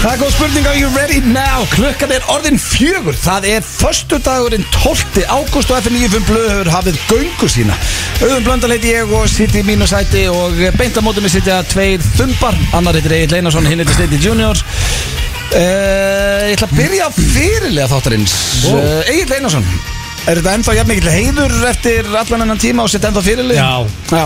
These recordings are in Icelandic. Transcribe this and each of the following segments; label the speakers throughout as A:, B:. A: Það er góð spurning, are you ready now? Klukkan er orðin fjögur, það er förstu dagurinn 12. ágúst og FN95 Blöð hefur hafið göngu sína. Auðun Blöndal heiti ég og sitt í mínu sæti og beint á mótum við sitja tveir þumbar, annar heitir Egil Einarsson, hinn heitir Steiti Junior. Uh, ég ætla að byrja á fyrirlega þáttarins. Wow. Egil Einarsson, er þetta ennþá jafn mikill heiður eftir allan ennan tíma og sitt ennþá fyrirlega?
B: Já.
A: Já,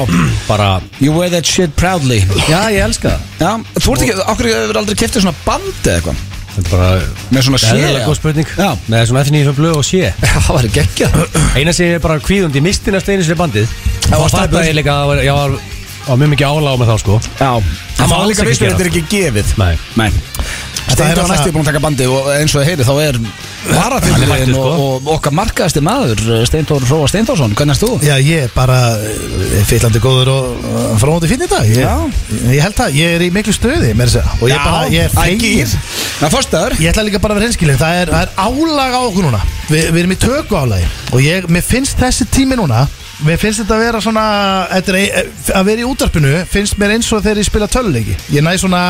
B: Bara
A: you wear that shit proudly.
B: Já, ég elska það
A: Já, þú ert ekki, okkur hefur aldrei kiftið svona bandi eða eitthvað?
B: Þetta er bara
A: Með svona sé, já.
B: Eðlilega góð spurning
A: Já.
B: Með svona F9 fyrir blöð og sé
A: Já, það væri geggja
B: Eina sem ég er bara kvíðundi Ég misti næstu einu sér bandið
A: Já,
B: Það
A: varstu
B: fatt að
A: heppin?
B: ég líka að var- Ég var á mjög mikið áláð með þá sko
A: Já, það má
B: alls
A: líka
B: ekki
A: veistu
B: gera
A: þetta er ekki gefið
B: Nei
A: Nei
B: Þetta er
A: Steindi var
B: alltaf-
A: næstu búin að taka bandið og eins og þið heyri þá er
B: Hann er
A: varaþjóðin
B: mættur, sko.
A: og, og okkar markaðasti maður Steindór Róa Steindórsson, hvernig erst þú?
C: Já, ég er bara eh, fyllandi góður og uh, framóti fín í dag ég,
A: Já.
C: ég held það, ég er í miklu stöði meira að segja. og ég, bara, ég er fegin
A: Það er fórstæður
C: Ég ætla líka bara að vera hinskileg, það er, það er álag á okkur núna Vi, Við erum í töku álagi Og ég, mér finnst þessi tími núna Mér finnst þetta að vera svona þetta er ein- Að vera í útarpinu finnst mér eins og þegar ég spila töluleiki Ég næ svona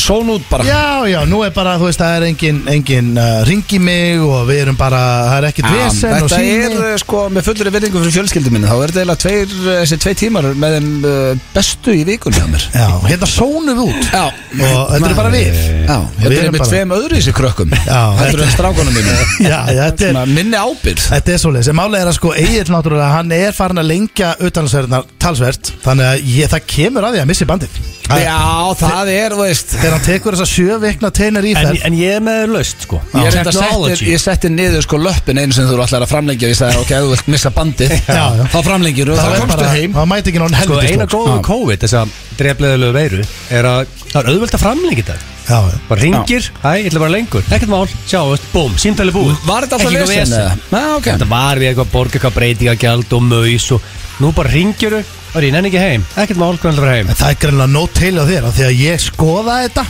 A: Són út bara
C: Já, já, nú er bara, þú veist, það er engin, engin uh, ringi mig og við erum bara, það er ekkit
A: Já,
C: vesen og
A: þetta
C: sími
A: er uh, sko með fullri virðingu fyrir fjölskyldum minni þá er þetta eiginlega tveir, uh, þessi tvei tímar með þeim uh, bestu í vikunni að mér
C: Já, hérna sónum við út
A: Já,
C: Og þetta er bara við
A: Já, þetta
C: Við
A: er
C: erum
A: með
C: bara-
A: tveim öðru í krökkum
C: Já,
A: Þetta er
C: þetta-
A: strákunum minni
C: Já, þetta er,
A: Svona Minni ábyrð
C: þetta er svoleiðis En málega er að sko Egil náttúrulega, hann er farin að lengja utanlandsverðnar talsvert Þannig að ég, það kemur að því að missi bandið Það-
A: Já, það er, þú veist
C: Þegar hann tekur þessa sjö vikna teinar í
B: En,
C: þær
B: en ég er með laust sko
A: Ég, er reyndar setti,
B: Technology
A: ég setti niður sko löppin einu sem þú eru allar að framlengja Ég sagði, ok, ef þú vilt missa bandið
C: Já, já.
A: Þá framlengjur og þá
C: er
A: komstu
C: bara-
A: heim
C: Það mæti ekki náttúrulega
B: Sko
C: helviti
B: eina góðu
A: Já.
B: COVID Þess að drefleðilegu veiru Er að það er auðvelt að framlengi þetta
C: Já, já.
B: Bara ringir Æ, ég ætla bara lengur Ekkert mál Sjáumst Búm, símtali búið
A: Var þetta alltaf
B: Ekki eitthvað
A: lesen?
B: vesen.
A: eða? Já, ok
B: Þetta var við eitthvað að borga eitthvað breytingagjald og maus og nú bara ringjuru og er ég nenni ekki heim, ekkert mál hvernig það var heim
C: En það er greinlega no tail á þér af Því að ég skoðaði þetta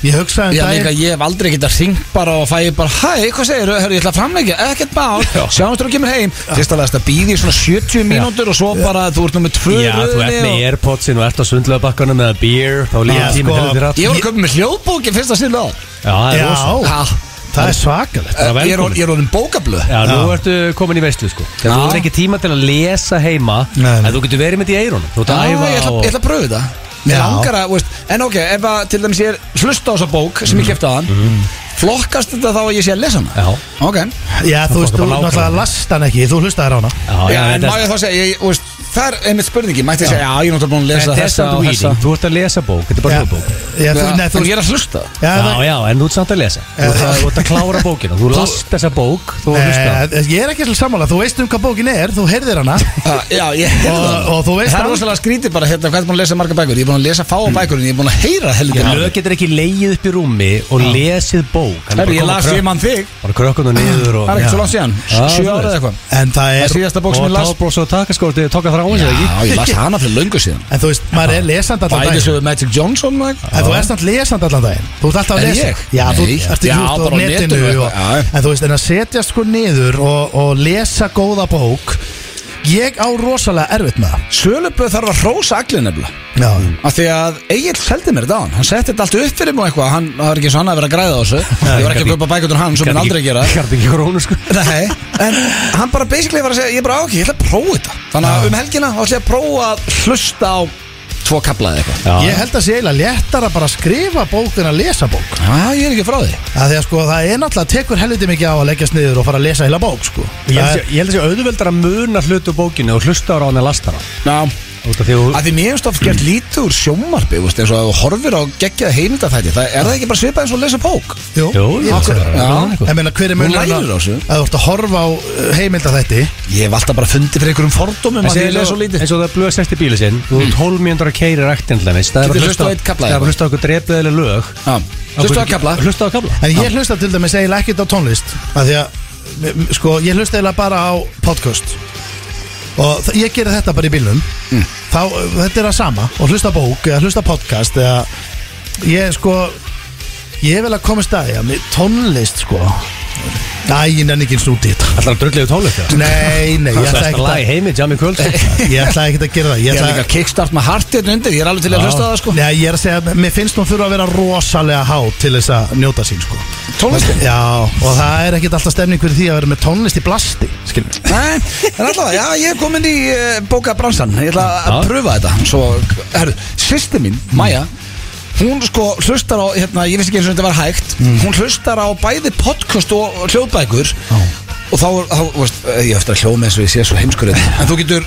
C: Ég hugsaði
A: Já,
C: um
A: líka,
C: daginn
A: ég hef aldrei getað ringt bara og fæði bara Hæ, hvað segirðu? Hörru, ég ætla að framlengja Ekkert bál, sjáumst þú kemur heim Fyrst að það býði í svona 70 mínútur og svo bara þú ert nummið tvö
B: Já, þú ert með Airpodsin og ert á sundlega bakkanum eða beer, þá líka
C: Já,
B: tíminn
C: sko.
B: heldur þér allt Já,
A: Ég voru að köpa með hljóðbóki fyrst að sinna á
B: það er
C: Já.
B: rosa
A: Já,
C: Það er svakalegt
B: Bara
A: ég er
B: velkomin.
A: orð- ég er orðin bókablöð
B: Já, nú ertu komin í veistlu sko
A: Já.
B: Þú er ekki tíma til að lesa heima
C: Nei, nei.
B: en þú getur verið með þetta í eirunum Þú ert
A: Já,
B: að
A: ég ætla,
B: æfa
A: ég
B: og
A: ætla að pröfu þetta Mér
C: Já.
A: langar að, veist, en ok, ef að til dæmis ég er hlusta á þessa bók sem ég kefti á hann Flokkast þetta þá að ég sé að lesa hana?
B: Já,
A: Ok,
C: Já,
B: fólk er
C: þú veist, þú
B: bara
C: náttúrulega
B: nákvæmlega.
C: last hann ekki Þú hlustaði rána
B: já,
A: já,
B: já,
A: en
B: þetta
A: má ég þá segja, ég, veist, það er einmitt spurningi Mætti segja, já, ég er náttúrulega búin að lesa
B: þetta er
A: þessa
B: samt
A: og þessa
B: reading, þú ert að lesa bók, þetta er bara hljóðbók
C: Já, þú, nei,
A: Já,
C: þú
A: En ég er að hlusta
C: Já,
B: Já,
C: það-
B: já, en þú ert samt að lesa Þú ert að- þú ert að klára bókina, þú last þessa bók, þú hlusta
C: Nei, Eh, ég er ekki alltaf sammála, þú veist um hvað bókin er, þú heyrðir hana
A: Já, Já, ég heyrði
C: Og-
A: það.
C: og þú veist
A: Það er
C: hann-
A: rosalega skrítið bara hérna, hvað er búin að lesa marga bækur Ég er búin að lesa fáa bækur en ég er búin að heyra heldur
B: Lög getur ekki leið upp í rúmi og lesið bók Hann
A: Herri,
B: er
A: ég
B: bara að
A: las
B: koma
A: ég mann þig
B: krökk- Bara krökkunum niður og
A: Það er ekki svo langt síðan,
B: Já,
A: sjö
B: þú
A: ára
B: veist.
A: eða eitthvað
C: En það
A: Það er
C: er,
A: síðasta bók sem
B: Og
A: ég las
B: tálbrós og takaskóti tóka þrá hans eða ekki
A: Já, ég las hana fyrir löngu síðan
C: en þú veist, maður er lesand allan daginn
A: Bæðisögu Magic Johnson og eitthvað.
C: En þú ert alltaf lesand allan daginn Þú ert alltaf að
A: Er
C: lesa
A: ég?
C: Já, þú
A: Nei. Já,
C: ert ekki út á
A: bara á
C: netinu
A: netinu
C: og,
A: eitthvað, já.
C: En þú veist, en að setja sko niður og, og lesa góða bók Ég á rosalega erfitt með það
A: Söluböð þarf að hrósa allir nefnilega
C: Já,
A: Af því að Egil seldi mér þetta á hann Hann setti þetta allt upp fyrir mig og eitthvað Hann það var ekki svo hann að vera að græða á þessu Ég var ekki að köpa bækutur hann sem hann aldrei gera
B: Gart ekki krónu sko
A: Nei, en hann bara basically var að segja Ég bara ákveð, ég ætla að prófa þetta Þannig að um helgina þá ætla ég að prófa að hlusta á Tvo kaplaði eitthvað
C: ég held að sé eiginlega léttar að bara skrifa bók en að lesa bók
A: Já, ég er ekki frá því
C: að Því að sko, það er náttúrulega tekur helviti mikið á að leggjast niður og fara að lesa heila bók sko
B: Ég held
C: Það
B: að
C: er-
B: sé- ég held að sé auðveldar að muna hlutu bókinu og hlusta á hann að lasta hana
A: Já,
B: Út af því að
A: að því mér hefst oft gert lítið úr sjómarbi veist, eins og að þú horfir á geggjað heimildafætti það er það ekki bara svipað eins og að lesa bók
C: Jú,
B: Jú, ég
C: af
B: held
C: hverju?
B: að-
A: Já.
B: Já.
C: Ég meina hver er munurinn
A: Þú lærir á þessu.
C: að þú ert að horfa á eh, heimilda þætti
A: ég hef alltaf bara fundið fyrir einhverjum fordómum að því ég lesa svo lítið Mm.
B: eins og það blöð sest í bíli sinn Þú er 12 mínútur að keira ræktin Það er
A: Getur
B: bara að
A: hlustað á einn
B: hlusta-
A: kafla
B: það er
A: eitthvað.
B: bara að
A: Já. hlustu að kapla
B: hlusta á okkur drefleðileg lög Hlusta á kafla
C: En ég hlusta til dæmis eiginlega ekkert á tónlist af Því að, m- m- sko, ég hlusta eiginlega bara á podcast Og þ- ég geri þetta bara í bílnum
A: Mm.
C: Þá, þetta er það sama Og hlusta á bók, eða hlusta á podcast Eða, ég, sko Ég vil að komast að, já, mér- tónlist, sko Æ, ég nenni ekki eins og út í þetta
B: Alltaf drullegu tónlist það
C: Nei, nei, ég
B: Það er
C: ætla
B: stærsta
C: ekki
B: lag í
C: að
B: heimi, Jamie Kvöld
C: Ég ætla ekki að gera það
A: Ég
C: Ég
A: er
C: ætla
A: líka kickstart með hartið undir Ég er alveg til að hlusta á það sko
C: Nei, ég er að segja, mér finnst hún þurfa að vera rosalega há til þess að njóta sín sko
A: Tónlistin?
C: Já, og það er ekkit alltaf stemning fyrir því að vera með tónlist í blasti Skilur
A: Nei, en allavega, já, ég er komin í uh, bóka bransan Ég ætla að
B: Já.
A: pröfa þetta Svo, herru, sýsti mín, Maja Hún sko hlustar á, hérna, ég vissi ekki eins og þetta var hægt
B: Mm.
A: Hún hlustar á bæði podcast og hljóðbækur Og þá, þá, þú veist, eh, ég á eftir að hljóð með þessu Ég sé svo heimskur hérna. En þú getur,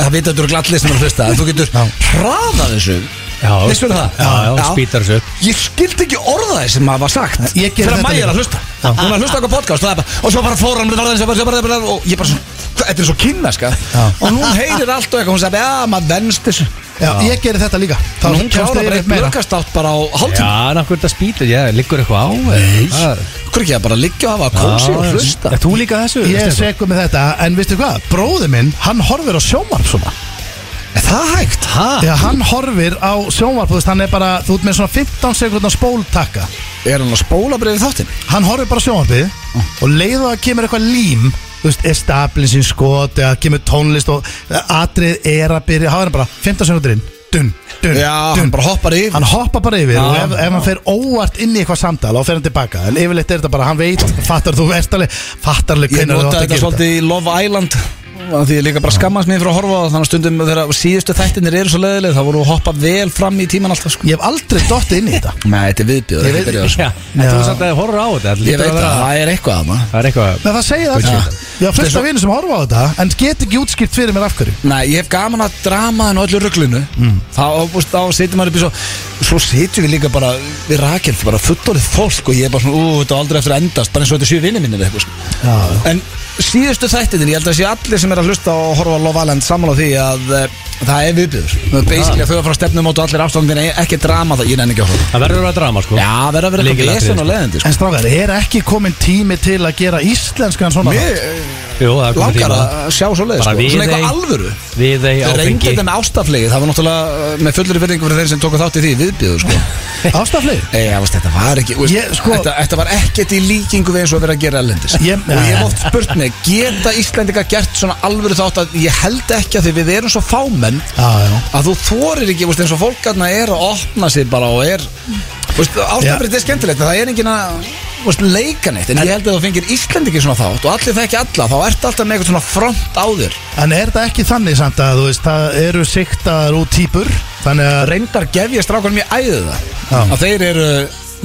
A: það vita þetta eru glallir sem er að hlusta En þú getur
C: Já.
A: hraðað þessu
B: Já.
A: Vissirðu það?
B: Já, já, spýtar þessu upp.
A: Ég skildi ekki orða þess sem maður var sagt
C: Ég gerði
A: Þegar
C: þetta
A: Maja er
C: líka.
A: að hlusta Hún er að hlusta okkur podcast og, það er bara, og svo bara fór hann bara- bara- bara- bara- Og ég bara svona "Hva- Þetta er svo kynnaska Og hún heyrir allt og eitthvað Hún sagði, já, maður venst þessu
C: Já, ég geri þetta líka Þá
A: Þannig hún
C: kemst
A: klára
C: ég
A: bara
C: yfir
A: eitt mörgast átt bara á hálftíma
B: Já, en af hverju þetta spýtur, já, liggur eitthvað á Nei
A: Hvor ekki að bara liggja og hafa kósi og hlusta
B: Er þú líka þessu?
C: Ég er
B: Stefán?
C: segur með þetta, en veistu hvað, bróði minn, hann horfir á sjónvarp svona
A: Er það hægt?
B: Ha?
C: Þegar hann horfir á sjónvarp, þú veist, hann er bara, þú ert með svona 15 sekundar spóltakka
A: Er hann að spóla breyði þáttinn?
C: Hann horfir bara á sjónvarpið og leiðu að kemur eitthvað lím Þú veist, establin sín skot, eða kemur tónlist og atrið er að byrja Há er hann bara 15 sekundur inn, dun, dun,
A: Já,
C: dun
A: hann bara hoppar í
C: Hann hoppar bara yfir
A: Já,
C: og ef,
A: já.
C: ef hann fer óvart inn í eitthvað samtal og fer hann tilbaka En yfirleitt er þetta bara, hann veit, fattar þú, ert alveg, fattar alveg
A: Ég
C: hvenær þú átt
A: nota
C: að
A: þetta
C: gera
A: svolítið í Love Island af Því ég líka bara skammast mér fyrir að horfa á það Þannig að stundum þegar síðustu þættinir eru svo leiðileg Þá voru að hoppa vel fram í tíman alltaf sko.
C: Ég hef aldrei dottið inn í þetta
A: Nei, þetta er viðbjöður
C: Ég
A: þetta
C: veit-
A: er byrjað, sko.
B: Já, en
C: Já.
B: þú satt að horfa á þetta þetta
A: Ég
B: lítur
A: veit
B: að
A: að
B: vera-
A: það er eitthvað að maður
B: Það er eitthvað
C: Nei það segir það
B: Gullskipta.
C: sko. Ég á fullt af vinnu sem horfa á þetta En get ekki útskipt fyrir mér af hverju
A: Nei, ég hef gaman að drama þennu öllu rugglinu
B: Mm.
A: Þá, búst, þá setjum maður upp í svo Svo setjum við líka bara Við rakjum bara fullorðið fólk Og ég er bara svona, ú, þetta á aldrei eftir að endast Bara eins og þetta séu vinni minnir eitthvað sko.
C: Já, já.
A: En síðustu þættinir, ég held að sé allir sem er að hlusta Og horfa á Love Island saman á því að e, Það er viðbjöður Basically að þau að fara að stefnum át og allir afstangin Ekki drama það, ég nenni ekki að horfa
B: Það verður að vera drama sko
A: Já, verða að vera eitthvað
B: Lykilatriði,
A: vesen
B: sko.
A: og leðandi sko.
C: En strákar, er ekki komin tími til að gera íslenskan svona
A: Mér
B: Jú, það er komið
A: eh, langar
B: tíma
A: að sjá svo leiðis
B: Bara
A: sko.
B: við
A: Svona eitthvað
B: þeim-
A: alvöru
B: Við þeir
A: Þeir reyndi
B: áfengi
A: þetta með ástaflegið, það var náttúrulega uh, með fullri verðingu fyrir þeir sem tóku þátt í því viðbjöðu sko.
C: Ástaflið
A: Nei, ég veist, þetta var ekki veist,
C: Ég, sko-
A: þetta, þetta var ekkert í líkingu við eins og að vera að gera ellendis
C: Ég-
A: Og ég hef oft spurt mig, geta Íslendinga gert svona alvöru þátt að ég held ekki að því við erum svo fámenn
C: Já, já
A: að þú þorir ekki, veist, eins og fólk aðna er að opna sig bara og er Ástaflegið er skemmtilegt, en það er engin að veist, leika neitt En ég held að þú fengir Íslendingi svona þátt og allir þekki alla, þá ertu alltaf með eitthvað svona front á þér
C: En er það ekki þannig samt að þú veist Það eru siktaðar og týpur Þannig að
A: reyndar gef ég strákunum í æðu
C: Já.
A: það að þeir eru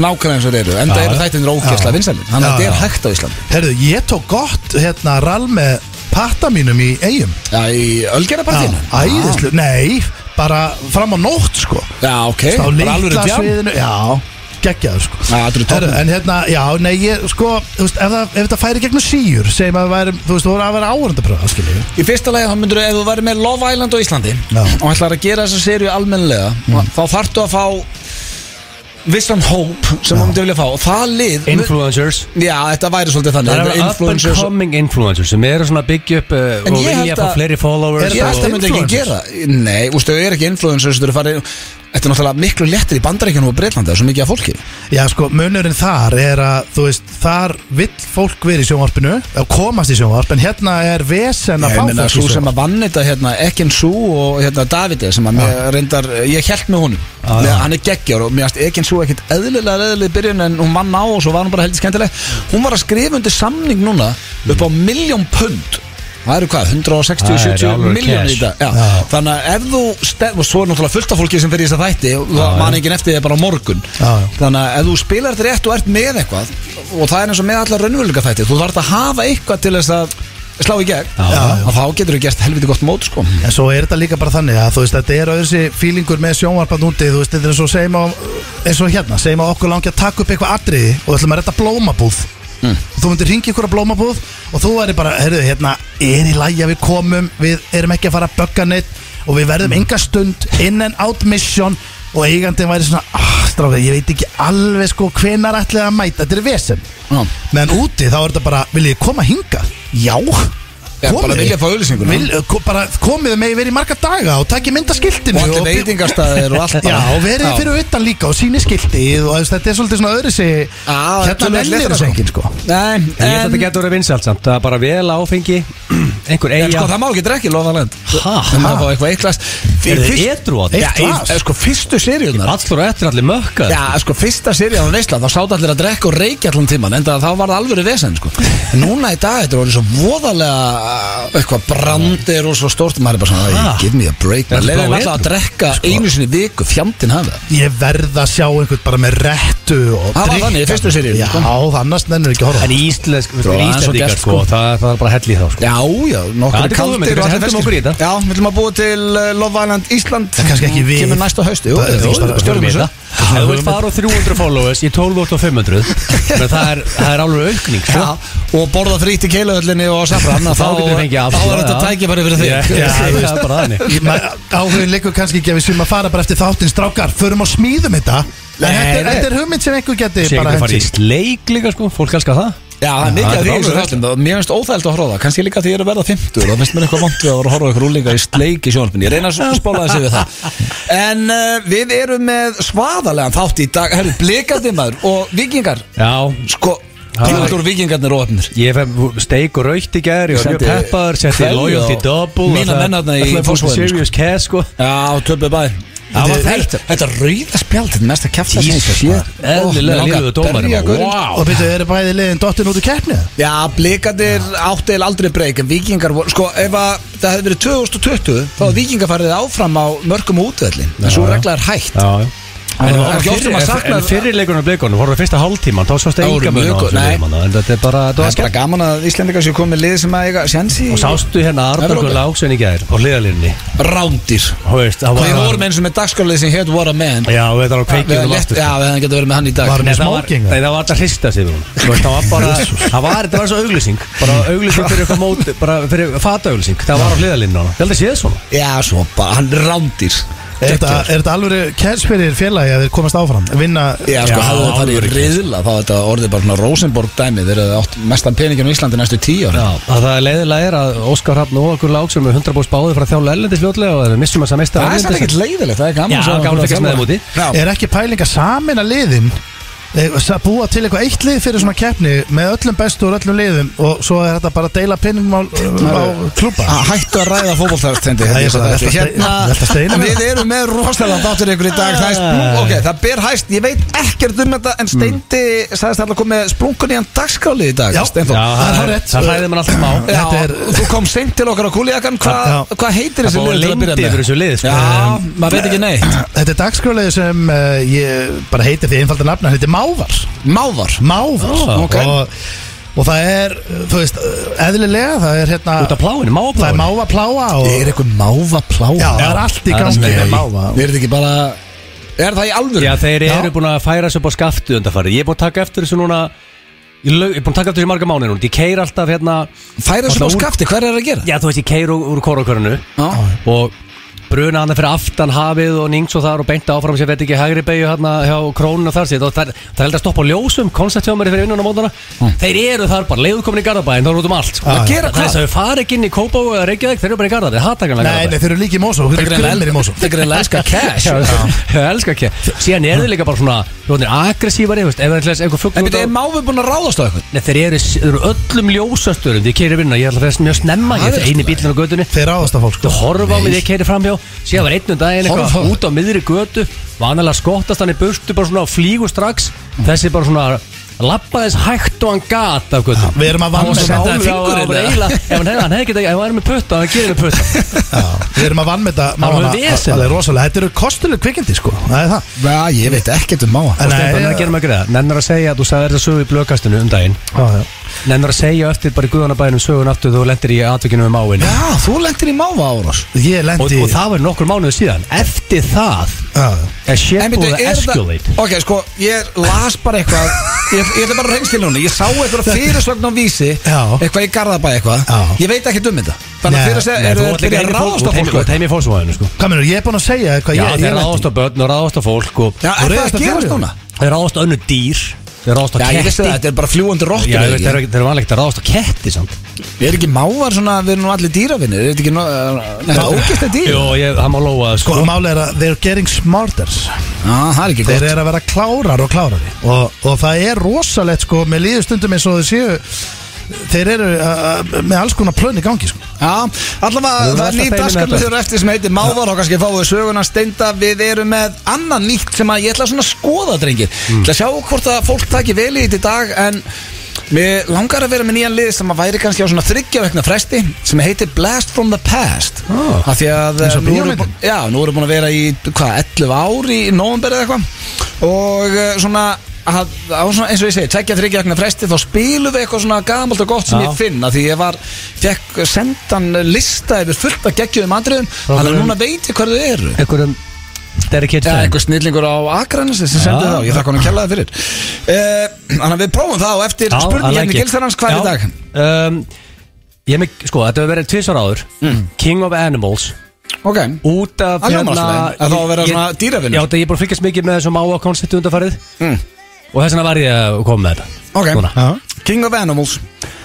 A: nákvæmlega eins og þeir eru en það
B: Já,
A: eru
B: já.
A: þættinir ókjærslega vinsælir þannig að
C: Já,
A: þetta er
C: já.
A: hægt á Íslandi
C: Herðu, ég tók gott hérna rall með patta mínum í eigum
A: Já, í Ölgerapartinu
C: Æðislu, nei Bara fram á nótt sko
A: Já, ok
C: Á
A: Bara alvöru
C: litla
A: djam.
C: sviðinu Já, geggjaður sko
A: Já, þetta eru
C: Herru,
A: toppnum
C: en hérna, já, nei, ég, sko, þú veist, ef, það, ef þetta færi gegnum síur, segjum að við værum, þú veist, þú voru að vera áhörndapröða, skiljum við.
A: Í fyrsta lagi þá myndur ef þú væri með Love Island á Íslandi
C: Já. Mm.
A: og ætlar að gera þessa serju almennlega þá þarftu að fá vissan hóp sem þú myndir vilja fá og það lið
B: Influencers
A: Já, þetta væri svolítið þannig
B: Það
A: Þetta
B: eru up and
A: influencers-
B: coming influencers sem eru svona að byggja upp uh,
A: En
B: og
A: ég held
B: vilja að fá
A: að-
B: fleiri
A: Er
B: followers
A: ég held að
B: og-
A: það myndi ekki gera Nei, ústu, þau eru ekki influencers Þau eru farið Þetta er náttúrulega miklu léttir í bandaríkjunum og Breitlandi Það er svo mikið af fólki
C: Já, sko, munurinn þar er að, þú veist, þar vill fólk verið í sjónvarpinu, að komast í sjónvarp, en hérna er vesen að fá fólk í
A: Svo sem
C: sjónvarp.
A: að vann þetta hérna, Ekin Sú og hérna, Davide sem að mér reyndar Ég held með honum
B: Já,
A: Með-
B: já.
A: Hann er geggjar og mér finnst Ekin Sú ekkit eðlilega eðlilega í byrjun en hún vann á og svo var hún bara heldur skemmtileg Hún var að skrifa undir samning núna upp á miljón pund Það eru hvað,
B: Það eru
A: 160-70
B: alvöru
A: miljón í
B: cash.
A: þetta Já.
C: Já.
A: Þannig að ef þú stefn, og svo er náttúrulega fullt af fólki sem fyrir í þess að þætti og það man enginn eftir því bara á morgun
C: Já, já.
A: Þannig að ef þú spilar þetta rétt og ert með eitthvað og það er eins og með alla raunvöldinga þætti þú þarf að hafa eitthvað til þess að slá í gegn
B: Já,
A: og þá getur þú gert helviti gott mót sko
C: En svo er þetta líka bara þannig að, þú veist, þetta er öðru sér fílingur með sjónvarpan úti, þú veist, þetta er eins og segjum að, eins og hérna, segjum að okkur langi að taka upp eitthvað atriði og við ætlum að redda blómabúð.
A: Mm.
C: Og Þú myndir ringi ykkur á blómabúð og þú væri bara, heyrðu, hérna, er í lagi að við komum, við erum ekki að fara að bögga neitt og við
A: Mm.
C: verðum enga stund in and out mission og eigandinn væri svona, ah, stráka, ég veit ekki alveg sko hvenar ætlið að mæta, þetta er vesen.
A: Já.
C: Meðan úti þá er þetta bara, viljið þið koma hingað? Já
A: Já, bara vilja fá auglýsinguna.
C: Vil- eh, ko- bara komið með verið í marga daga og takið myndaskiltinu
A: Og allir veitingastæðir og allt
C: Já,
A: bara.
C: og verið
A: Já.
C: fyrir utan líka og síni skiltið og þú veist, þetta er svolítið svona öðru sig Hérna vellir þessu enginn sko
A: Nei,
B: Ég held að
A: en
B: þetta getur verið vinsalt samt Það er bara vel áfengi Einhver
A: En
B: eiga
A: sko það má ekki drekki lofaland
B: Ha,
A: Það má fá eitthvað eitt glas
B: Er þið edrú á
A: Já,
B: þetta?
C: Eitt
A: í-
C: glas?
A: eh, sko fyrstu seríunar
B: Allur og eftir allir mökkað
A: Já, sko fyrsta seríunar á Neysla Þá sátt allir að drekka og reykja allan tíman En það var það alvöru vesen sko En Núna í dag, þetta er orðið svo voðalega eh, Eitthvað brandir og svo stórt Maður er bara svona,
B: Ha.
A: give me a break
B: Er
A: Maður
B: þetta
A: leiðir
B: bara
A: alltaf að
B: edrú?
A: drekka einu sinni í viku Fjandinn hafi það
C: Ég verð að sjá einhvern bara með réttu og
A: Það var
C: drykkan.
A: þannig í fyrstu seríunni,
C: Já,
A: sko.
C: það annars nennir ekki að horfa á
B: En íslensk, við
A: Þró,
B: erum
A: aðeins og
B: íslendingar
A: gert,
B: sko,
A: sko.
B: það, það er bara hell í þá sko.
A: Já, já,
B: Það
A: nokkur
B: er góð hugmynd,
A: kaldir og allir
B: kannski hendum okkur í
A: ferskir.
B: þetta.
A: Já, við viljum að búa til eh, Love Island Ísland Mm,
C: Það er kannski ekki við.
A: Kemur næsta haust, jú,
C: Það er
A: jú,
C: ekki bara-
A: stjórnum þessu.
B: Ef þú vilt fara á 300 followers í 12.500 menn það er, það er alveg aukning sko.
A: Já, og borða frýtt í keiluhöllinni og safran þá,
B: Þá getur við fengið
A: þá er
B: afslátt,
A: þetta
B: já.
A: tækifæri fyrir þig
B: Já, já, það er bara þannig
C: Ég- ma- Áhugin liggur kannski ekki að við sem að fara bara eftir þáttinn strákar, förum og smíðum þetta En
A: Nei,
C: þetta er-
A: nei.
C: þetta er hugmynd sem einhver geti
B: Sér
C: bara
B: getur
C: hent
B: farið í
C: í.
B: sleik líka sko, fólk elskar það
A: Já, það er mikið
B: Já,
A: af
B: þetta
A: því í
B: er
A: þessu
B: alveg
A: þáttum og Mér finnst óþægilt að horfa á það Kannski líka því ég er að verða 50 Það finnst mér eitthvað vond við að vera að horfa á ykkur úlinga í sleik í sjónalpinni Ég reyna að spóla þessi við það En uh, við erum með svaðalegan þátt í dag Herru, blikandi maður og vikingar
B: Já,
A: Sko,
B: Það var-
A: pjöldur vikingarnir og öfnir
B: ég fef steik og raukt í gæri og
A: Sendi-
B: mjög peppar, setti
A: Kveðju
B: loyalty
A: og-
B: double
A: Mína
B: og það-
A: menn þarna í
B: það er fór
A: Fossvoginum,
B: Serious cash sko
A: Já, töpuð bæði
B: Það var
A: þetta, þetta rauða spjald, þetta er mesta kjafta sem ég hef
B: Jesus,
A: séð.
B: maður. Eðlilega
A: Ó, mig langar
B: lífið
A: að
B: dómarinn,
A: berja
B: maður.
A: gaurinn.
B: Vá.
C: Og byrju, eru bæði liðin dottin út úr keppnið?
A: Já, blikandir áttu eða aldrei breyk en vikingar voru, sko, ef að það hefði verið 2020, þá hefði vikingar farið áfram á mörgum útvöllin, en svo
B: Mm. Já, já.
A: regla er hætt
B: Já, já
A: En
B: En,
A: það var ekki oft sem maður
B: en,
A: saknar-
B: en fyrirleikunum blikunum voru fyrsta hálftíman þá svo
A: Það voru
B: steika mun á
A: mjög góð-
B: þessum
A: nei.
B: liðum, þarna, en þetta er bara þetta
A: Það er
B: var
A: bara gaman að Íslendingar séu komið lið sem að eiga sjansi
B: Og sástu hérna Arnar
A: Evrópu.
B: Gull Áksson í gær á hliðalínni
A: Rándir
B: Hú veist, það
A: Við
B: var
A: vorum eins og með dagskálið sem hétt What a Man
B: Já, við þetta var
A: Við hefðum
B: kveikjum um
A: lett-
B: aftur
A: Já, við hefðum getað verið með hann í dag
C: Var hann
B: Nei,
C: með
B: það var,
C: smágengar?
B: nei, það var alltaf hrista sig við hún Þú veist, Það var bara, það var, þetta var svo auglýsing Bara auglýsing fyrir eitthvað mót Bara fyrir fatauglýsing, það var á hliðalínna Ég held að sé það svona
A: Já, svo bara, hann er rándir
C: Er þetta, er þetta alveg kærs fyrir félagi að þeir komast áfram? Vinna
A: Já, sko,
B: Já,
A: hafðu það farið í
B: alvöru
A: riðla þá þetta orðið bara svona Rosenborg dæmi þeir eru átt mestan peningin á Íslandi næstu tíu ára
B: Já, að það er leiðilega er að Óskar Hrafn og Gull Áksson með 100 bóðs báði frá þjálfu ellendis fljótlega og við missum þess að um meista
A: Það er sann ekkert leiðilegt, það er gaman
B: Já,
A: að sjá
B: gaman að
A: einhverja
B: fylgjast með þeim úti.
A: þjálfara. Já.
C: Er ekki pælinga samin að liðin eh, sa- Búa til eitthvað eitt lið fyrir svona keppni Með öllum bestu og öllum liðum Og svo er þetta bara að deila pinningum á, eh, á klúpa
A: Að hættu að ræða fótboltarstendi
C: Það er svo- velta stein- velta
A: Hérna,
C: steinum.
A: við erum með rosalega þáttur ykkur í dag Það er sprung, ok, það ber hæst Ég veit ekkert um þetta en Steindi sagðist alltaf komið sprunkun í hann dagskáli í dag
C: Já.
A: Steindór.
B: Já,
C: Það er
B: það er-
C: hárrétt.
B: það hræðir mann alltaf á
A: sko. Já,
C: Þetta er-
A: þú kom seint til okkar á kúliakan Hvað
C: Já.
A: hva heitir þessi
B: Það búið
A: lið til að
B: leyndi
A: byrja með?
B: yfir þessu lið, sko.
A: Já, maður veit ekki neitt
C: Þetta er dagskrálega sem uh, ég bara heitir því einfalda nafna Þetta er Mávar
A: Mávar
C: Mávar
B: Ah,
A: Oh, ok.
C: og, og það er, þú veist, eh, eðlilega Það er hérna
B: Út af pláinu,
C: Það er
B: mápláinu
C: máva pláa og,
A: Er eitthvað máva
C: Já,
A: pláa?
C: það er allt í
B: það er
C: gangi
B: sem er
C: með
B: í.
C: máva
A: Er þetta ekki bara Er það í alvöru?
B: Já, þeir
C: Já.
B: eru búin að færa sig upp á skaftu undanfarið Ég er búin að taka eftir þessu núna Ég lau- ég er búin að taka eftir þessu í marga mánu núna Ég keir alltaf hérna
A: Færa þessu
B: Alltaf
A: á
B: úr-
A: skafti, hver er að gera?
B: Já, þú veist, ég keir úr, úr kórakörnu
A: Já.
B: Og bruna hana fyrir aftan hafið og nýngs og þar og beinta áfram sem veit ekki hægri beigju hérna hjá krónun og þar sér það, það er held að stoppa á ljósum, koncept hjá mér fyrir vinnuna á mótana Þeir eru þar bara, leiðu komin í Garðabæin, þá eru út um allt sko.
C: Mm. Ah,
B: Það
C: Já, já.
B: gera hvað? Þess að við fara ekki inn í Kópá og Reykjavík, þeir eru bara í Garðabæin, það takanlega
C: Nei, nei, þeir eru líki í Mosó Þeir eru grunnir í Mosó
A: Það er greinlega elska cash
B: Já, ég elska ekki Síðan er þið líka bara svona þú veist, Aggressívari, þú veist, ef það er eitthvað fugl
A: En
B: út
A: býttu,
B: á-
A: er máfi búin að ráðast á eitthvað?
B: Nei, þeir eru, þeir eru öllum ljósasturum Þeir keirir vinna, ég ætla að fyrir mjög snemma
A: Það
B: Ég
A: er sko-
B: er eini bílinn á götunni
C: Þeir ráðast að fólk
B: Þú
C: sko
B: horfa á mig, ég keirir framhjá Síðan var einnum daginn
A: Horfa á
B: eitthvað
A: þig.
B: út á miðri götu Vanalega skottast hann í burtu Bara svona á flígu strax Þessi bara svona Lappaðis hægt og hann gat af götu
C: Við erum að
B: Hann var
C: vannmeta
B: svona
A: senda þeim
B: álur
A: fingurinn,
B: á- á- á-
A: eða?
B: eiginlega- Ef hann hefði, hann hefði getað Ef hann er með putta, hann gerir með putta
C: Já, Við erum að vannmeta mávana
B: var vesen.
C: Það er rosalega Þetta eru kostuleg kvikindi sko Það er það
A: Já, ég veit ekkert um máfa
C: En- eh,
B: Og Stefán,
C: Nei,
B: það
C: já.
B: gerir maður greið Nennar að segja að þú sagði þetta sögu í blökastinu um daginn
C: Já, já
B: Nennar að segja eftir bara í guðanabæðinum sögun aftur þú lendir í atvikinu um áin
A: Já, þú lendir í máfa árás
C: Ég
B: og,
C: lendi
B: og það var nokkur mánuðu síðan Eftir það
C: Já, já.
B: er shit búið að escalate
A: Ok, sko, ég las bara eitthvað Ég, ég ætla bara að reynst til núna Ég sá eitthvað fyrirsögn á vísi
C: Já.
A: Eitthvað í Garðabæ eitthvað
C: Já.
A: Ég veit ekkert um þetta Þannig
C: Nei,
A: að fyrir að segja,
B: Nei,
A: eru
B: þú
A: þeir
B: ætlir
A: byrja að
B: ekki
A: ráðast á fólk
B: fólk Þeim í fórsvæðinu sko
C: Hvað mennur, ég er búinn að segja hvað
B: Já,
C: ég,
B: þeir
C: ég
B: ráðast á börn og ráðast á fólk sko. og
A: Já,
C: Þú
A: er það að
C: reiðast á
A: gerast
C: fjórir.
A: núna?
B: þeir ráðast á önnu dýr Þeir ráðast á
A: Já, ég vissi það,
B: ketti
A: þetta er bara fljúandi
B: Já,
A: róttur
B: þeir- þeir þeir eru vanlegt að ráðast á ketti samt
A: Er ekki mávar svona, við erum nú allir dýrafinnir Er þetta ekki, no- er þetta ógæsta dýr?
B: Jó, ég, það má lóa það,
C: Sko,
B: sko
C: málið er að they're getting smarter
A: Já, það er ekki
C: Þeir
A: gott
C: eru að vera klárar og klárari Og, og það er rosalegt sko Með líður stundum eins og þeir séu Þeir eru uh, með alls konar plönn í gangi sko.
A: Já, allavega, það
B: Við vorum
A: er
B: alltaf
A: nýtt
B: feimin
A: dagskarnu
B: með
A: þegar eftir sem heitir Mávar og kannski fáið söguna steinda Við erum með annan nýtt sem að ég ætla svona að skoða, drengir Ég ætla að sjá hvort að fólk taki vel í þetta í dag En mér langar að vera með nýjan lið sem að væri kannski á svona þryggja vekna fresti sem heitir Blast from the Past
B: Ah.
A: Af því að eh,
C: Eins og
A: nú erum,
C: bíómyndin.
A: bú- já, nú erum búin að vera í hvað, 11 ár í nóvember eða eitthvað og eh, svona að, á svona, eins og ég segi, tekja þryggjarkna fresti þá spilum við eitthvað svona gamalt og gott sem
B: Já.
A: ég finna því ég var, fekk sendan lista yfir fullt að geggjum andriðum þannig að
B: hverjum?
A: núna veit ég hvað þau eru
B: Einhverjum Derek
A: Já,
B: Hitchcock
A: einhver snillingur á Akranesi sem sendi
B: Já.
A: þá, ég þakka honum kjallaði fyrir Eh, Þannig að við prófum það og eftir
B: Já, I
A: spurning
B: like
A: hérna
B: it.
A: gilsarans hvað er í
B: Já,
A: dag?
B: Um, ég er með, sko, þetta hefur verið tvisar áður
A: Mm.
B: King of Animals
A: Ok,
B: Út af hérna-
A: Það hljómar alltaf vel, að þá að vera
B: ég-
A: svona dýravinur.
B: Já, þetta ég er búin að fylgjast mikið með þessum áa konceptu undarfarið
A: Mm.
B: Og þess vegna var ég að koma með þetta
A: Ok.
B: Núna.
A: King of Animals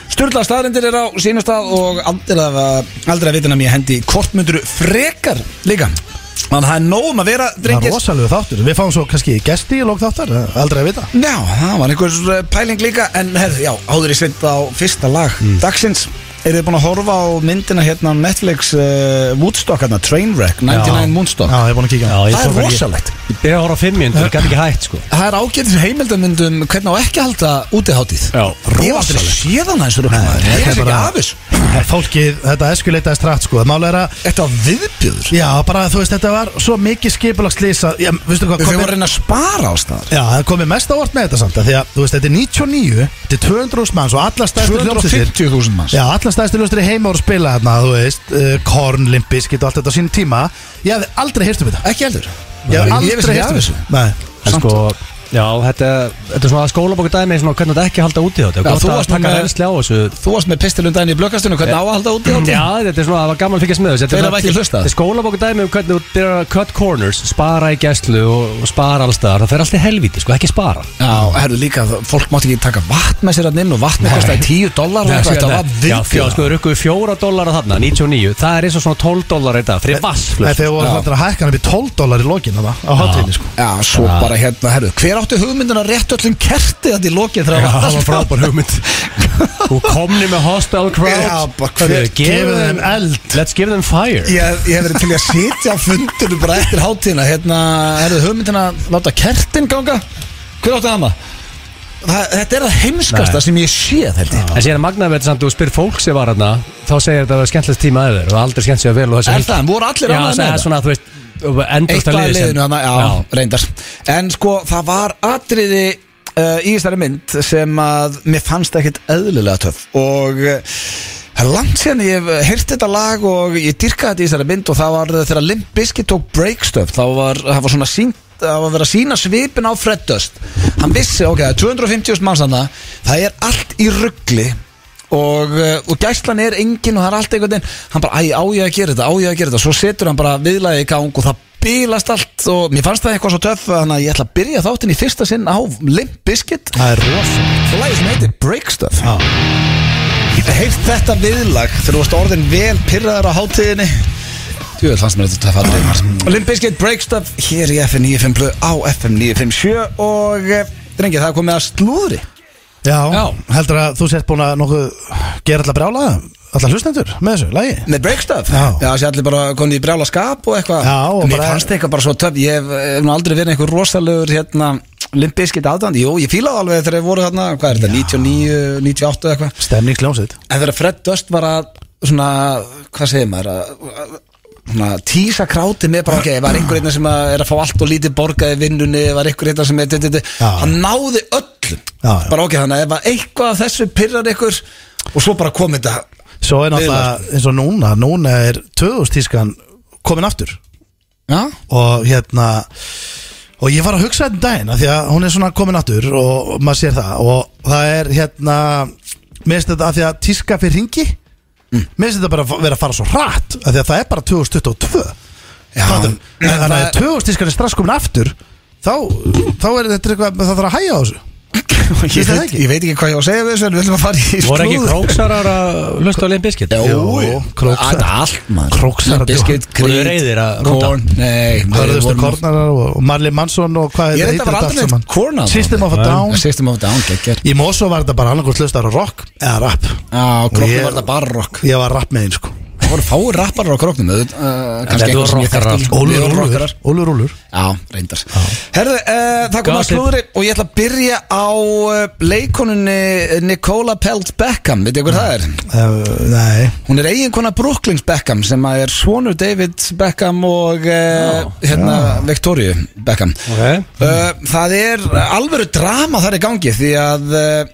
A: Sturla staðrindir er á sínastað og aldrei að, aldrei að vitina mér hendi kortmynduru frekar líka Þannig að það er nógum að vera
C: Það er
A: drengir
C: rosalega þáttur Við fáum svo kannski gesti í lók þáttar Aldrei að vita
A: Já, það var einhver eh, pæling líka En herðu, já, áður í svind á fyrsta lag
C: Mm.
A: Dagsins, eru þið búin að horfa á myndina hérna á Netflix uh, Woodstock, hérna, Trainwreck, 99 Moonstock
C: Já, ég er búin að kíka
B: Já, ég
A: Það
B: tók
A: er
B: ekki-
A: rosalegt
B: Ég byrja að horfa á fimmjund, það gæti ekki hægt, sko
A: Það er ágætis heimildamundum hvernig á ekki að halda útiháttið
B: Já,
A: Ég var aldrei
C: rosalegt.
A: séðan aðeins fyrir okkur Ég er
C: þetta er
A: ekki
C: bara-
A: af þessu
C: Fólkið, þetta eskuleitaði strætt sko Málega er að
A: Þetta var viðbjöður
C: Já, bara þú veist, þetta var svo mikið skipulagslýsa Já, veistu hvað,
A: Við
C: komið-
A: fyrir að reyna að spara á staðar
C: Já, það komið mest ávart með þetta samt að Því að, þú veist, þetta er 99, þetta er 200 manns og alla stærstu hljómsveitir
A: 250.000 manns
C: Já, alla stærstu hljómsveitir í heima voru að spila þarna, þú veist uh, Korn, Limbiskit og allt þetta á sínum tíma Ég hafði aldrei heyrt um þetta
A: Ekki heldur
C: Ég hafði
A: Ég vissi ekki
C: aldrei heyrt
A: af
C: um
A: þessu
C: þetta Nei
B: En sko, já, þetta, þetta er svona skólabokur dæmi svona, Hvernig þetta ekki halda út í
A: Já,
B: þetta
A: þú
B: Gótt að
A: varst nú
B: taka
A: með-
B: reynsli á þessu
A: Þú varst með pistilundæðin í blökkastunum Hvernig á að halda útiháttið?
B: Já, þetta er svona, það var gaman að fylgjast með þessu Þetta
A: Þeir
B: er
A: hafa
B: svona-
A: ekki hlustað.
B: Þetta er skólabokur dæmi um hvernig þú byrjar að cut corners Spara í gæslu og, og spara allstaðar Það fer alltaf helviti, sko, ekki spara
A: Já, herðu líka, það- fólk mátti ekki taka vatn með sér að inn og vatn kostaði 10 dólar og
B: Nei,
A: eitthvað, þetta var
B: Já, fjó, sko,
A: viðbjöður
B: þeir rukkuðu fjóra dólara þarna, 99 Það er eins og svona 12 dólara þetta, fyrir
C: Nei,
B: vassflöð
C: þegar voru
A: Já.
C: hægt að hækka hann upp í 12 dólar í lokin þarna á hátíðinni, sko
A: Já, svo
B: Já.
A: bara hérna, herðu, hver átti hugmyndin að rétt öllum kertið þetta í lokið þegar
B: Já, það var
A: allt-
B: frábær hugmynd Þú komni með hostile crowd
A: Já, bara
B: Hvað
A: hver-
B: er-
C: gefið þeim eld.
B: Let's give them fire
A: Ég ég hef verið til í að sitja á fundinu bara eftir hátíðina hérna, herðu, hugmyndin að láta kertin ganga Hver átti hana? Það, þetta er það heimskasta
B: Nei.
A: sem ég sé þetta
B: En síðan magnaði þetta samt, þú spyr fólk sem var hérna Þá segir þetta að það var skemmtilegt tíma að þeir Og aldrei skemmt sér vel og þessi
A: Er það, en voru allir
B: Já,
A: ánægðir
B: það
A: með
B: er svona, þú veist
A: Eitt
B: Endursta
A: lag í
B: liðið sem-
A: liðinu hana, já, reyndar En sko, það var atriði uh, í þessari mynd sem að mér fannst ekkit eðlilega töf og uh, það er langt síðan ég hef heyrt þetta lag og ég dyrkaði þetta í þessari mynd og það var uh, þegar Limp Bizkit tók breakstöf þá var, það var svona sínt það var verið að sína svipin á Fred Dust hann vissi, ok, það er 250.000 manns þarna það er allt í ruggli og, uh, og gæslan er engin og það er allt einhvern veginn hann bara, æ, á ég að gera þetta, á ég að gera þetta svo setur hann bara viðlaði í gang og það bílast allt og mér fannst það eitthvað svo töff þannig að ég ætla að byrja þáttinn í fyrsta sinn á Limp Bizkit
C: Það er rosalegt
A: og lagið sem heitir Break Stuff
C: Já.
A: heilt þetta viðlag þegar þú varst orðin vel pyrraðar á hátíðinni Jú, fannst mér þetta töff aðrið Limp Bizkit Break Stuff hér í FM 95 blöð á FM 957 og eh, drengi, það er komið að slúðri
C: Já,
B: Já.
C: heldur að þú sért búin að nokkuð gera alla brjála, alla hlustendur með þessu lagi
A: Með breakstöf?
C: Já.
A: Já, þessi allir bara konið í brjála skap og eitthvað
C: Já, og
A: Mér
C: bara-
A: fannst það eitthvað bara svo töf Ég hef, eh, hef nú aldrei verið einhver rosalegur hérna Limbiskit aðdandi, jú, ég fílaði alveg þegar ég voru þarna, hvað er þetta, 99, 98 eða eitthvað
C: Stemningsljómsveit
A: En þegar Fred Dust var að, svona, hvað segir maður, að, að svona, tísa kráti með bara, ok, var einhver einna sem að er að fá allt og lítið borgað í vinnunni, var einhver einna sem er, d- d- d-
C: Já.
A: hann náði öllum
C: Já, já.
A: Bara ok, þannig að ef að eitthvað af þessu pyrrar ykkur og svo bara kom þetta
C: Svo er náttúrulega eins og núna Núna er 2000 tískan komin aftur
A: Já,
C: Og hérna Og ég var að hugsa þetta um daginn af Því að hún er svona komin aftur Og maður sér það Og það er hérna Mér finnst þetta af því að tíska fyrir ringi
A: Mm.
C: Mér finnst þetta bara að vera að fara svo hratt af Því að það er bara 2022
A: Já.
C: Fattar?
A: En
C: Þannig að
A: það-
C: 2000 tískan er strax komin aftur Þá, þá er þetta eitthvað Það þarf að hæja á þessu
A: ég,
C: það
A: veit,
C: ekki?
A: ég veit ekki hvað ég á að segja við þessu en við ætlum að fara í
B: Voru ekki
A: slúður.
B: króksarar að lusta á limbiskit?
A: Jó,
C: króksar.
A: Þetta er allt maður
C: Króksar.
A: Biscuit,
B: Voru
A: krít,
B: reiðir að rúnda?
A: korn Nei,
C: Það
A: við vorum-
C: eru Þorsten Kornarar og og Marley Mansson og hvað
A: Ég er
C: heitir
A: þetta var aldrei
C: allt saman?
A: neitt Korn á það.
C: System of a Down
A: System of a Down, geggjör
C: Í Mosó var þetta bara annarkvæmt hlustar á rock eða rap
A: Á,
C: Og
A: kroknum
C: ég-
A: var þetta bara rock
C: Ég var rap með þeim sko
A: Það voru fáir rapparar á kroknum auðvitað, uh, Kannski
B: þetta
A: eitthvað
B: voru
A: sem ég
B: rockarar.
A: þekkt
C: Ólur, Ólur, Ólur, Ólur
A: Já, reyndar Herðu, uh, það kom að
B: Gossip.
A: slúðri og ég ætla að byrja á uh, leikonunni Nicola Pelt Beckham Veitir hver það er?
C: Uh, Nei
A: Hún er eiginkona Brooklyns Beckham sem að er svonur David Beckham og uh, hérna Victoria Beckham
B: Ok.
A: uh, Það er alvöru drama þar í gangi því að uh,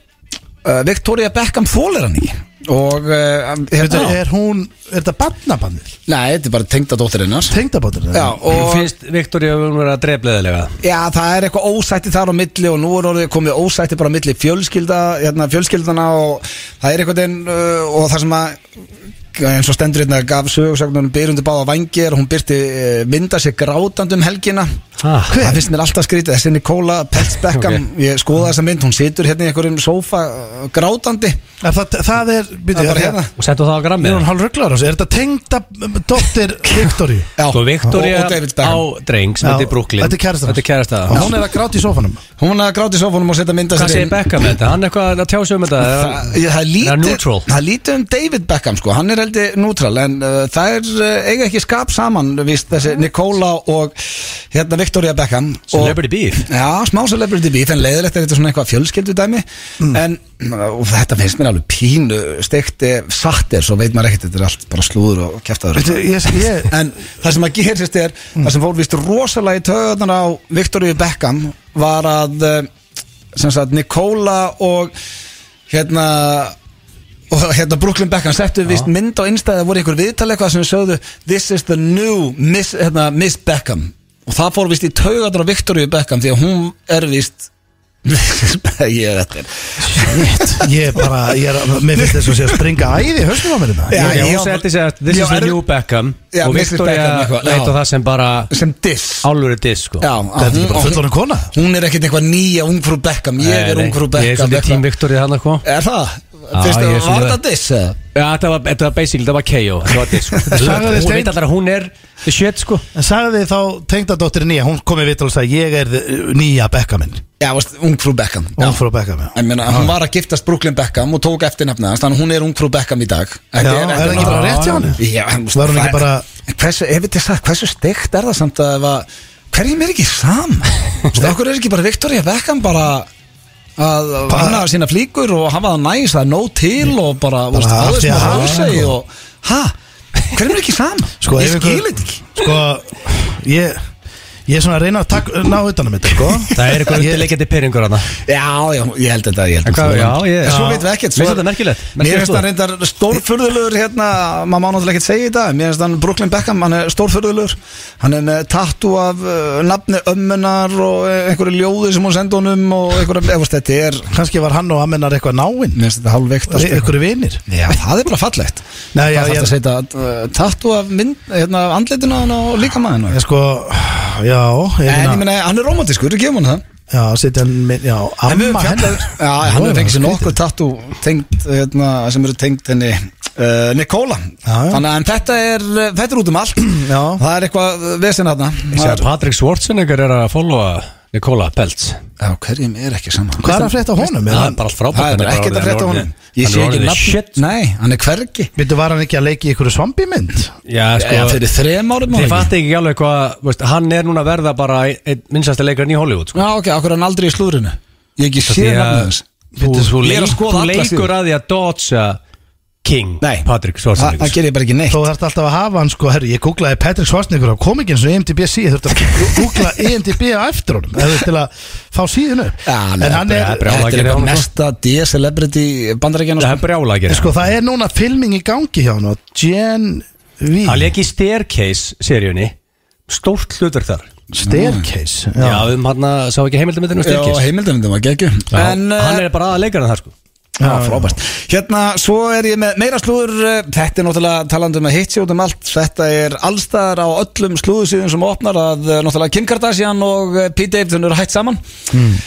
A: uh, Victoria Beckham þólir hann ekki og uh,
C: Þetta
A: hérna,
C: er hún, er þetta barnabannir?
A: Nei, þetta er bara tengda dóttirinnar
C: Tengdabátur
A: Já,
B: Og
A: og
B: finnst Viktor ég að vera að drefleðilega
A: Já, það er eitthvað ósætti þar á milli og nú er orðið komið ósætti bara á milli fjölskylda, hérna, fjölskyldana og það er eitthvað en, uh, og það sem að eins og stendur hérna gaf sögursögnunum byrjundu báða vangir hún byrti uh, mynda sér grátandi um helgina
B: ah,
A: það finnst mér alltaf skrítið, þessi Nikola Peltz Beckham, ég skoða þessa mynd, hún situr hérna í einhverjum sófa uh, grátandi
C: það, það er,
A: það
C: byrju,
A: er bara
C: það
A: hérna
C: er
B: Og settu það á grammið
C: Mér hún hálf rugglar á sig, er þetta tengdabóttir Viktori?
A: Já,
B: Sko Viktor
A: og,
B: ég
A: og David
B: á
A: Beckham
B: dreng sem
C: Já,
B: heitir Brooklyn
C: þetta er kærastan hans.
B: Þetta er kærasta
C: Og hún er að gráti í sófanum
A: hún að gráti í sófanum og setja mynda
B: Hvað segir Beckham með þetta? Hann eitthvað að tjá sig um þetta
A: Það, ég, það, er
B: Það er
A: lítið,
B: neutral.
A: það er lítið um David Beckham sko, hann er heldur neutral en uh, það er uh, eiga ekki skap saman víst, þessi Nikola og hérna Victoria Beckham og,
B: Celebrity beef
A: Já, smá celebrity beef en leiðilegt er þetta svona eitthvað fjölskyldu dæmi en uh, og þetta finnst mér alveg pínu stekti satt er, svo veit maður ekkert þetta er allt bara slúður og kæftaður
C: Veitu, ég, ég,
A: en það sem að gerist er það sem fór vist rosalega í töðan á Viktoríu Beckham var að eh, sem sagt Nikola og hérna og hérna Brooklyn Beckham settu vist mynd á einstæði það voru einhver viðtal eitthvað sem sögðu this is the new Miss, hérna, Miss Beckham og það fór vist í töðan á Viktoríu Beckham því að hún er vist ég er þetta er-
C: ég bara, ég er, mér finnst þess að sé að springa æði, höstum á mér hérna. þetta
A: Já,
B: Já,
A: ég
B: hún
A: á-
B: setti sig að this
A: ég á
B: is the
A: erf-
B: new Beckham
A: Já,
B: Og
A: Mrs. Beckham
B: Victoria
A: eitthvað,
B: leit á
A: já.
B: það sem bara
A: sem diss
B: Álveri disk sko
A: Já, að
C: Þetta er ekki
A: hún-
C: bara
A: hún-
C: fullorðin kona?
A: Hún er ekkert eitthvað nýja ungfrú Beckham Ég
B: Nei,
A: er
B: nei,
A: ungfrú
B: Ég er
A: Beckham
B: svolítið
A: eitthvað.
B: tím Viktor í hann eitthvað
A: Er það?
B: Já,
A: Fyrst
B: ég
A: að
B: er
A: var
B: svona-
A: það diss eða?
B: Já, þetta var, þetta var basically, þetta var KO Þetta var disk
C: Sagði
B: Hún
C: Steinn-
B: veit alltaf að hún er the shit sko
C: En sagði þið þá tengdadóttir nýja, hún kom í vital og sagði ég er uh, nýja Beckaminn
A: Já, veist, ungfrú Beckham
C: Hún frá Beckaminn
A: Ég meina, hún var að giftast Brooklyn Beckham og tók eftir nefna hans, þannig að hún er ungfrú Beckham í dag
C: Já, er það ekki bara rétt hjá henni?
A: Já, en,
C: Var hún ekki
A: það-
C: bara-
A: En Hversu, ef þetta er sagt, hversu steikt er það samt að ef að Hverjum er ekki sam? Okkur er ekki bara Victoria Beckham bara að hanna sína flíkur og hafa það næs, það er nóg til og bara, þú veist,
C: af
A: aðeins
C: því að
A: með
C: hafa
A: hálsegi
C: það,
A: og Hæ? Hverjum er ekki sam?
C: sko,
A: Ég skil
C: ef ykkur-
A: þetta ekki
C: Sko, ég Ég er svona að reyna að tak, ná utanum þetta sko.
B: Það er eitthvað undirleikjandi pyrringur hana
A: Já, já, ég held þetta, ég held
B: En
A: þetta
B: hvað-
A: þú-
B: já, ég-
A: En Svo
B: já.
A: veit við ekkert
B: Mér
A: svo-
B: finnst þetta merkilegt,
A: Mér
B: merkilegt
A: finnst það
B: þú.
A: reyndar stórfurðulegur hérna Maður má náttúrulega ekkert segja í dag Mér finnst hann Brooklyn Beckham, hann er stórfurðulegur Hann er með tattoo af uh, nafni ömmunar Og eh, einhverju ljóði sem hún sendi honum Og einhverju, ef veist, þetta er
C: Kannski var hann og amennar eitthvað náinn
A: Mér finnst þetta hálfveikt allt eitthvað.
C: Ykkur vinir
A: Já, það er bara fallegt
C: Nei,
A: Það
C: já, ég-
A: þarf að setja uh, tattoo af mynd, hérna, andlitina hann og líka maður
C: Ég sko, já
A: En
C: ég
A: ég
C: meina-
A: meina, hann er romantiskur, gefum hann það
C: Já, setja hann minn, já,
A: En við
C: amma
A: höfum
C: hennar
A: fjallað um- Já, hann
C: Jó,
A: hefur fengið sér
C: skrítið.
A: nokkuð tattoo tengd, hérna, sem eru tengd henni uh, Nikola
C: já.
A: Þannig að en þetta er, eh, þetta er út um allt
C: Já.
A: Það er eitthvað vesinn hérna
B: Ég sé að Patrik Schwarzenegger er að followa Nikola Peltz
A: Já, hverjum er ekki saman
C: Hvað er að frétta af honum?
B: Það er bara allt frábært
A: Það er
B: hann
A: bara
B: bara
A: ekkert
B: orðinn-
A: að frétta af
B: hann er
A: honum Ég
B: orðinn-
A: sé
B: hann
A: ekki
B: er orðinn
A: nafn
B: shit. sko.
A: Nei, hann er hvergi
C: Vittu, var hann ekki að leiki í ykkur svampimynd?
B: Já, sko
A: Já, fyrir þrem árum
B: Þið
A: var það ekki?
B: fatti ekki alveg hvað veist, Hann er núna að verða bara einn minnsasta leikarinn í Hollywood sko.
A: Já, ok, okkur er hann aldrei í slúðrinu Ég hef ekki
B: Því
A: sé
B: að-
A: nafnið hans
B: Þú, þú,
A: Ég er
B: leik,
A: að skoða
B: þú
A: alla
B: leikur
A: síður.
B: að því að dodge King
A: Nei.
B: Patrick
A: Það það
B: Schwarzenegger sko.
A: ger ég bara ekki neitt
C: Þó þarf alltaf að hafa hann sko, herru, ég googlaði Patrick Schwarzenegger og kom ekki eins og IMDb síð, þurfti að googla E IMDb á eftir honum, eða til að fá síðun upp.
A: Já, nei,
C: en hann
B: bara-
C: er,
A: Þetta er
B: bara- brjálæðingur
A: eitthvað
B: hjá honum,
A: mesta D-celebrity bandarækjan
B: Það er brjála að gera
C: sko það er núna filming í gangi hjá hann og Gen V,
B: Hann leik í Staircase seríunni Stórt hlutverk þar
C: Staircase,
B: Já,
C: já,
B: um hann að sá ekki heimildamindinu
A: Já,
B: Staircase
A: heimildamindum var eh, geggjum
B: Já, Hann er bara að leikarinn þar sko
A: Já, frábært Hérna, svo er ég með meira slúður eh, Þetta er náttúrulega talandi um að hitsi út um allt Þetta er allstaðar á öllum slúðusíðum sem Hmm. opnar að eh, náttúrulega Kim Kardashian og eh, Pete Davidson eru hætt saman mm.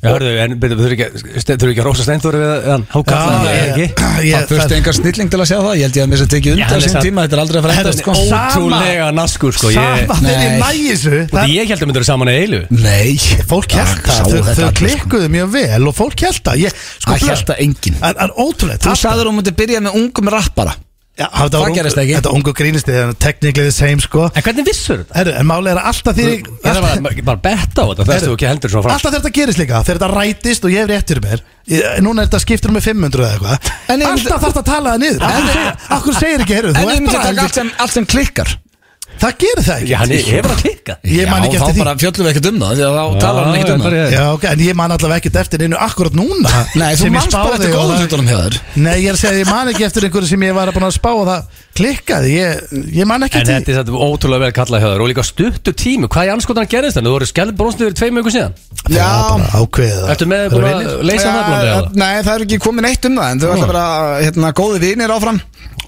B: Já, hörðu, en byrju, þú eru ekki, ste- þurfum ekki að rosa steindur við hann hákallan,
C: Já,
B: eða ekki?
C: Ég-
A: Það þurfti engar snilling til að sjá það Ég held ég að mér sem tekið
B: Já,
A: undan
B: hann er
A: sín
B: samt-
A: tíma Þetta er aldrei að fara að
C: Herra,
A: enda sko
C: ó- Sama.
B: Ótrúlega naskur, sko ég,
C: Sama þegar ég
A: Nei.
C: næ þessu
B: Því
C: það-
B: Ég held að myndur saman að eilu
A: Nei
C: Fólk
A: Það
C: held
A: sáu
C: það, þau-
A: þetta
C: þau
A: allir, sko.
C: klikkuðu mjög vel og fólk held það Ég- Sko,
A: Það held
C: blöð,
A: það enginn
C: það er ótrúlega
A: Þú sagður hún myndi byrja með ungum rappara það gerist ekki.
C: Þetta ungu grínist þið, technically the same sko
B: En hvernig vissur þetta?
C: Herru, en máli er að alltaf því
B: Það er bara, bara betta á þetta, það erstu ekki heldur svona fram
C: Alltaf þegar þetta gerist líka, þegar þetta rætist og ég hef rétt fyrir mér ég, Núna er þetta skiptur með 500 eða eitthvað
A: En ef-
C: Alltaf þarf þetta að tala það niður Af hverju segir- Af hverju segir ekki, herru,
A: En
C: þú
A: ég
C: ert
A: myndi
C: bara
A: taka allt
C: heldur
A: sem, allt sem klikkar
C: Það gerir það
B: Já, hann
C: ekki
B: er- hefur að klikka
C: Ég man ekki
A: Já,
C: eftir
A: þá
C: því.
A: bara fjöllum við ekkert um það því að Þá
B: Já,
A: talar hann ekkert um
B: já,
A: það
B: bara ég-
C: Já, ok, en ég man allavega ekkert eftir einu akkurat núna
A: Nei, þú
C: sem ég
A: manns bara
C: spáði
A: eftir
C: og
A: góðu
C: það-
A: hlutunum hjá þér
C: Nei, ég er að segja, að ég man ekki eftir einhverju sem ég var að búin að spá og það klikkaði, ég, ég man ekki
B: En
C: eftir
B: þetta er þetta ótrúlega vel kallað hjá þér og líka stuttu tími, hvað í anskotan gerðist þannig? Þú voru skjálf brónsnið fyrir tveim viku síðan
C: því.
A: Já.
C: Það var bara ákveðið að-
B: Ertu með
C: að
B: búin
C: vinna.
B: að leysa það blóndið
A: Já,
B: eða?
A: Nei, það er ekki komin eitt um það En þau ætla bara, hérna, góði vinir áfram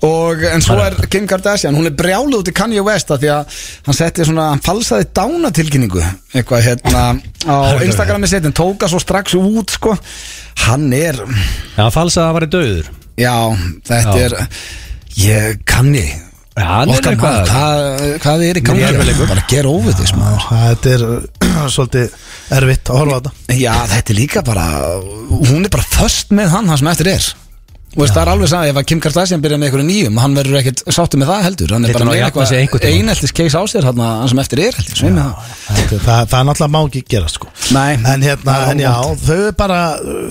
A: Og en svo er Kim Kardashian Hún er brjáluð út í Kanye West af Því að hann setti svona, hann falsaði dánatilkynningu Eitthvað, hérna Á Instagrami sitt, en tóka svo strax út, sko Hann er,
B: Já, hann falsaði að það var í döður
A: já, þetta
B: Já.
A: er Ég, Kanye
B: Já, hann er
A: Okkar maður,
B: eitthvað
A: hvað, hvað er í gangi?
B: Mér er vel eitthvað.
A: Bara gera sko. óvið þess maður
C: Þetta er uh, svolítið erfitt að horfa á þetta
A: Já, þetta er líka bara hún er bara föst með hann, hann sem eftir er og veist, það er alveg sagði, ef að Kim Kardashian byrja með einhverju nýjum, hann verður ekkert sáttu með það heldur, hann er
B: Þetta
A: bara
B: ná að
A: með
B: jafna sig einhvern tímann.
A: eineltis case á sér hann, hann sem eftir er, heldur, sveim með það
C: Þetta er- Það, það er náttúrulega má ekki gera sko
A: Nei.
C: En hérna,
A: Það er
C: en já,
A: óvænt.
C: þau er bara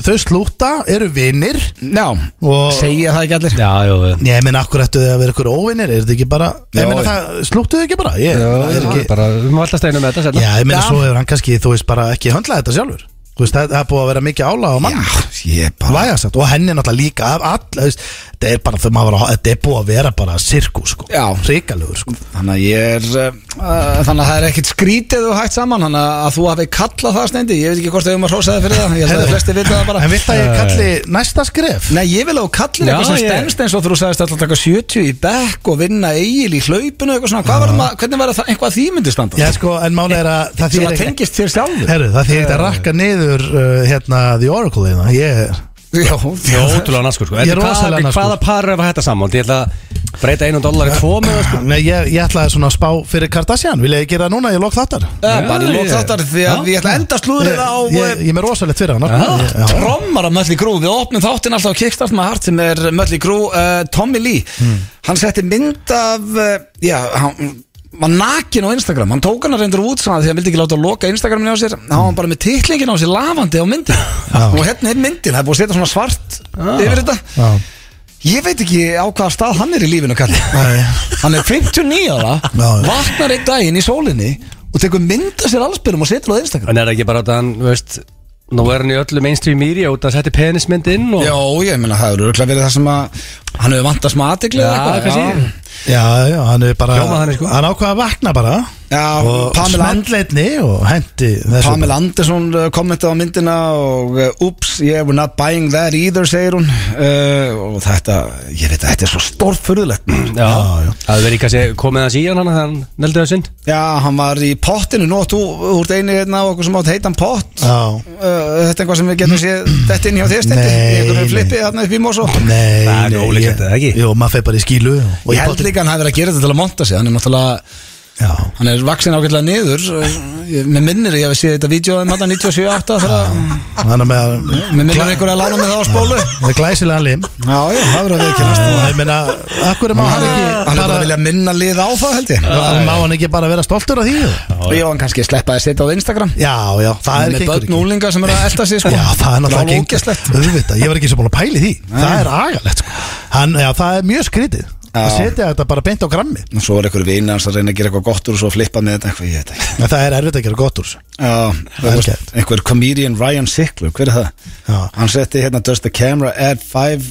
C: Þau slúta, eru vinnir
A: Já,
C: Og-
A: segja það ekki allir
B: Já, jú, við-
C: Ég meina, akkur ættu þau að vera ykkur óvinnir Er þetta ekki bara,
A: Já,
C: ég meina
A: já.
C: það Slúttu þau ekki bara, ég, það er ekki
B: bara, við má alltaf steinu með þetta
C: Já,
B: setna
C: ég meina
A: Já.
C: svo hefur hann kannski, þú veist, bara ekki höndlað þetta sjálfur Þú veist, það það er búið að vera mikið álag á mann
A: ég bara
C: Vægasagt, og henni náttúrulega líka af all, þú veist, Þetta er bara, þau maður að- þetta er búið að vera bara sirku, sko
A: Já.
C: Ríkalegur, sko
A: Þannig að ég er uh, uh, Þannig að það er ekkert skrítið og hægt saman Þannig að að þú hafi kallað það stendi Ég veit ekki hvort þau um að hrósa það fyrir það Ég held að flesti vita það bara
C: En vilt að ég kalli næsta skref?
A: Nei, ég vil að þú kallir
B: Já,
A: eitthvað sem
B: ég-
A: stemst eins og þú sagðist alltaf að taka 70 í bekk og vinna eigil í hlaupinu eitthvað svona, Hvað var maður, hvernig var það eitthvað að því myndi standa?
C: Já, sko, en máli er að það
A: sem
C: þýðir
A: að
C: ekki-
A: tengist þér sjálfur
C: Herru, það þýðir ekki að rakka niður uh, hérna The Oracle hérna Ég,
A: Já,
B: Jó, ótrúlega naskur sko En
C: Ég er
B: hvað-
C: rosalega naskur.
B: Hvaða par var þetta saman? Ég ætla að breyta einu dólar í tvo með það sko
C: Nei, ég, ég ætlaði svona að spá fyrir Kardashian Vil ég gera það núna, ég lók þáttar
A: Já, bara í
B: Já,
A: lók
B: ég-
A: þáttar því
B: Já.
A: að ég ætla að enda
C: Ég,
A: slúðrið á
C: ég, ég er með rosalegt fyrir hann
A: eh, trommar af Möll í Grú Við opnum þáttinn alltaf á Kickstart með Hart sem er Möll í Grú uh, Tommy Lee
C: Hmm.
A: Hann setti mynd af uh, Já, hann var nakin á Instagram Hann tók hann að reyndur út svona því að hann vildi ekki láta að loka Instagraminu á sér Hann var bara með titlingin á sér lafandi á myndin Og hérna er myndin, það er búið að setja svona svart
C: Ah.
A: Yfir þetta
C: Já.
A: Ég veit ekki á hvaða stað hann er í lífinu kalli
C: Nei.
A: Hann er 59 ára
C: Já.
A: Vaknar einn daginn í sólinni Og tekur mynda sér allsbyrjum og setur á Instagram
B: En er það ekki bara að hann, þú veist Nú er hann í öllu mainstream media út að setja penismynd inn og
A: Já, ég meina það eru örugglega verið það sem að Hann hefur vantast maður aðtegli
B: Já, kannski.
C: Já, já, hann er bara
B: Hljómaði þannig, sko.
C: Hann ákvað að vakna bara
A: Já,
C: Og
A: Pamela-
C: smendleitni og hendi þessu
A: Pamela Andersson uh, kommentaði á myndina og uh, ups, yeah, we're not buying that either segir hún uh, og þetta, ég veit að þetta er svo stórfurðulegt
B: Já, já. Það verið kannski komið hans í hann þannig að hann neldi það sinn
A: Já, hann var í pottinu, nótt úr einu hérna og okkur sem átt heitan pott
C: Já,
A: Uh, þetta er eitthvað sem við getum séð þetta inn hjá þér stendur
C: Nei,
A: í einhverju
C: nei.
A: flippi þarna upp í Mosó
C: nei
B: Það er
C: nei,
B: ólíklegt,
C: ég-
B: eða ekki?
C: Jú, maður feir bara í skílu og- og
A: ég held
C: potti-
A: líka að hann hafi verið að gera þetta til að monta sig hann er náttúrulega,
C: Já,
A: hann er vaksin ágætlega niður með minnir ég hafi séð þetta um vídjóðum hann 97-8 þegar að-
C: hann er með
A: með minnir einhverja að lána með það á spólu
C: með glæsilegan lim
A: já, já, það verður að viðkynast
C: Og ég meina, akkur má hann ekki
A: Ah. hann er bara að vilja Ah. minna lið á það held ég
C: Má hann ekki bara vera stoltur af því eða?
A: og ég var hann kannski sleppaði að setja á Instagram
C: Já, já, það er
A: með
C: ekki
A: börn
C: ekki.
A: úlinga sem eru að elta sig sko.
C: Já, það er náttúrulega
A: Brjálæðislega
C: ekki
A: ógeðslegt.
C: Auðvitað, ég var ekki sem búin að pæli því Það er agalegt sko. Hann, já, Það er mjög skrítið
A: Já.
C: að setja þetta bara beint á grammi
A: og svo er einhverju vina hans að reyna að gera eitthvað gott úr og svo flippa með þetta eitthvað, ég veit ekki
C: En það er erfitt að gera gott úr þessu.
A: Já,
C: er
A: þú veist,
C: gett.
A: einhver comedian Ryan Sickler, hver er það?
C: Já.
A: Hann setti hérna Does the camera add 5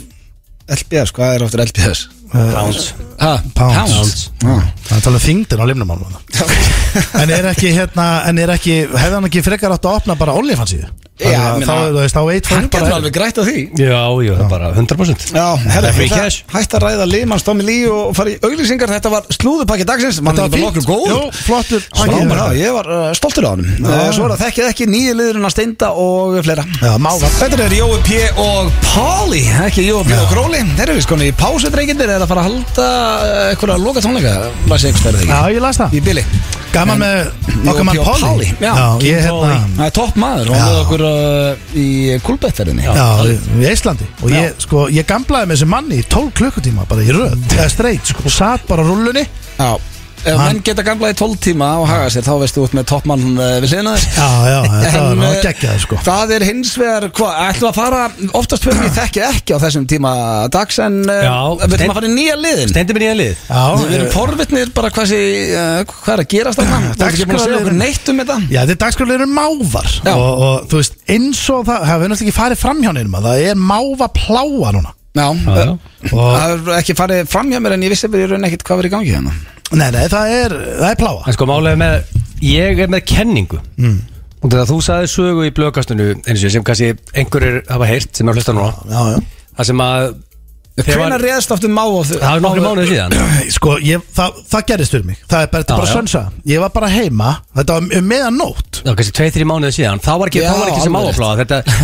A: LBS, hvað er aftur LBS?
B: Pounds
A: Ha,
C: Eh, Pounds.
A: Já.
C: Það er talað um þingdin á limnum ánum En er ekki, hérna, en er ekki hefði hann ekki frekar átt að opna bara OnlyFans síðu Þannig
A: Já,
C: að
A: meina,
C: Þá er það veist á eitt
A: Hann
C: fólk
A: getur
C: bara
A: alveg grætt á því
B: Já, já, bara 100%
A: Já, herra,
B: Free
A: það-
B: cash.
A: hætt að ræða Limann, Stómi Lí og fara í auglýsingar Þetta var slúðupakki dagsins, mann
C: Þetta
A: er
C: var
A: bara nokkuð
C: fínt.
A: góð
C: Jú, flottur pakki.
A: Frábæra, ég var uh, stoltur á hann Svo er það þekkið ekki nýju liðurinn að steinda og fleira
C: Já, mága
A: Þetta er Jói P. og Páli, ekki Jói P. og Gróli Þeir eru við sko í pásu dreikindir eða að fara að halda uh, einhverja loka tónleika Læs ég einhvers
C: Já,
A: þegar
C: ég las það
A: ekki Í bili
C: Gaman með okkar mann
A: Jói P. og
C: Polly
A: Já,
C: ég hérna
A: það er topp maður og
C: Já.
A: með okkur uh, í kulbettarinni
C: Já, í Íslandi Og ég, sko, ég gamlaði með þessi manni í 12 klukkutíma Bara í röð, eða streit, sko Satt bara á rúllunni
A: Já, ef menn
C: Hann-
A: geta gamla í 12 tíma og haga sér, þá veistu út með toppmann eh, við hliðina þér
C: Já, já, þetta
A: En,
C: var nú
A: eh,
C: geggjað, sko
A: Það er hins vegar, hvað, ætlum við að fara oftast höfum við þekki ekki á þessum tíma dags en eh,
B: Já,
A: við ætlum
B: Steinn-
A: að fara í nýja liðin
B: Stendir mér í enn lið
C: Já,
A: Við erum
C: eh,
A: forvitnir bara hvað, sé, uh, hvað er að gerast þarna Það er ekki búin að segja okkur
C: Dagskrárliðin.
A: neitt um þetta
C: Já, þetta er dagskrálið eru mávar
A: Já.
C: og, og þú veist, eins og það hafa við náttúrulega ekki farið fram hjá neinum að það er máva pláa núna
A: Já,
B: Já,
A: eh,
B: já.
A: það er ekki farið fram hjá mér en ég vissi bara í raun ekkert hvað var í gangi hérna
C: Nei, nei, það er, það er pláa
B: En sko málega með, ég er með kenningu mm. Og þegar þú sagði sögu í blöðkastinu eins og sem kannski einhverjir hafa heyrt sem er að hlusta núna
C: Já, já
B: Það sem að þegar
A: Hvenær
B: var-
A: réðst um aftur má og þau
B: Það er nokkru mánuði síðan
C: Sko, ég, það, það gerist fyrir mig Það er bara, þetta er
B: Já,
C: bara
B: já.
C: sönsa Ég var bara heima, þetta var um meðanótt
B: Já, kannski 2-3 mánuði síðan Þá var ekki,
A: Já,
B: þá var ekki sem
A: alveg
B: áfláða Þetta,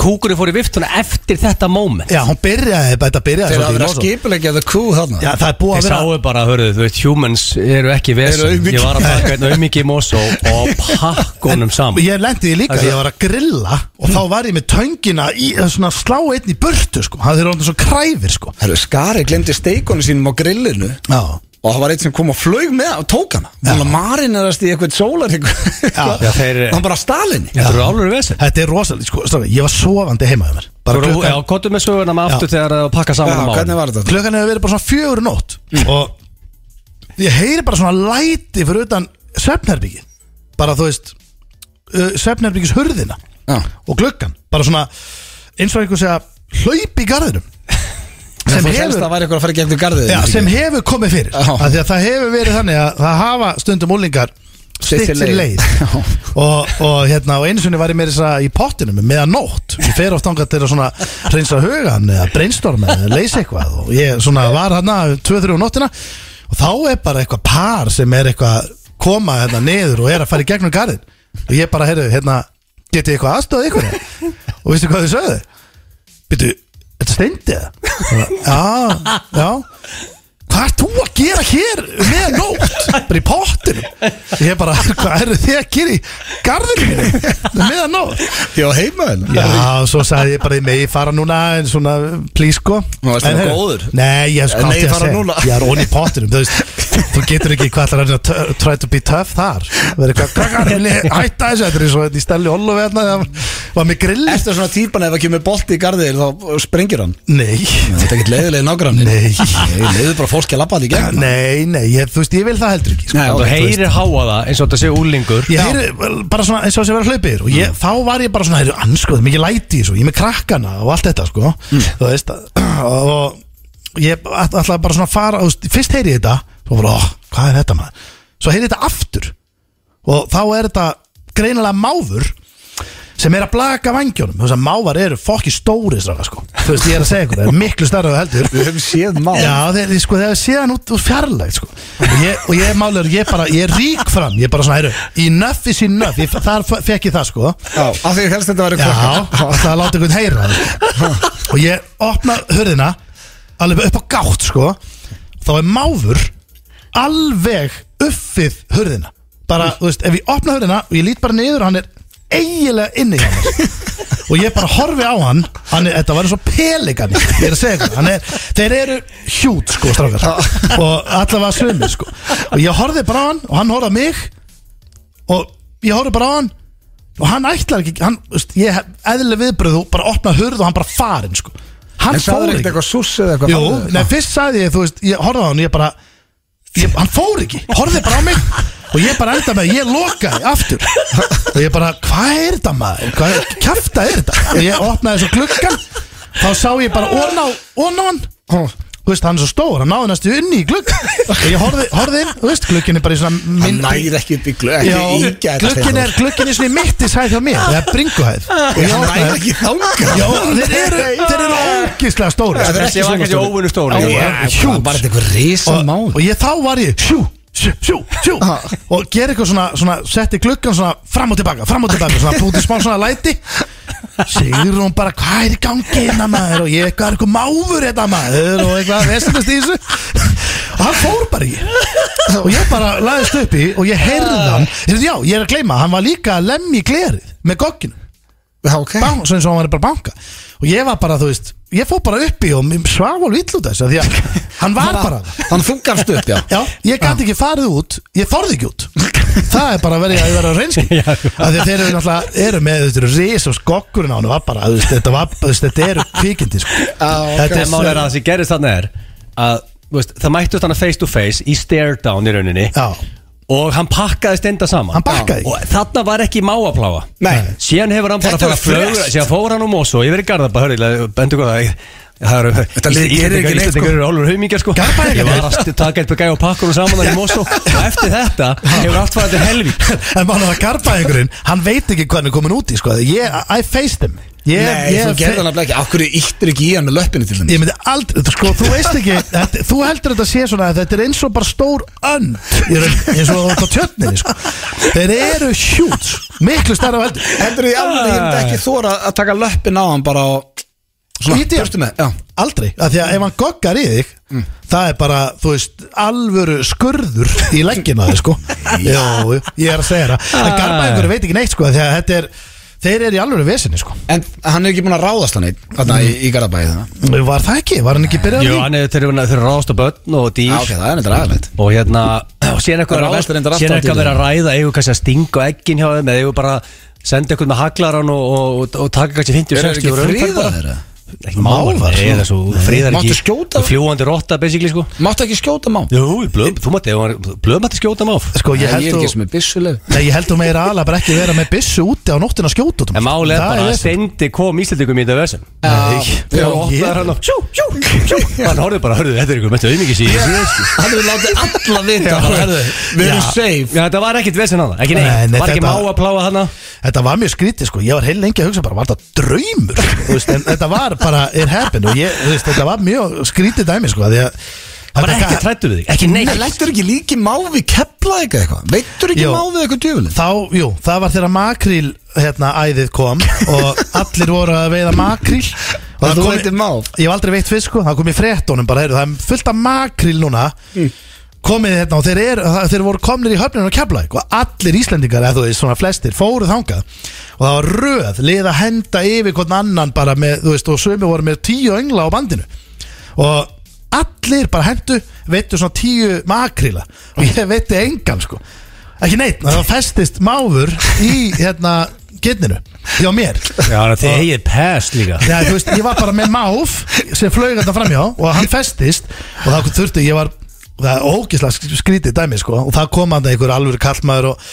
B: kúkurinn fór í viftuna eftir þetta moment
C: Já, hún byrjaði, þetta byrjaði
A: Þeir hafa verið að
C: svolítið í nótt.
A: skipulegja the coup þarna
C: Já, það er búið
B: Þeir
C: að vera
B: sáu bara, hörðu, þú veist, humans eru ekki
A: Eru
B: vesum
A: aumingi.
B: Ég var að taka einn aumingi í mós og, og pakkunum saman
C: Ég lendi því líka,
B: Það er-
C: ég var að grilla og þá var ég með töngina í, svona slá einn í burtu sko, það er orðin svo kræfir sko
A: Herru, Skari glemdi steikunum sínum á grillinu
C: Já,
A: og það var einn sem kom og flög með og tók hana þannig að marinarast í eitthvað sólar
B: Já, þeir-
A: hann bara stalinni
B: Þetta eru álur vesum
C: þetta er rosalega, sko, strákar, ég var sofandi heima hjá mér
B: Þú
C: bara
B: eru, já,
C: klukkan,
B: kottu með söguna með aftur þegar það pakka
A: Já,
B: saman um
A: hvernig
B: árum
A: var þetta?
C: klukkan hefur verið bara svona fjögur í nótt og ég heyri bara svona læti fyrir utan svefnherbyggið bara þú veist uh, svefnherbyggis hurðina
A: Já.
C: og gluggan, bara svona eins og einhver segja hlaup í garðinum
A: sem
C: sem
A: helst að
C: hefur,
A: það væri eitthvað að fara gegnum garðið
C: já, sem hefur komið fyrir
A: Já.
C: af því að það hefur verið þannig að það hafa stundum úlingar
A: Styttri
C: stitt sér
A: leið.
C: leið og, og hérna og einu sinni var ég meira þess að í pottinum meðan nótt, ég fer oft angað til að svona reynsa hugan eða brainstorma eða leysa eitthvað og ég svona var hérna 2-3 um nóttina og þá er bara eitthvað par sem er eitthvað að koma hérna niður og er að fara í gegnum garðin og ég bara, heyrðu, hérna getið eitthvað aðstöð eitthvað og veistu hvað þau sögðu? Býtu, þetta steindið? Já, já Hvað ert þú að gera hér með nótt? Bara í pottinum Ég bara, hvað eru þið að gera í garðinu minni? Með nótt
A: já heima henn
C: Já, svo sagði ég bara, ég megi fara núna en svona, please sko
A: Nú varstu
C: En
A: nú
C: heyrðu,
A: góður.
C: Nei, ég sko
A: En
C: átti
A: megi
C: að
A: fara
C: segja.
A: núna.
C: Ég er onni í pottinum, þú veist Þú getur ekki hvað ætlar að reyna að t- try to be tough þar Verður eitthvað, krakkar, vil ég hætta þessu Þetta er svo í stæli Ollu veðna þegar hann var með grilli
A: eftir svona típan ef það kemur bolti í garðið þá uh, sprengir hann
C: Nei,
A: þetta er ekkert leiðilega nágrann
C: Nei.
A: leiður bara fólk að labba því gegn
C: nei, nei, ég, þú veist, ég vil það heldur ekki sko.
A: Nei,
B: Þú
A: ok, þú veist.
B: heyrir háa það eins og þetta sé úlingur
C: ég heyri vel, bara svona eins og þess að vera hlaupir og ég, þá var ég bara svona, heyri, anskoð, mikið læti í þessu ég er með krakkana og allt þetta sko þú veist, að- og ég ætla- ætlaði bara svona að fara, þú veist, fyrst heyri ég þetta svo bara, ó, hvað er þetta maður svo heyri ég þetta aftur og þá er þetta greinilega máfur sem er að blaka vangjónum þú veist að mávar eru fokki stóri stráka sko þú veist, ég er að segja ykkur, það er miklu starra heldur
A: við höfum séð má
C: Já, þeir, sko, þeir séðan út úr fjarlægt sko. og, ég, og ég er málegur, ég er bara ég er rík fram, ég er bara svona, heyrðu enough is enough, ég, þar fe- fekk ég það sko
A: Já, af því helst þetta væri
C: Já,
A: krakkar.
C: það láti einhvern heyra það, sko. og ég opna hurðina alveg upp á gátt sko þá er máfur alveg uppið hurðina bara, þú veist, ef ég opna hurðina og ég lít bara niður, hann er eiginlega inni hjá mér og ég bara horfi á hann, hann er, þetta var eins og pelikan ég er að segja ykkur, hann er, þeir eru hjút sko strákar og allavega sömur sko og ég horfi bara á hann og hann horfði á mig og ég horfi bara á hann og hann ætlar ekki, hann, þú veist, ég eðlileg viðbröð og bara opna hurð og hann bara farin sko hann
A: en það er
C: fór
A: ekkert
C: ekki
A: eitthvað sús eða eitthvað
C: Jú,
A: farið?
C: nei, fyrst sagði ég, þú veist, ég horfði á hann og ég bara ég, Hann fór ekki, horfði bara á mig Og ég bara enda með, ég lokaði aftur Og ég bara, hvað er þetta maður? Hvað er, kjafta er þetta? Og ég opnaði svo gluggan Þá sá ég bara ón á, ón á hann
A: Ó.
C: Og þú veist, hann er svo stór, hann náði næstu unni í glugg og ég horfði, horfði inn, þú veist, glugginn er bara í svona
A: Hann
C: mynd-
A: næði ekki upp í glöð
C: Já,
A: Ekki ígæða
C: glugginn er, glugginn er svona í mitt í sæð hjá mér, það er bringuhæð og ég
A: Hann næði
C: opnaði,
A: ekki þangað
C: já, þeir eru, þeir eru ógislega stóri
A: Það er
B: Þessi
A: ekki
B: var
A: svona
B: kannski
A: stóri.
B: óvinnu stóri
A: Já,
C: huge.
A: Bara þetta eitthvað risa
C: og,
A: mál
C: og ég þá var ég sjú, sjú, sjú, sjú og ger eitthvað svona, svona setti gluggan svona fram og tilbaka, fram og tilbaka svona búti smá svona læti segir hún bara hvað er í gangi hérna maður og ég eitthvað er eitthvað máfur hérna maður og eitthvað vestast í þessu og hann fór bara í og ég bara laðist upp í og ég heyrði hann heyrði, já, ég er að gleyma, hann var líka að lemja í glerið með gogginu
A: Já, ok
C: bang, svo eins og hann var bara að banka og ég var bara, þú veist, ég fór bara upp í og mér svaf alveg ill út af þessu af því að hann var bara
A: Þannig þú gafst upp, já
C: Já, ég gæti ekki farið út, ég þorði ekki út Það er bara að vera að vera reynskil
B: Já.
C: Af því að þeir eru náttúrulega eru með þetta eru ris og skokkurinn á hann var bara, þú veist, þetta, var, þú veist, þetta eru kvikindi sko.
A: Já,
C: Þetta
B: En mál er að það sem gerist þarna er að þú veist, það mættust hann face to face í stare down í rauninni
C: Já,
B: og hann pakkaði stenda saman
C: Hann pakkaði.
B: Já. og þarna var ekki máapláa
A: Nei.
B: síðan hefur hann bara
A: Þetta
B: fara
A: var fresh.
B: flögur síðan fór hann um ós og yfir í Garðabæ hörðu, bendur góða Það eru
A: Þetta lið gerir ekki neitt,
B: Íslandingar eru álur haumingjar sko
C: Garðbæingar.
B: Ég var að st- taka eitthvað gæja og pakka hún saman þar í Mosó og eftir þetta hefur allt farið til helvík
C: en mál er að garbaðingurinn Hann veit ekki hvernig komin út í sko. ég, I faced him ég,
A: Nei,
C: ég,
A: þú gerði hann að blekja Akkur íttir ekki í hann með löppinu til þeim
C: Ég myndi aldrei, þú- sko, þú veist ekki þetta, Þú heldur þetta sé svona að þetta er eins og bara stór önd í raun- eins og á tjötninni sko. Þeir eru hjút miklu stærra veldur
A: Heldur þið alveg, ég myndi ekki þóra að taka löppin á hann bara og Svona,
C: Lítið.
A: börstu með, já
C: Aldrei, af því að ef hann goggar í þig Það er bara, þú veist, alvöru skurður í leggina þig, sko Já, ég er að segja það En garbaðingur veit ekki neitt, sko af Því að þetta er, þeir eru í alvöru vesinni, sko
A: En hann er ekki búin að ráðast hann einn Þarna í, í Garabæði það
C: Var það ekki? Var hann ekki byrjað
B: Jú,
C: því?
B: hann er þeir eru þeir eru að ráðast á börn og dýr
A: Já, ok, það er neitt ræðilegt
B: og hérna og
A: Það
B: síðan eitthvað
A: er
B: að
A: verst reyndar
B: ráð-
A: allt
B: síðan
A: á
B: eitthvað
A: dýrinu.
B: að vera að ræða eigum kannski að stinga á eggin hjá þeim eða eigum bara að senda eitthvað með haglaran og, og, og, og taka kannski
A: Eru
B: 50
A: þeir
B: 60
A: ekki fríðaðir, eða?
B: ekki mávar
C: Mávar,
B: nei,
C: svona.
B: það er svo fríðar
A: Máttu
B: ekki
A: skjóta?
B: fljúandi rotta basically sko
A: Máttu ekki skjóta má
B: jú blöð þú mátti blöð mátti skjóta máf
C: Sko,
A: Ég,
C: ég
A: ég er
C: held
A: ekki
C: þú
A: sem er byssuleg
C: Nei, ég held þú meira ala bara ekki vera með byssu úti á nóttina að skjóta út um
B: en málið er
C: Það
B: bara að
C: vesen.
B: stendi kom Íslandingum í þetta versum
A: Já, já,
B: og
C: ég-
B: opnaði hann og sjú, sjú, sjú hann horfði bara hörðu þetta er ykkur mestu auðmikið síðan
A: Hann hefur látið alla vita bara, herðu, Við erum
C: Já.
A: safe
B: sko." Já, þetta var ekkit vesinn hann, ekki
C: Nei,
B: neitt,
C: nei,
B: var ekki má
C: þetta-
B: að pláa hann
C: Þetta var mjög skrítið sko, ég var heil lengi að hugsa bara, var þetta draumur? Þú veist, en þetta var bara, it happened og ég, þú veist, þetta var mjög skrítið dæmi sko, af því að
B: hann var
C: þetta-
B: ekki trættu við þig, ekki
A: Nei,
B: neitt
A: lættur ekki líki má við kepla eitthvað eitthvað Veittur ekki
C: Jú.
A: má við eitthvað djöfuleg
C: Þá, jú, það var þegar makríl hérna, æðið kom og allir voru að veiða makríl og
A: Það
C: þú
A: kom
C: veit-
A: eitthvað má
C: Ég hef aldrei veitt fisk, sko, það kom í fréttónum bara, heyrðu, það er fullt af makríl núna
A: Mm.
C: komið hérna og þeir, er, það- þeir voru komnir í höfninu og kefla og allir Íslendingar, eða þú veist, svona flestir fóru þangað og það var röð lið að henda yfir hvern annan bara með, þú veist, og sömu voru með tíu öngla á bandinu og allir bara hendu veittu svona tíu makríla og ég veitti engan sko ekki neitt, það festist máfur í hérna getninu hjá mér
B: Já, þannig að þið hegið pest líka
C: Já, þú veist, ég var bara með máf sem flög þetta framjá og hann festist og það þurfti, ég var það er ógislega skrítið dæmi sko og það kom að það einhver alvöru kallmaður og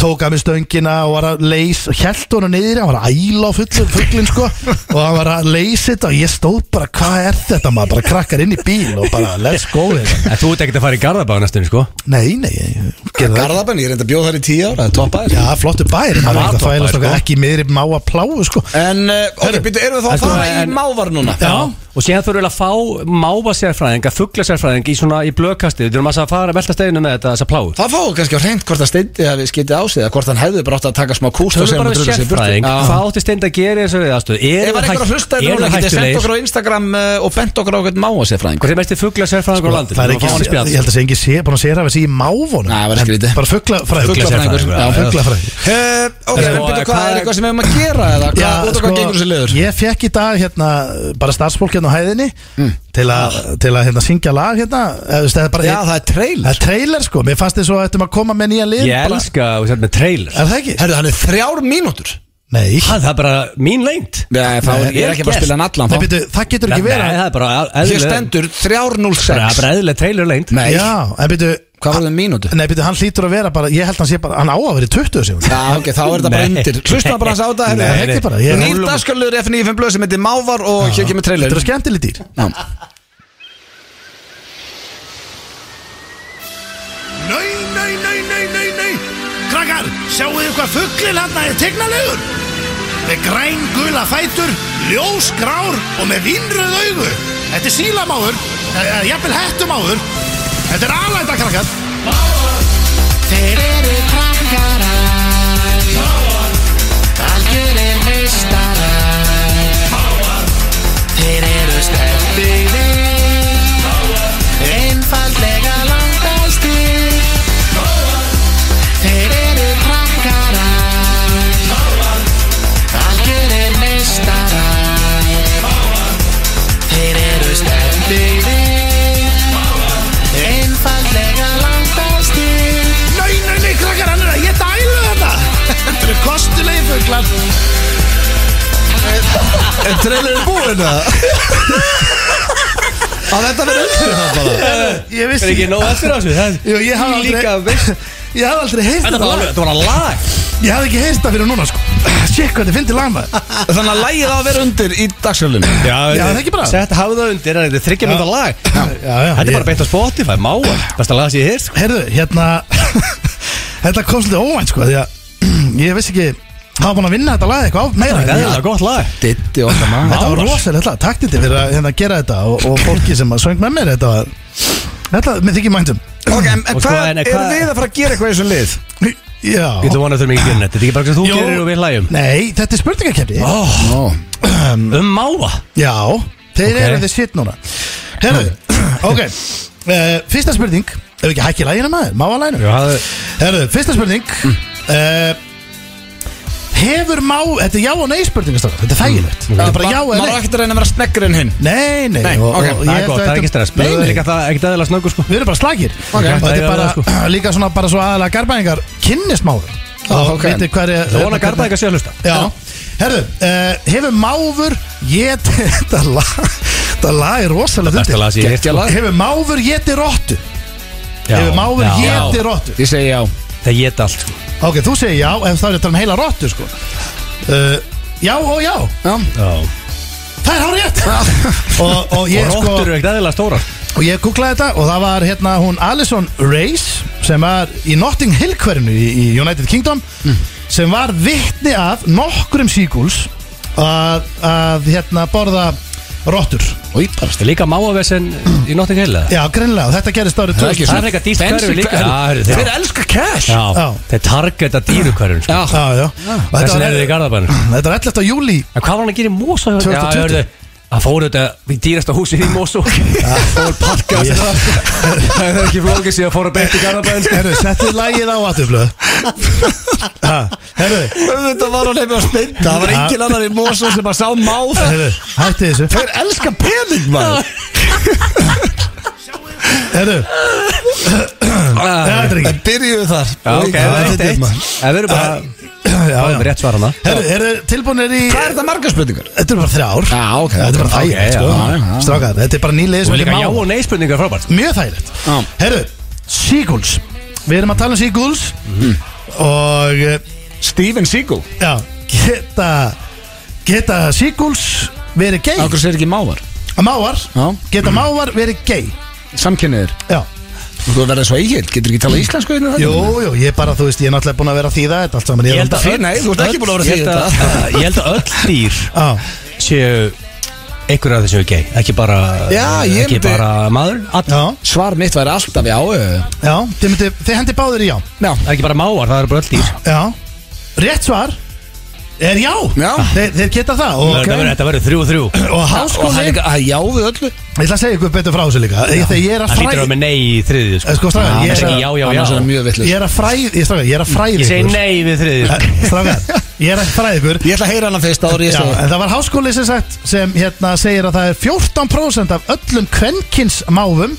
C: tók að mér stöngina og var að leys og hjælt honum niður, hann var að æla á fullur fugglin sko og hann var að leys þetta og ég stóð bara, hvað er þetta maður bara krakkar inn í bíl og bara let's go hérna.
B: En þú ert ekkert að fara í Garðabæðu næstunni sko
C: nei, nei, ég gerði það
A: Garðabenn, ég reyndi að bjóða þar í tíu ára, það er toppaðir
C: já, flottu bæri,
B: Það
C: maður
B: var
C: er eitthvað
B: toppbær,
C: fælast
B: sko.
C: okkar ekki í miðri máa pláu sko
A: En, eh, ok, býttu, erum við þá að
B: Sko,
A: fara í
B: en-
A: mávar núna?
B: Og síðan þurfum við að fá máva sérfræðinga, fuggla sérfræðinga í svona í blökkasti Við þurfum að fara að velta steginu með þetta, þessa pláu
A: Það fáu kannski á hreint hvort að steindi að við skytið á sig eða hvort hann hefði bara átt að taka smá kúst og segja hann
B: Tölum bara
A: að
B: við
A: drulla sig í burtu.
B: sérfræðing,
A: Já.
B: hvað átti steind að gera í þessu viðastöðu?
A: Ef
B: Er
A: það er einhver að hlusta þetta núna, getið sendt okkur á Instagram eh, og bent okkur á eitthvað máa sig fræðing
B: Hvað er mest í fuggla sérfræðingur á landinu?
C: það er
B: Við þurfum að fá hann í
C: ekki,
B: spjall.
C: ég held að segja ekki sé, búin að segja það í mávunum
A: Nei, það væri skrítið.
C: bara fuglafræður
B: Fuglafræðingur, já.
C: fuglafræður
A: Eh, Ok,
B: Já,
A: en byrju,
B: og
A: hvað
B: hvað-
A: er eitthvað sem við hefum að gera eða hvað, út af hvað gengur þessi liður?
C: sko, Ég fekk í dag hérna bara starfsfólk hérna á hæðinni
A: Mm.
C: til, a, til að hérna syngja lag hérna eða, þú veist, það er bara
A: Já, það er
C: það
A: trailer
C: er trailer sko, mér fannst þið svo að þetta maður að koma með nýja lið
B: Ég
C: bara,
B: elska að þú sett með trailer
C: Er það ekki?
A: Herðu, hann er þrjár mínútur
C: Nei,
B: Ha, Það er bara mín lengt
A: Nei, þá er
B: Nei,
A: ég er ekki bara að spila hann allan
C: Nei
A: þá
C: byrju, það getur
B: Nei,
C: ekki verið
B: það er bara
A: Hér
B: eðlileg-
A: stendur
B: bara-
A: 3.06
B: bara eðlileg trailer lengt
A: Nei,
C: Já, en byrju
A: hvað var það um mínútu?
C: Nei byrju, hann hlýtur að vera bara, ég held hann sé bara, hann á að vera í 20 sem
A: Já, ok, þá er þetta bara
B: Nei.
A: undir Hlusta bara hans á þetta
C: Nei, ekki bara, ég-
A: Nýr dagskarlur FNÍ 5 blöð sem heitir Mávar og hér kemur
C: Þetta
A: trailer
C: er skemmtileg dýr
A: Já.
C: Krakkar, sjáu þið hvað fugglinn hann er tegnalegur Með græn gula fætur, ljós grár og með vinnröð augu Þetta er sílamáður, eða jafnvel hettumáður Þetta er alæta krakkar
D: Þeir eru krakkarar Algjörir meistarar Þeir eru stefnbyggðir Einfaldlega langbæstir Þeir eru krakkarar Algjörir meistarar Þeir eru stefnbyggðir Einfaldlega langbæstir
C: Nei, nei, nei, krakkar, hann er að ég dælu þetta Þetta eru kostulegi fugglar
A: En trailerin búinn að Að þetta verður undir það bara
C: Ég
B: Er ekki nóg eftir af þessu? Það-
C: Jú, ég hafði
B: Ég líka veist
C: Ég hafði aldrei heist
B: Þetta var alveg, þetta var alveg lag
C: Ég hafði ekki heist það fyrir núna sko Shit, hvað þið fyndi lama
A: Þannig að lægið á að vera undir í dagsölunum
B: Já,
C: það er ekki bara.
B: Sett hafðu það undir, þetta er þryggja mynda lag
C: já, já,
B: Þetta er
C: ég-
B: bara beint á Spotify, máa Besta lag sem ég heyrst sko.
C: Herðu, hérna Þetta kom svolítið óvænt sko Því að ég vissi ekki Það var búin að vinna þetta lag eitthvað á- meira
B: Þetta er gott lag
A: Ditti okkar maður
C: Þetta var rosalegt lag, takk þetta fyrir að hérna, gera þetta og, og fólki sem að söng með mér þetta var Þetta, með þykir um. mæntum
A: Ok, en
B: Og sko,
A: hvað
B: en
A: er
B: hvað-
A: við að fara að gera eitthvað í þessum lið?
C: Já
B: Getur vonað þurfum ekki að gera þetta Þetta er ekki bara sem þú
C: Jú.
B: gerir og við hlægjum
C: Nei, þetta er spurningakefni
A: Nó
B: Um máa
C: Já, þeir
B: Ok.
C: eru þið shit núna Herðu, ok uh, Fyrsta spurning, ef ekki hækki lægina maður, máa lægina Herðu, fyrsta spurning
B: Mm.
C: uh, Hefur má, þetta er já og nei spurning
B: Mm.
C: strákar, Þetta er þægilegt Þetta er bara já
A: Maður á
C: eða nei
A: ekkert að reyna að vera sneggri en hinn
C: Nei, nei,
A: Nei,
C: og-
A: ok,
C: og
B: Það
C: ég
B: er gott,
C: held að
B: það er
C: þetta-
B: ekki stress
C: Nei,
B: Blöður
C: nei,
B: er ekki að það- ekkert aðeins snöggur sko
C: Við erum bara slagir
B: Ok.
C: Þetta
B: Það
C: er
B: er sko.
C: bara
B: það,
C: líka svona bara svo aðalega garbaðingar kynnist máður
A: Ah, ok.
C: veitir hver er
B: Það vona garda ekki að sé að hlusta
C: Já, herðu, uh, hefur máfur geti, þetta lag þetta lag er rosalega
B: Besta lag sem ég sko. heyrst
A: Geggjað lag.
C: Hefur máfur geti rottu Hefur máfur geti rottu
A: Ég segi já
B: Það geti allt sko.
C: Ok, þú segir já, ef það er þetta um heila rottu sko uh, Já og já,
A: Já
C: það er hár rétt og, og ég
B: Og
C: sko
B: róttur eru ekkert aðeins stórar
C: og ég googlaði þetta og það var hérna hún Alison Reis sem var í Notting Hill hverjunu í, í United Kingdom
A: Mm.
C: sem var vittni af nokkrum síkuls að, að hérna borða rottur
A: Í bara
B: Það er líka máavesen í Notting Hill eða?
C: Já, greinlega, þetta gerist árið
A: Það er ekki
C: 2000
B: Það er eitthvað dýrt hverfi líka. Já, heyrðu, þeir-
A: Þeir elska cash
B: Já,
C: Já.
B: þeir targeta dýrukverjun sko.
A: Já.
C: Já, já
A: Ah,
C: Og Þetta
B: Þessin
C: var,
B: er þið í Garðabænum
C: þetta var 11. júli
B: En hvað var hann að gera í Mosó? Já,
C: 2020?
B: ég hörðu, Hann fór auðvitað í dýrasta húsið í Mosó Fór parka yes. Það er ekki flókið síðan fór að beint í sko. Garðabæn
C: Herru, settið lagið á aðtöflöð Herru,
A: Þetta var hann hefði að snynda Það var engin annar í Mosó sem að sá máð
C: herru, hætti þessu
A: Þeir elska pening maður
C: Herru, þetta er ekki
A: En byrjuðu þar
B: Já,
A: Það
B: ok, það er
A: er
B: eitt
A: þetta
B: eitt
A: maður.
B: En við erum bara
C: Já,
B: Báðum
C: já
B: rétt svar hana
C: Herru, eru tilbúinir í
A: Hvað er þetta margar spurningar?
C: Þetta er bara þrjár
A: Já, ok,
C: Þetta er
A: ok,
C: bara
A: ok,
C: þægilegt
A: já, já,
C: sko
A: já.
C: Strákar, þetta er bara nýlið
B: Og líka já og nei spurningar frábært sko.
C: Mjög þægilegt
A: Já.
C: Herru, Seagulls Við erum að tala um Seagulls Og eh,
A: Steven Seagal
C: Já, geta Geta Seagulls verið gay
A: Akkur sér ekki mávar
C: Mávar
A: Já.
C: Geta mávar verið gay
A: Samkynniðir
C: Já
A: Þú verður svo eigin Getur ekki talað íslensku hérna innan
C: Jú, jú, ég bara, þú veist, ég er náttúrulega búin að vera að þýða þetta allt saman
B: Ég
C: er
B: held að
A: Því, nei, þú ert ekki búin að vera að
B: Ég held
A: þýða
B: að- Ég held að öll dýr
C: Já,
B: séu einhverja af þessu gay Ekki bara
A: Já, ég
B: Ekki
A: myndi-
B: bara maður all-
C: já,
A: Svar mitt væri alltaf já eh,
C: já Þið, myndi, þið hendi báðir í já
A: Já
B: Ekki bara máar, það eru bara öll dýr
C: Já Rétt svar er já
A: Já.
C: Þeir, þeir geta það og,
B: Þetta verður- Þetta verður þrjú og þrjú
C: og
A: Og það er
C: háskóli
A: líka að já við öllu
C: Ég ætla að segja ykkur betur frá þessu líka Ég- Þegar ég er að
B: Það hlýtur að vera
C: fræð
B: með nei í þriðið
C: Eh, Sko, strákar, ég
B: Ég
C: er
B: segi
C: að-
B: já, já,
A: Annars er það
B: já
A: mjög vitlaust.
C: ég er að fræð Ég strákar, ég er að fræð
B: Ég segi nei við sko. þriðið
C: Strákar, ég er að fræð ykkur
A: Ég ætla að heyra hana fyrst áður ég
C: Já,
A: segi
C: en það var háskóli sem sagt sem hérna segir að það er 14% af öllum kvenkinsmáfum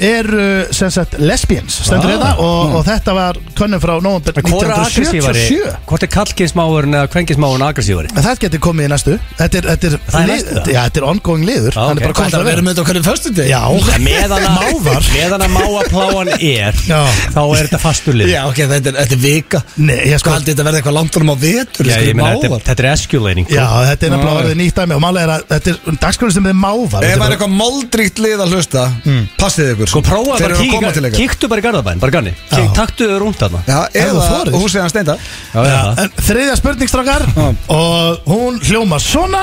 C: eru sem sagt lesbians stendur
B: Ah.
C: þetta og, og þetta var könnum frá nóvumber
B: Hvor er
C: 1977
B: agressívari? Hvort er kallkinsmáurinn eða kvenkinsmáurinn agressívari?
C: En það getur komið í næstu Þetta er, þetta er,
B: Það er
C: lið-
B: næstu það?
C: Já, þetta er ongoing liður
B: Já,
C: Hann
B: ok.
C: er bara
A: Hvað
C: komið
A: ætlar
C: það
A: að vera
C: verið
A: með þetta á hverjum föstundi?
C: Já,
B: Meðan að,
C: Mávar.
B: meðan að máapláan er
C: Já.
B: Þá er þetta fasturlið
A: Já, ok, þetta er, þetta er vika
C: Nei, ég
A: Sko
C: sko
A: haldið þetta verði eitthvað langt um á vetur
B: ég meina þetta, er- þetta er esculating
C: Já, þetta er nefnilega
A: Já.
C: orðið nýtt dæmi og málega er að þetta er dagskrunum sem þið mávar
A: Ef
C: Þetta
A: það
C: er
A: er eitthvað moldríkt lið að hlusta mm. hugsið ykkur
B: Sko prófaðu
A: Þeir
B: bara
A: eru að koma
B: kíkja,
A: til ykkar.
B: kíktu bara í Garðabæn, bara ganni Kík, taktu þau rúnt þarna
A: Já,
C: Ef þú
A: eða
C: þorir.
A: húsið hans steinda
B: Já, já, það.
C: En Þriðja spurning strákar Og hún hljóma svona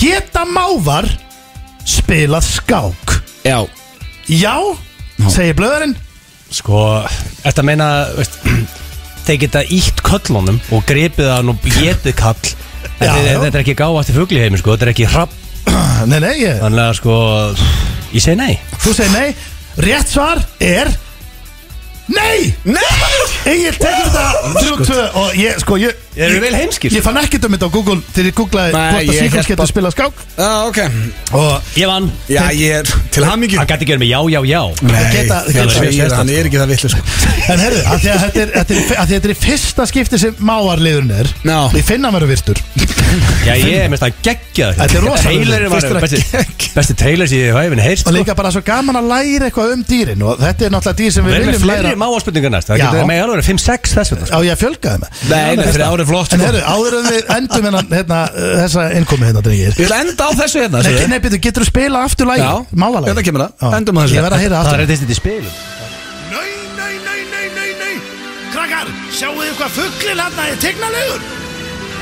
C: Geta mávar Spilað skák
A: Já
C: Já, segir blöðurinn
B: Sko, þetta meina, veist Þeir geta ítt köllunum og gripið hann og getið kall
C: Já,
B: já, þeir,
C: já.
B: Þetta er ekki gáast í fugliheimi, sko Þetta er ekki hrapp,
C: Nei, nei, ég,
B: þannig að sko Ég segi nei
C: þú segir nei Rétt svar er Nei!
A: Nei
C: Egil tekur þetta 3-2 og ég, sko, ég
B: Þeir eru vel heimskir.
C: Ég fann ekkert um þetta á Google þegar ég googlaði
A: Nei,
C: hvort að
A: ég hélt
C: Seagulls getur
A: bara-
C: spilað skák
A: Já, ok
C: og
B: Ég vann
A: Já, ég er til hamingju
B: Hann gæti ekki verið með já, já, já
A: Nei, það
C: Geta-
A: er
C: geta-
A: ekki- hann er ekki það sko. vitlu
C: En herðu, að því að þetta er, að því að þetta er í fyrsta skipti sem máarliðurinn er
A: Já.
C: Ég finna hann verið virtur
B: Já, ég er mest að gegja þetta
C: Þetta er rosalega.
B: Trailerinn
C: Fyrst er
B: var
C: að
B: besti, besti trailer sem ég hef hefðin heyrst
C: Og
B: sko.
C: líka bara svo gaman að læra eitthvað um dýrin Og þetta er náttúrulega dýr sem
B: Við
C: við
B: erum með
C: viljum læra
B: fleiri máaspurningar næst Það
C: Já.
B: getur með alveg 5-6 þess vegna sko.
C: Á ég að fjölga þeim
A: Nei, nei, fyrir árið flott
C: En
A: sko.
C: herru, áður en við endum hennan, hérna, þessa innkomi hérna, drengir
A: Ég vil enda á þessu hérna
C: Nei,
A: sérðu.
C: nei, betur, getur þú spila aftur lægi?
A: Já,
C: mávalægi
A: hérna kemur það. Endum á þessu.
C: Ég verð að heyra
B: Það
C: aftur
B: er eitthvað þetta í spilum
C: Nei, nei, nei, nei, nei, nei Krakkar, sjáu þið hvað fugglinn hann er tegnalegur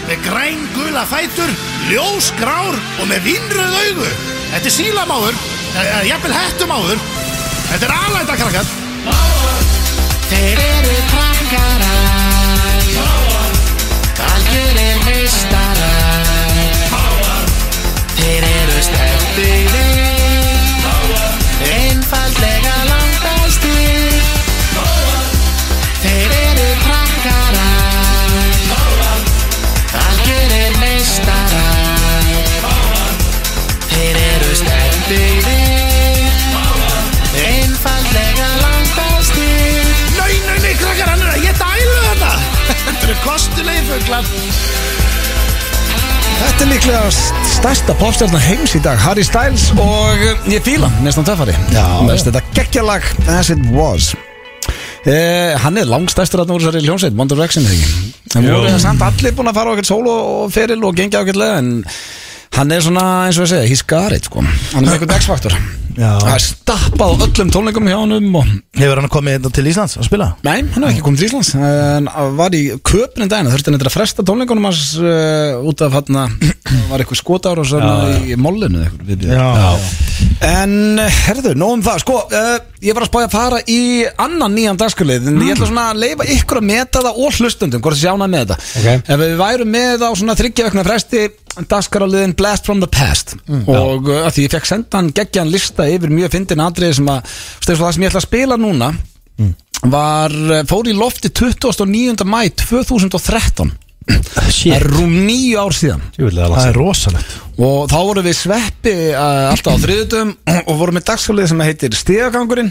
C: Með græn gula fætur, ljós grár og með vinnröð augu Þetta er sílamáður, eða jafnvel hettumáður Þetta er alæta, krakkar
D: Þeir eru krakkarar Algjörir meistarar Þeir eru stertilir Einfaldlega langbæstir Þeir eru krakkarar Algjörir meistarar Þeir eru stertilir Einfaldlega langbæstir
C: Nei, nei, nei, krakkar, hann er að geta ælu þetta Þetta eru kostulegi fugglar
A: Þetta er líklega st- stærsta popstjarnar heims í dag Harry Styles og uh, ég fíla hann, Næstan töffari Næst þetta geggjalag As It Was eh, Hann er langstærstur að núr þessari hljónsveit One Direction þegar ekki En
B: Jú.
A: voru það samt allir búin að fara á ekkert sól og feril og gengja ákveðlega En hann er svona eins og ég segja He's got it sko Hann er með einhvern X-faktor
C: Já.
A: Það er stappað á öllum tónleikum hjá honum og
C: Hefur hann komið hérna til Íslands að spila?
A: Nei, hann er ekki komið til Íslands en uh, var í köpnum dagina þurfti hann eitthvað að fresta tónleikunum hans uh, út af hann var eitthvað skotár og svona í mollinu eða eitthvað, við- En eh, herðu, nóg um það Sko, uh, ég var að spája að fara í annan nýjan dagskulið en ég ætla svona að leifa ykkur að meta það og hlustundum hvort þið sjána með þetta
B: Ok.
A: Ef við værum með á svona þryggjavekna fresti dagskaraliðin Blast from the Past og uh, að því ég fekk sendan geggjan lista yfir mjög fyndin atrið sem að stefst það sem ég ætla að spila núna var, eh, fór í lofti 29. mæ 2013 Það er
B: Shit
A: rúm níu ár síðan
B: Júlega,
C: Það er rosalegt
A: og þá vorum við sveppi uh, alltaf á þriðutum og vorum með dagskalið sem heitir stíðagangurinn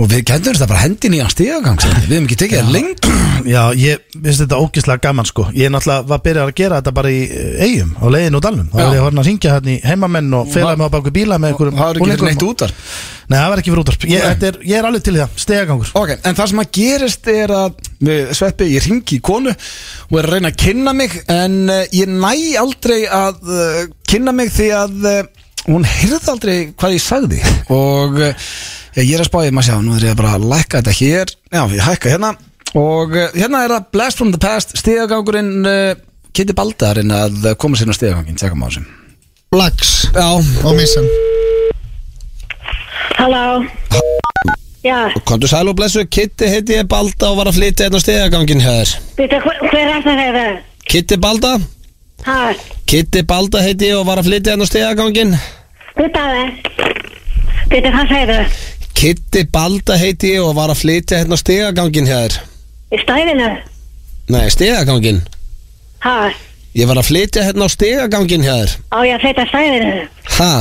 A: og við kendum þetta bara hendin í hann stíðagang við hefum ekki tekið það lengt
C: Já, ég finnst þetta ógislega gaman sko Ég náttúrulega var byrjað að gera þetta bara í eh, eigum á leiðin og dalnum Það
A: Já.
C: var ég horfinn að syngja hérna í heimamenn og fela
A: Og-
C: mig á baku bíla með einhverjum
A: það er ekki
C: unglingum
A: fyrir neitt
C: og-
A: útar
C: Nei, það var ekki fyrir útarp ég,
A: Nei.
C: þetta er, ég er alveg til í það, stegagangur
A: ok, en það sem að gerist er að við sveppi, ég ringi í konu og er að reyna að kynna mig en uh, ég næ aldrei að uh, kynna mig því að uh, hún heyrði aldrei hvað ég sagði og uh, ég er að spáði maður sjá, nú er ég bara að lækka þetta hér já, ég hækka hérna og uh, hérna er það Blast from the Past stíðagangurinn uh, Kitty Baldarinn að koma sér á stíðagangin, tjekkum á þessum
E: Lags
A: já,
E: og missan
F: Halló Já,
A: kontu sæl og blessu Kitty heiti ég Balda og var að flytja hérna á stíðagangin hér
F: býta, hver, hver er það þeirra?
A: Kitty Balda
F: Ha,
A: Kitty Balda heiti ég og var að flytja hann á stegagangin
F: býta það Býta, hvað segirðu?
A: Kitty Balda heiti ég og var að flytja hérna á stegagangin hér
F: Í stæðinu?
A: Nei, stegagangin
F: Ha,
A: Ég var að flytja hérna á stegagangin hér
F: á ég að flytja stæðinu?
A: Ha?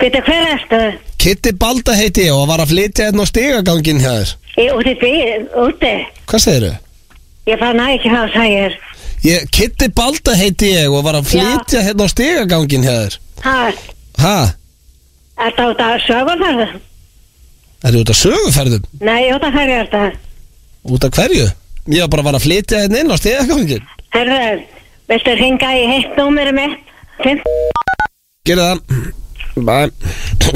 F: Býta, hver ertu?
A: Kitty Balda heiti ég og var að flytja hérna á stegagangin hér
F: Í úti bíl, úti
A: Hvað segirðu?
F: Ég bara næ ekki hvað þú segir
A: Ég, Kitty Balda heiti ég og var að flytja hérna á stegagangin hér
F: Ha,
A: Ha?
F: er það út að sögur þar?
A: Er þú út af söguferðum?
F: Nei, út að hverju er það?
A: Út af hverju? Ég var bara að fara að flytja hérna inn á stegagangin
F: Herðu, viltu hringa í heitt númeri mitt? Fimm
A: Gerðu það Bye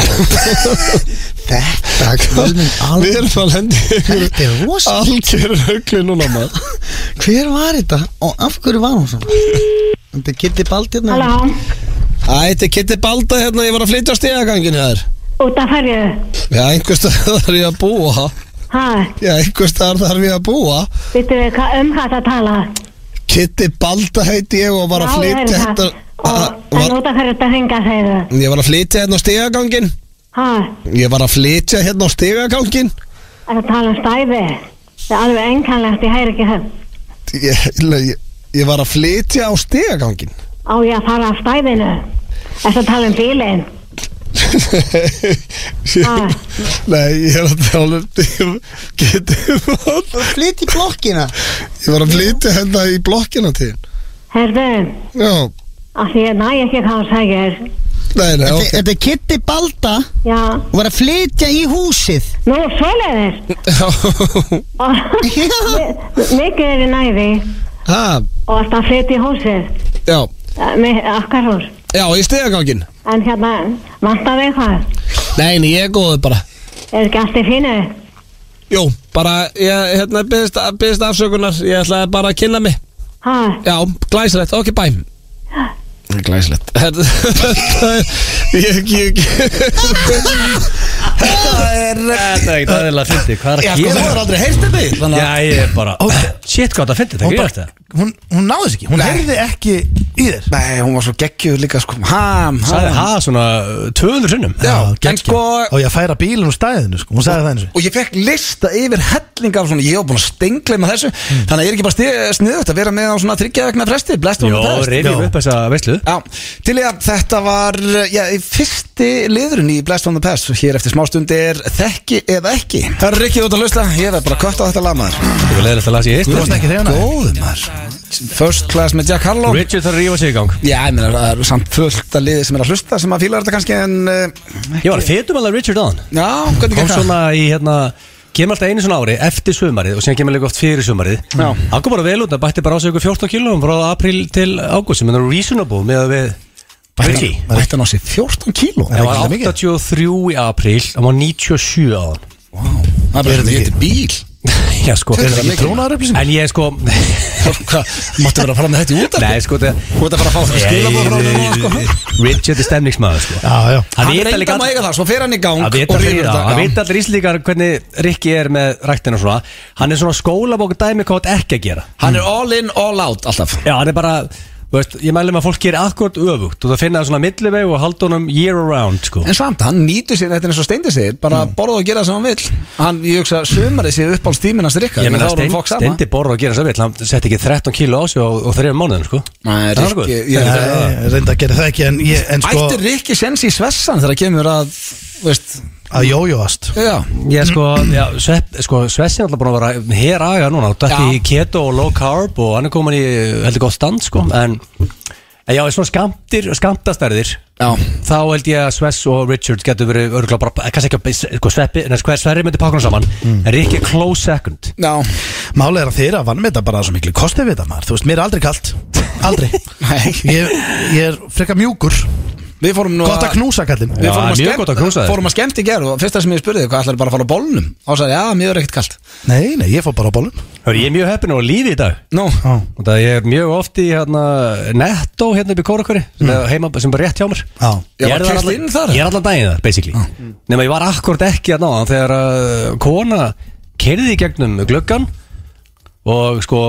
E: Þetta, guð minn,
G: Við
E: alveg
G: erum að lendi
E: Þetta er rosa
G: Algjör högli núna maður
E: Hver var þetta og af hverju var hún svona? Þetta er Kitty Baldirna
F: Halló,
G: Æ, þetta er Kitty Balda hérna, ég var að flytja á stegagangin hér
F: út af hverju?
G: Já, einhvers staðar þarf ég að búa
F: Ha,
G: Já, einhvers staðar þarf ég að búa
F: veitum við hvað um hvað það tala?
G: Kitty Balda heiti ég og var að
F: Já,
G: flytja
F: ég heyri
G: hérna
F: það. Og
G: var,
F: en út af hverju þetta hringa segðu?
G: Ég var að flytja hérna á stegagangin
F: Ha,
G: Ég var að flytja hérna á stegagangin
F: er það tala um stæði? Það er alveg enkanlegt, ég heyri ekki það.
G: ég, ég, ég var að flytja á stegagangin
F: Á ég að fara af stæðinu? Er það tala um bílinn? Ah.
G: Nei, ég er að tala um Getur
E: Flyt í blokkina
G: Ég var að flytja hérna í blokkina til þín.
F: Herðu,
G: Já,
F: af því ég næ ekki hvað það segir.
G: nei, nei,
E: Þetta
G: ok
E: þetta er Kitty Balda og
F: Já,
E: var að flytja í húsið
F: nú svoleiðir. Og mikið er í næði
G: Ha,
F: og alltaf flytt í húsið.
G: já,
F: Eh, Með akkar hús.
G: já, í stegagangin
F: En hérna, vantar þig eitthvað?
G: Nei, nei, ég er góður bara
F: Er ekki allt í fínu?
G: Jú, bara, ég, hérna, byggðist byggðist afsökunar Ég ætlaði bara að kynna mig
F: Ha,
G: Já, glæsilegt, ok, bæ Glæsilegt Þetta er, ég, ég,
B: Þetta er ekkert aðeins að fyndi, hvað er
A: Já,
B: að
A: sko, þú
B: gera?
A: er aldrei heyrst þetta í Þannig
B: Já,
A: að
B: ég er bara
C: Ok.
B: Shit, hvað það fyndi, það
C: Hún,
B: grýr
C: bara,
B: þetta
C: hún, hún náði þess ekki, hún heyrði ekki í þér
A: Nei, hún var svo geggjuð líka sko Ham,
B: Sæði
A: ham
B: ha svona uh, 200 sinnum
A: Já, en
C: geggjað.
A: sko
C: Og ég að færa bílinn úr stæðinu sko, hún sagði það eins og
A: Og ég fekk lista yfir helling af svona Ég var búin að stengla með þessu Þannig að ég er ekki bara sniðugt að vera með á svona þryggjaðegna fresti Blestum
B: Jó, reyfjum upp þessa veislu
A: Já, til ég að þetta var já, fyrsti liðurinn í Blast on the Pass hér eftir smástund er þekki eða ekki Það er Rikki út að lausla, ég verð bara kött á þetta lag maður
B: Þú er leiðilegt að lasa í
C: Þú varst
B: eitt
C: ekki hrifin af því?
A: Góður maður First class með Jack Harlow
B: Richard þarf að rífa sig í gang
A: Já, ég meina, það eru samt fullt að liði sem er að hlusta sem að fíla þetta kannski en uh,
B: Ég var að fetum alveg Richard aðan
A: Já, hvernig
B: Kom
A: gekk það?
B: svona í hérna Kemur alltaf einu svona ári eftir sumarið og síðan kemur líka oft fyrir sumarið
A: Já.
B: Hann kom bara vel út, hann bætti bara á sig ykkur 14 kílum frá apríl til ágúst sem er reasonable með að við Bætti
A: Bætti hann á sig 14 kíló
B: Það var 83 í apríl, hann var 97 á hann
A: Það er bara þetta getur bíl
B: Já sko
A: Er þetta mikið?
B: En ég sko
A: Hvað, máttu vera að fara með þetta í út
B: Nei sko þetta
A: Þú ert að fara að fá þetta skilabóð frá þetta núna, sko
B: Richard er stemningsmaður sko
C: Já, já,
B: Hann
A: Hann
B: veit
A: reynda
B: líka
A: maður eiga það, svo fer hann í gang
B: Það vita
A: og
B: allir,
A: rífur
B: já,
A: þetta, já.
B: það vita allir íslíkar hvernig Rikki er með ræktina og svona Hann er svona skólabók dæmi hvað það ekki að gera
A: Hann er all in, all out alltaf
B: Já, hann er bara, þú veist, ég mælum að fólk gerir akkurat öfugt og það finna svona milliveg og halda honum year around, sko
A: En samt, hann nýtur sér þetta er eins og steindi sér bara
B: Mm.
A: borða og gera það sem hann vil hann, ég hugsa, sömarið sér upp á stíminast rikka
B: Ég meina,
A: þá er hann
B: stend,
A: fokk sama
B: stendi borða og gera sem vill, hann setti ekki 13 kíló á sig og, og þreifum mánuðin, sko
A: Nei,
B: Það var
A: Rikki,
B: gott.
A: ég-
C: Nei, ég reyndi að gera það ekki En, ég, en sko,
A: Ættir Rikki sens í svessan þegar kemur að veist,
C: að jójóast
A: já,
B: Ég sko, já, svepp, sko, Svessi er alltaf búin að vera hér aðeins núna, hún dætti
A: Já.
B: í keto og low carb og hann er komin í heldur gott stand, sko en, en já, í svona skamtir, skamtastærðir
A: já,
B: þá held ég að Svess og Richard getur verið örgulega bara, kannski ekki að sko, sveppi, neða hver sverri myndi pakka hún saman
A: Mm.
B: en Rikki er close second
A: já
C: Málið er að þeirra vann með þetta bara svo miklu kostið við þetta maður Þú veist, mér er aldrei kalt Aldrei
A: Nei.
C: ég, ég er frekar mjúkur
A: Við fórum nú
C: Gott að knúsa kallinn
A: Við
B: Já,
A: fórum, að
B: mjög gott að knúsa
A: skemmt,
B: þér.
A: fórum að skemmt í gerð og fyrsta sem ég spurði hvað ætlar bara að fara á bólnum og sagði, já, mér er ekkert kalt
C: Nei, nei, ég fór bara á bólum
B: Hörru, ég er mjög heppin og á lífi í dag
A: Nú,
C: Já,
B: og það ég er mjög oft í hérna, netto hérna upp í Kórakveri sem, er heima, sem bara rétt hjá mér
C: já
A: Já, var
B: þar
A: keyrt inn þar?
B: allan- ég er allan daginn þar, basically nema ég var akkurat ekki að náðan þegar uh, kona kerði í gegnum gluggan og sko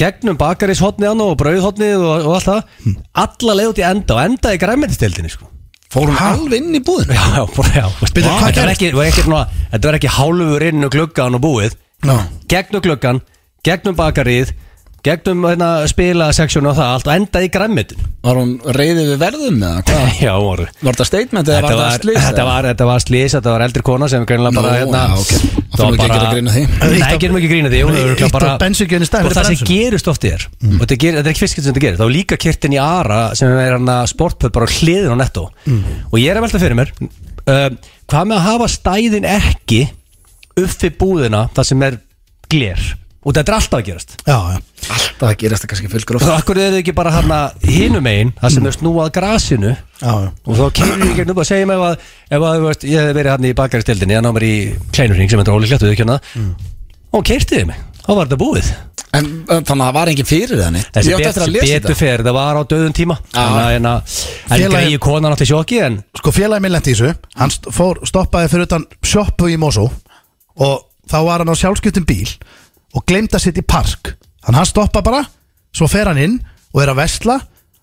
B: gegnum bakarishotnið hann og brauðhotnið og, og allt það alla leið út í enda og endaði í græmendistildinni sko
A: fórum alveg inn í búðin
B: Já, já, bara, já veist,
C: Bíddu, hvað
B: Þetta var
C: gerðist?
B: ekki, var ekki, svona, þetta var ekki hálfur inn og gluggan og búið
C: Já.
B: Gegnum gluggan, gegnum bakarið Gegnum hérna, spila seksjónu og það Allt og endaði í græmmitin
A: Var hún reyðið við verðum eða hvað?
B: Já, voru
A: Var þetta statement eða
B: Þetta
A: var
B: var,
A: þetta slýs?
B: þetta, var, þetta var slís, þetta var eldri kona sem greinilega bara
A: Nú,
B: hérna,
A: já, ok. Það þarf ekki að gera grín að því.
B: Nei, gerum ekki grína því hún
C: Nei,
B: er örugglega
C: ítt á
B: bara-
C: bensíngjöfin í staðinn
B: Og
C: fyrir
B: það sem
C: bremsuna.
B: gerist oft er og þetta, ger, þetta er ekki fyrst skipti sem þetta gerist þá er líka kirtin í Ara sem er hann að sportpöð bara á hliðin á netto og ég er að velta fyrir mér uh, hvað með að hafa stæðin ekki upp við búðina það sem er gler og þetta er alltaf að gerast
C: já, já.
A: Alltaf að gerast það kannski fylgur
B: og það er þið ekki bara hérna hinum einn það sem er snúað grasinu
C: Já, já.
B: og þá kemur ég gegnum og segjum ef að, ef að þú veist, ég hef verið hann í bakaristildinni hann á mér í kleinurring sem þetta er ólíklegt við ekki hana og keirtiði mig, þá var þetta búið
A: En uh, þannig að það var engin fyrir það neitt
B: þessi
A: Ég átti
B: bet,
A: eftir að lesa
B: betur
A: þetta Ah.
B: fer, það var á döðum tíma þannig að hérna- en
C: Félagið-
B: greiði konan átti sjokki en
C: sko félagi minn lendi í þessu hann st- fór, stoppaði fyrir utan sjoppu í Mosó og þá var hann á sjálfskiptum bíl og glemd að sitt í park þannig hann stoppa bara, svo fer hann inn og er að vesla,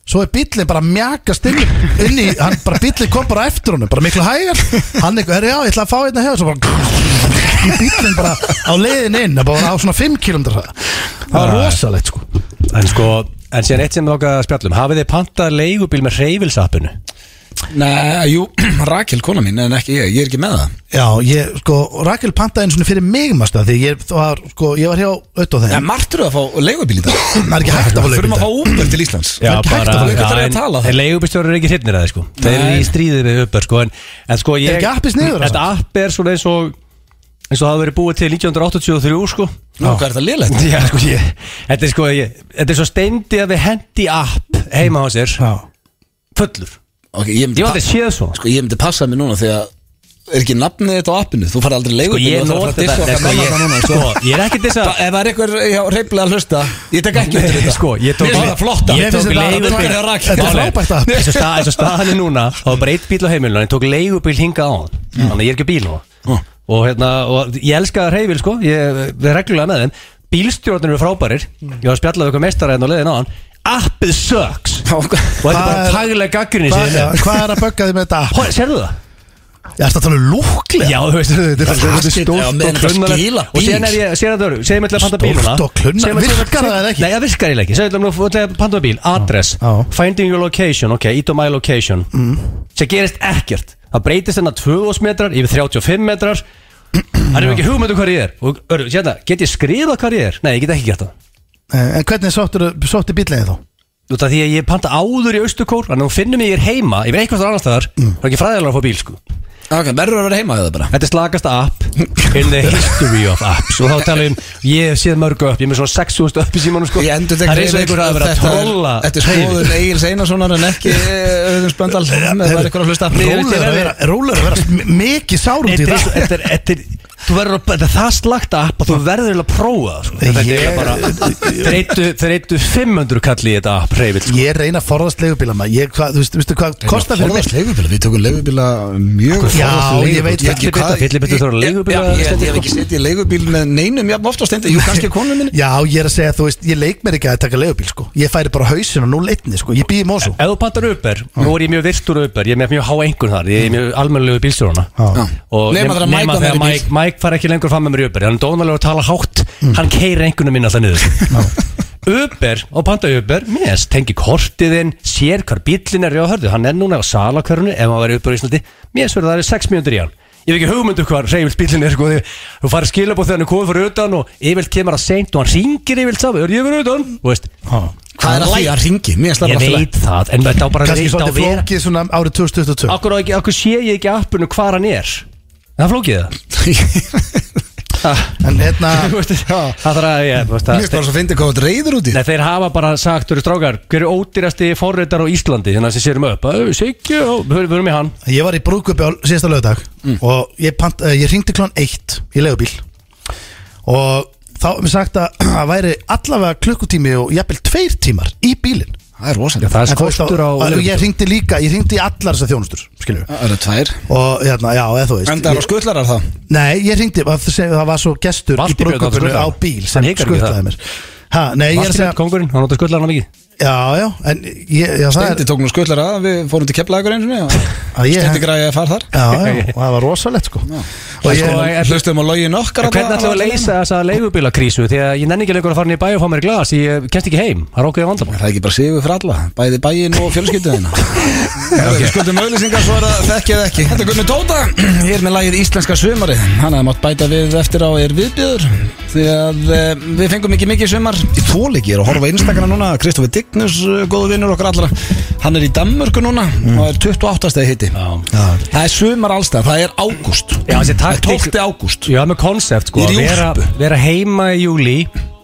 C: svo er bílinn bara mjakast inn, í- inn í hann bara bílinn kom bara á eftir honum, bara miklu hægar hann eitthvað, herri já, ég ætla að fá hérna hefur svo bara bílinn bara á leiðin inn, bara á svona 5 km það var rosalegt sko
B: Ah. en sko, en síðan eitt sem við okkar spjallum um, hafið þið pantað leigubíl með reyfilsappinu
G: Nei, jú, Rakel, kona mín, en ekki ég, ég er ekki með það
C: Já, ég, sko, Rakel pantaði einu svona fyrir mig masta því ég var, sko, ég var hjá auðvitað þeim
G: Já, margt eru að fá leigubíl í dag
C: Það er ekki hægt að fá
G: Fyrir að
C: leikmynda
G: fá Uber til Íslands
B: Já,
C: ekki hægt
B: bara,
C: að fá
G: leigubíl. Það er
B: já,
G: að tala það.
B: en leigubílstjórar eru ekki hrypnir að það sko Þeir eru
G: Nei.
B: í stríðið við uppar sko En, en sko ég
C: ekki appið sniður,
B: Þetta app er svona eins og eins og það hafa verið búið til 1983 sko
G: Nú, hvað er það liðlegt?
B: Já, sko ég Þetta er sko ég Þetta er svo steindi að við hendi app heima á sér
C: Já,
B: Fullur
G: Ok, ég myndi,
B: Ég var aldrei
G: pa-
B: séð svona
G: sko, ég myndi passa mig núna þegar er ekki nafnið þetta á appinu Þú farið aldrei
B: Sko
G: leigubíl
B: ég
G: og þú
B: nota
G: ætlar að fara að
B: þetta
G: diska okkar
B: sko,
G: gamla núna,
B: ég-
G: sko.
B: Sko ég er ekkert þess
G: Þa-
B: að
G: Ef það er eitthvað reyflega að hlusta Ég tek ekki undir þetta
B: Sko, ég tók
G: Mér finnst það flotta.
B: Ég
C: finnst
B: tók
C: þetta-
B: leigubíl
G: þetta er rakið.
B: Málið
C: Þetta er frábært app.
B: Eins og stað- eins og staðan er núna Það var bara eitt bíl á heimilinu En ég tók leigubíl hingað á hann Þannig að ég er ekki á bíl nú Og hérna og Ég elska reyfil sko Ég við erum reglulega með þeim Bílstjórnir eru frábærir Ég var að spjalla við eitthvað meistara hérna á leiðin á hann Appið sucks Og þetta er
C: Hvað
B: bara
C: er-
B: taglega gaggrinni
C: Hvað, já,
B: sér
C: hvað er að bögga þig með þetta? app?
B: Serðu það?
C: Ég ætti að tala um lúklega
B: Já, þú veist, þetta er- þetta er
C: um
G: shit, já,
B: stórt
G: menn,
B: og
G: þetta skila
B: klunnalegt Og
G: bíl.
B: síðan er ég, sér að það eru, segjum við að panta bíl
C: Stórt og klunnalegt. Virkar það ekki?
B: Nei, það virkar eiginlega ekki, segjum við að panta bíl Address,
C: Já. Mm.
B: finding your location, ok, eat on my location Sem gerist ekkert Það breytist þennan 2000 metrar yfir 35 metrar Það er ekki hugmyndu hvað ég er Og öru, sérna, get ég skrifað hvað ég er? Nei, ég get ekki gert það
C: Eh, En hvernig sóttir, sóttir bíllegið þá?
B: Þú veit að því að ég panta áður í austukór Þannig að hún finnur mig ég er heima, ég verð eitthvað staðar annars staðar
C: Mm.
B: Það er ekki fræðilega að fá bíl, sko
G: Ok, verður að vera heima við það bara
B: Þetta er slagasta app in the history of apps og þá talum ég hef séð mörgu upp ég er með svona 6000 upp í símanum sko
G: Ég endur
B: það er eins og einhver hafi verið að trolla
G: Þetta er skoðun Egil Einarssonar en ekki eh, Öðum Spöndal Það er eitthvað að hlusta
B: Mér finnst ég
C: Rólegur að
B: verði-
C: vera, rólegur að vera sko. m- mikið sárum í
B: Þetta er
C: dag
B: svo- þetta er- þetta er- þú verður að- þetta er það slagta app og þú verður eiginlega að prófa það sko. Þetta er
C: Ég-
B: eiginlega bara þeir eittu, þeir eittu 500 kall í þetta app reyfill sko.
C: Ég reyna að forðast leigubíla maður Ég, hvað, þú veist, veistu hvað, kostar fyrir mig
G: Forðast leigubíla, við tökum leigubíla mjög
C: Já, ég veit
G: ekki
B: Fyllibita,
G: hvað-
B: fyllibita þarf að
G: Ég-
B: leigubíla
G: já, Ég ég hef ekki setið í leigubíl með neinum jafn ofta stendur, jú kannski konu minni
C: Já, ég er að segja, þú veist, ég leik mér ekki að taka leigubíl, sko Ég færi bara hausin og nú leitni, sko Ég býði mósu
B: Ef þú pantar upper, nú er ég mjög virtur upper Ég er með mjög há einhvern þar, ég er mjög almennilegu bílstjóruna
C: Já.
B: Og
G: Nema þegar Mike
B: nema
G: var með í
B: þegar
G: bíl.
B: Mike, Mike far ekki lengur fram með mér í upper Hann er dónalegur að tala hátt, hann keir einhvernum minn alltaf niður Upper, og panta upper, minnst, tengi kortiðinn Sér hvar bíllinn er, já, hörðu, hann er núna á salakörunni Ef hann væri upper í Íslandi, minnst verður það er 6 mínútur í hann Ég hef ekki hugmyndu hvar reyfilt bílinn er sko, því Þú farið skilabóð þegar hann er komið fyrir utan Og yfirlt kemur að seint og hann ringir yfirlt saman Er ég fyrir utan? Þú veist,
G: Hvað er að því að ringi? Mér slær
B: Ég
G: alltaf leið
B: veit það, en þetta á bara
C: Kannski
B: þetta á að
C: svolítið
B: vera
C: flókið svona árið 2022
B: Akkur, á ekki, akkur sé ég ekki appinu hvar hann er Það er flókið það Ah,
C: En hérna,
B: þú veist,
C: já,
B: Það þarf að, ég, þú veist
G: Mér
B: að
G: slær alltaf að finna hvað þetta reyður út í
B: Nei, þeir hafa bara sagt, þú eru strákar Hver er ódýrasti forritar á Íslandi Þannig að sem sérum upp Siggi, hörum í hann
C: ég var í brúðköpi á síðasta lögdag
B: Mm.
C: og ég, pant, eh, ég ringdi klón eitt í leigubíl og þá er mér sagt að það væri allavega klukkutími og jafnvel tveir tímar í bílinn
G: Það er rosalega
B: Já, það er
C: En þú veist
B: skortur á
C: og ég ringdi líka, ég ringdi í allar þessar þjónustur skilur við
G: Það eru tvær
B: Mm.
C: og hérna, já, eða þú veist
G: Endar og
C: ég,
G: skutlarar það
C: nei, ég ringdi, það var svo gestur
B: Valtý
C: í
B: Björn átti
C: brúðköpunum á
B: skutlaðan.
C: bíl
B: Hann
C: sem
B: hikar ekki það.
C: skutlaði mér ha, nei, ég er að
B: Vastir
C: segja,
B: kongurinn, hann átti að skulla hann mikið
C: já, já en ég, já, það
G: Stendi
C: er
G: tók nú skutlara að við fórum til keflaðugur eins og
C: Að ég-
G: Stendi græði að fara þar
C: já, já, og það var rosalegt sko og
B: En
C: ég,
B: sko, en-
G: Hlustum á login okkar
B: En Hvernig ætlum við að leysa þessa leigubílakrísu Því að ég nenni ekki lengur að fara hann í bæ og fá mér í glas Ég kemst ekki heim, það er okkur vandamál
G: Það er ekki bara sigur fyrir alla, bæði bæin og fjölskylduðina Við skuldum auðlýsingar svo er það þekki eða ekki Þetta er Gunni Tóta, ég er með lagið Íslenska sömari Hann hefði mátt bæta við eftir á er viðbjöður Því að e, við fengum ekki mikið í sumar Ég þól ekki, ég er að horfa á Instagram núna Kristofi Dignus, eh, góður vinnur okkar allra Hann er í Danmörku núna
B: Mm.
G: og er 28. stegi hitti Það er sumar allstað, það er ágúst
B: Já, þessi
G: Það er
B: taktík-
G: 12. ágúst
B: Já, með konsept sko
G: Ég er í
B: vera,
G: úlpu.
B: vera heima í júli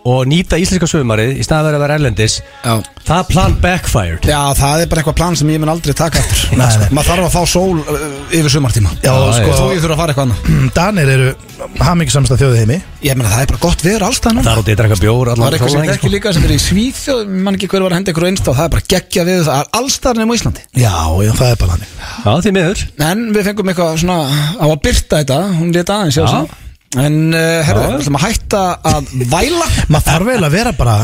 B: og nýta íslenska sömarið í staðan verið að vera erlendis
A: Já.
B: það plan backfired
A: Já, það er bara eitthvað plan sem ég mun aldrei taka aftur
C: Nei, nei.
A: Maður þarf að fá sól uh, yfir sumartíma
C: Já, sko-
A: Þú ég þurfa að fara eitthvað annað
C: Danir eru hamingisamsta þjóðið heimi
A: Ég meina, það er bara gott veður alls það núna
B: það er út í að drekka bjór allan
A: Það er eitthvað sem
B: sólarhringinn,
A: er
B: sko.
A: ekki líka sem er í Svíþjóð, ég man ekki hver var að henda ykkur einstá, það er bara geggja við það er allstarinn um Íslandi.
C: Já, já, það er bara hannig
B: Já, því miður
A: En við fengum eitthvað svona á að byrta þetta, hún leta aðeins, já,
B: Já.
A: já. En uh, herðu, við ætlum að hætta að væla.
C: Maður þarf vel að vera bara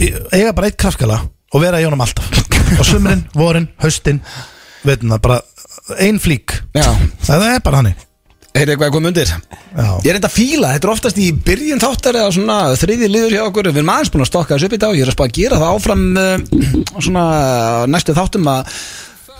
C: eiga bara eitt kraftkala og vera í honum alltaf og sumurinn, vorin, haustin veitum það, bara ein flík
A: Já,
C: það er bara hannig
A: heyrðu eitthvað eitthvað mundir. Ég
C: Já,
A: er enda að fíla, þetta er oftast í byrjun þáttar eða svona þriði liður hjá okkur, við erum aðeins búin að stokka þessu upp í dag, ég er að spá að gera það áfram uh, svona næstu þáttum að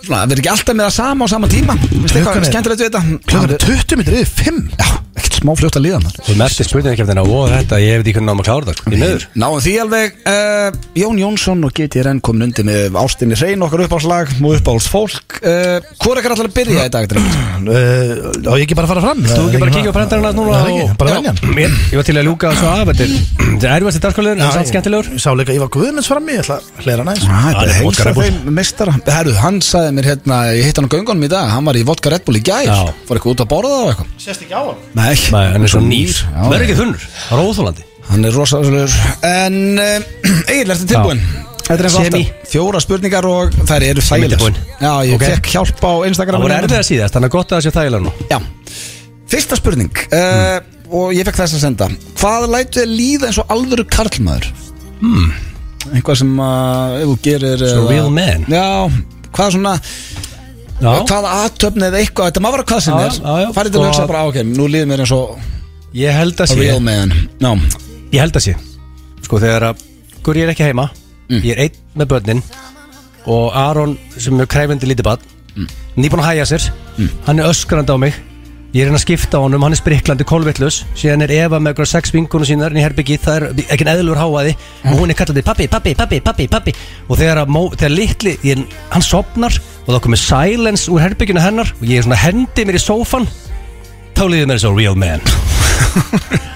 A: svona, við erum ekki alltaf með það sama á sama tíma. Vistu
C: Klukkan
A: eitthvað
C: er-
A: skemmtilegt við
C: klukkan er
A: þetta?
C: 20 minnir yfir 5
A: Já, ekkert smá fljótt að líða maður.
B: Þú mertir spurningakefnina og þetta, ég veit ekki hvernig náðum að klára það sko. Því miður
A: Náðum því alveg uh, Jón Jónsson og GTRN komin undir með ástinni hrein okkar uppáhalslag og uppáhalds fólk uh, Hvor er allar að byrja í dag? drengur?
C: uh, og ég ekki bara að fara fram
B: Þú ekki bara að kíkja á brendarinn hans núna
C: Nei, það er ekki,
B: og-
C: bara
B: Já.
C: velja hann
B: Ég ég var til að ljúka svo af Þetta er þetta er erfasti dagskóliður, en
C: Já,
B: samt skemmtilegur
C: Ég sá líka Ívar Guðmunds fram í, ég ætla að hlera næst
A: Ah,
B: Það
A: Þetta
B: er
A: er
B: vodka
A: heilsa
B: Red Bull.
A: þeim mestara Herru, hann sagði mér hérna, ég hitt hann á göngunum í dag hann var í Vodka Red Bull í gær
B: Já.
A: Fór eitthvað út að borða og eitthvað
C: Sérst ekki á hann
A: Nei,
B: Nei, hann er svo nýr
A: Já,
B: Verður ekki þunnur, það er óþólandi
A: Hann er rosalur En uh, Egil, ertu tilbúin? Þetta er eins og
B: Semi.
A: alltaf Fjóra spurningar og þær eru
B: er
A: þægilegs
B: tilbúin.
A: Já, ég
B: Ok.
A: fekk hjálp á Instagram hérna.
B: Það voru erfið að síðast, þannig að gott að það sé þægilega nú
A: Já Fyrsta spurning uh, Og ég fekk þess að senda Hvað lætu þið líða eins og alvöru karlmaður? Hmm Eitthvað sem að Ef þú gerir
B: Svo
A: eða-
B: real man.
A: Já Hvað svona
B: Já,
A: Hvaða aðtöfn eða eitthvað Þetta má vera hvað sem
B: Já,
A: er
B: já, já.
A: Farið til að
B: Og-
A: hugsa bara Ok, nú líður mér eins og
B: ég held að
A: a
B: sé
A: Real man Já
B: Ég held að sé Mm. Sko þegar að Gur ég er ekki heima Ég er einn með börnin Og Aron sem er kræfindi lítið bad mm. Nýbúin að hæja sér
A: Mm.
B: Hann er öskrandi á mig Ég er hérna að skipta á honum, hann er spriklandi kolvillus Síðan er Eva með eitthvað sex vinkunum sínar inn í herbyggið, það er ekki eðlur háaði Og hún er kallandi pappi, pappi, pappi, pappi, pappi Og þegar, að, mó- þegar litli, ég, hann sopnar Og þá komið silence úr herbygginu hennar Og ég er svona hendi mér í sófan Þá líður mér svo real man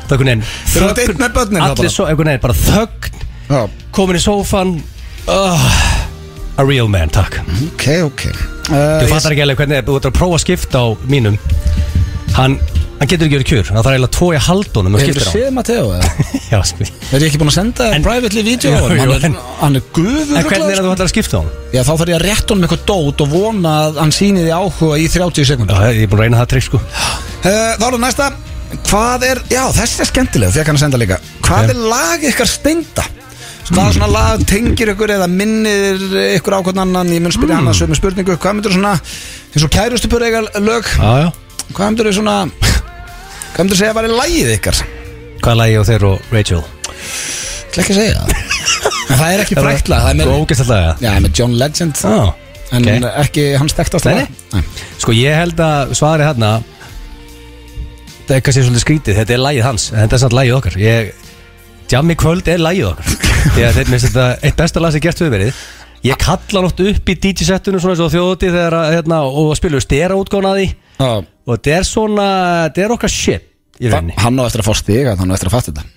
B: Það er einhvern
A: Þeir eru
B: veginn
A: að deyta með börnin þá
B: Allir
A: bara.
B: svo, einhvern veginn, bara þögn
A: Já
B: Komin í sófan uh, A real man, takk
A: Ok, ok uh,
B: Þú fattar ekki alveg hvernig Þú ert að prófa að skipta á mínum Hann, hann getur ekki verið kjur Það þarf eiginlega tvo í haldunum og
A: Hefur
B: skiptir
A: þið
B: á
A: séð Matteo eða?
B: Já, sko.
A: Er ég ekki búin að senda
B: En-
A: en, privately video
B: Jú, jú,
A: hann, er,
B: en-
A: hann er guður
B: En hvernig er að sko. þú ætlar að skipta á hann?
A: Já, þá þarf ég að rétt honum eitthvað dót og vona að hann síni því áhuga í 30 sekund
B: Já, ég er búin að reyna það trikk sko
A: Uh, þá er það næsta Hvað er, já þessi er skemmtilega því að kannu senda líka Hvað
B: Ok.
A: er lag ykkar steinda? Hvað svona lag tengir ykkur eða minnir ykkur á hvern annan Ég mun spyrja mm. hann að sömu spurningu Hvað myndir svona, eins og kærustu pur eiga lög
B: Já, já
A: Hvað myndir svona Hvað myndir segja að væri lagið ykkar?
B: Hvað er lagi á þeir og Rachel?
A: Það er ekki að segja það En það er ekki frækt lag Það er
B: með
A: með, Ah,
B: Þú ógæst alltaf
A: já, með John Legend En
B: ok.
A: ekki hans þekktast
B: Nei, Sko ég held að svarið hérna Það er kannski svolítið skrítið Þetta er lægið hans, en þetta er samt lægið okkar ég, Jammi kvöld er lægið okkar Þegar þeir minnst þetta eitt besta lag sem gert við verið Ég kalla nátt upp í DJ-settinu Svona svo þjóðuti þegar að hérna, Og spilur stera útgána því
A: Já.
B: Og þetta er svona, þetta er okkar shit Í
A: Þa-
B: rauninni,
A: Hann á eftir að fá stiga, hann á eftir að fatta þetta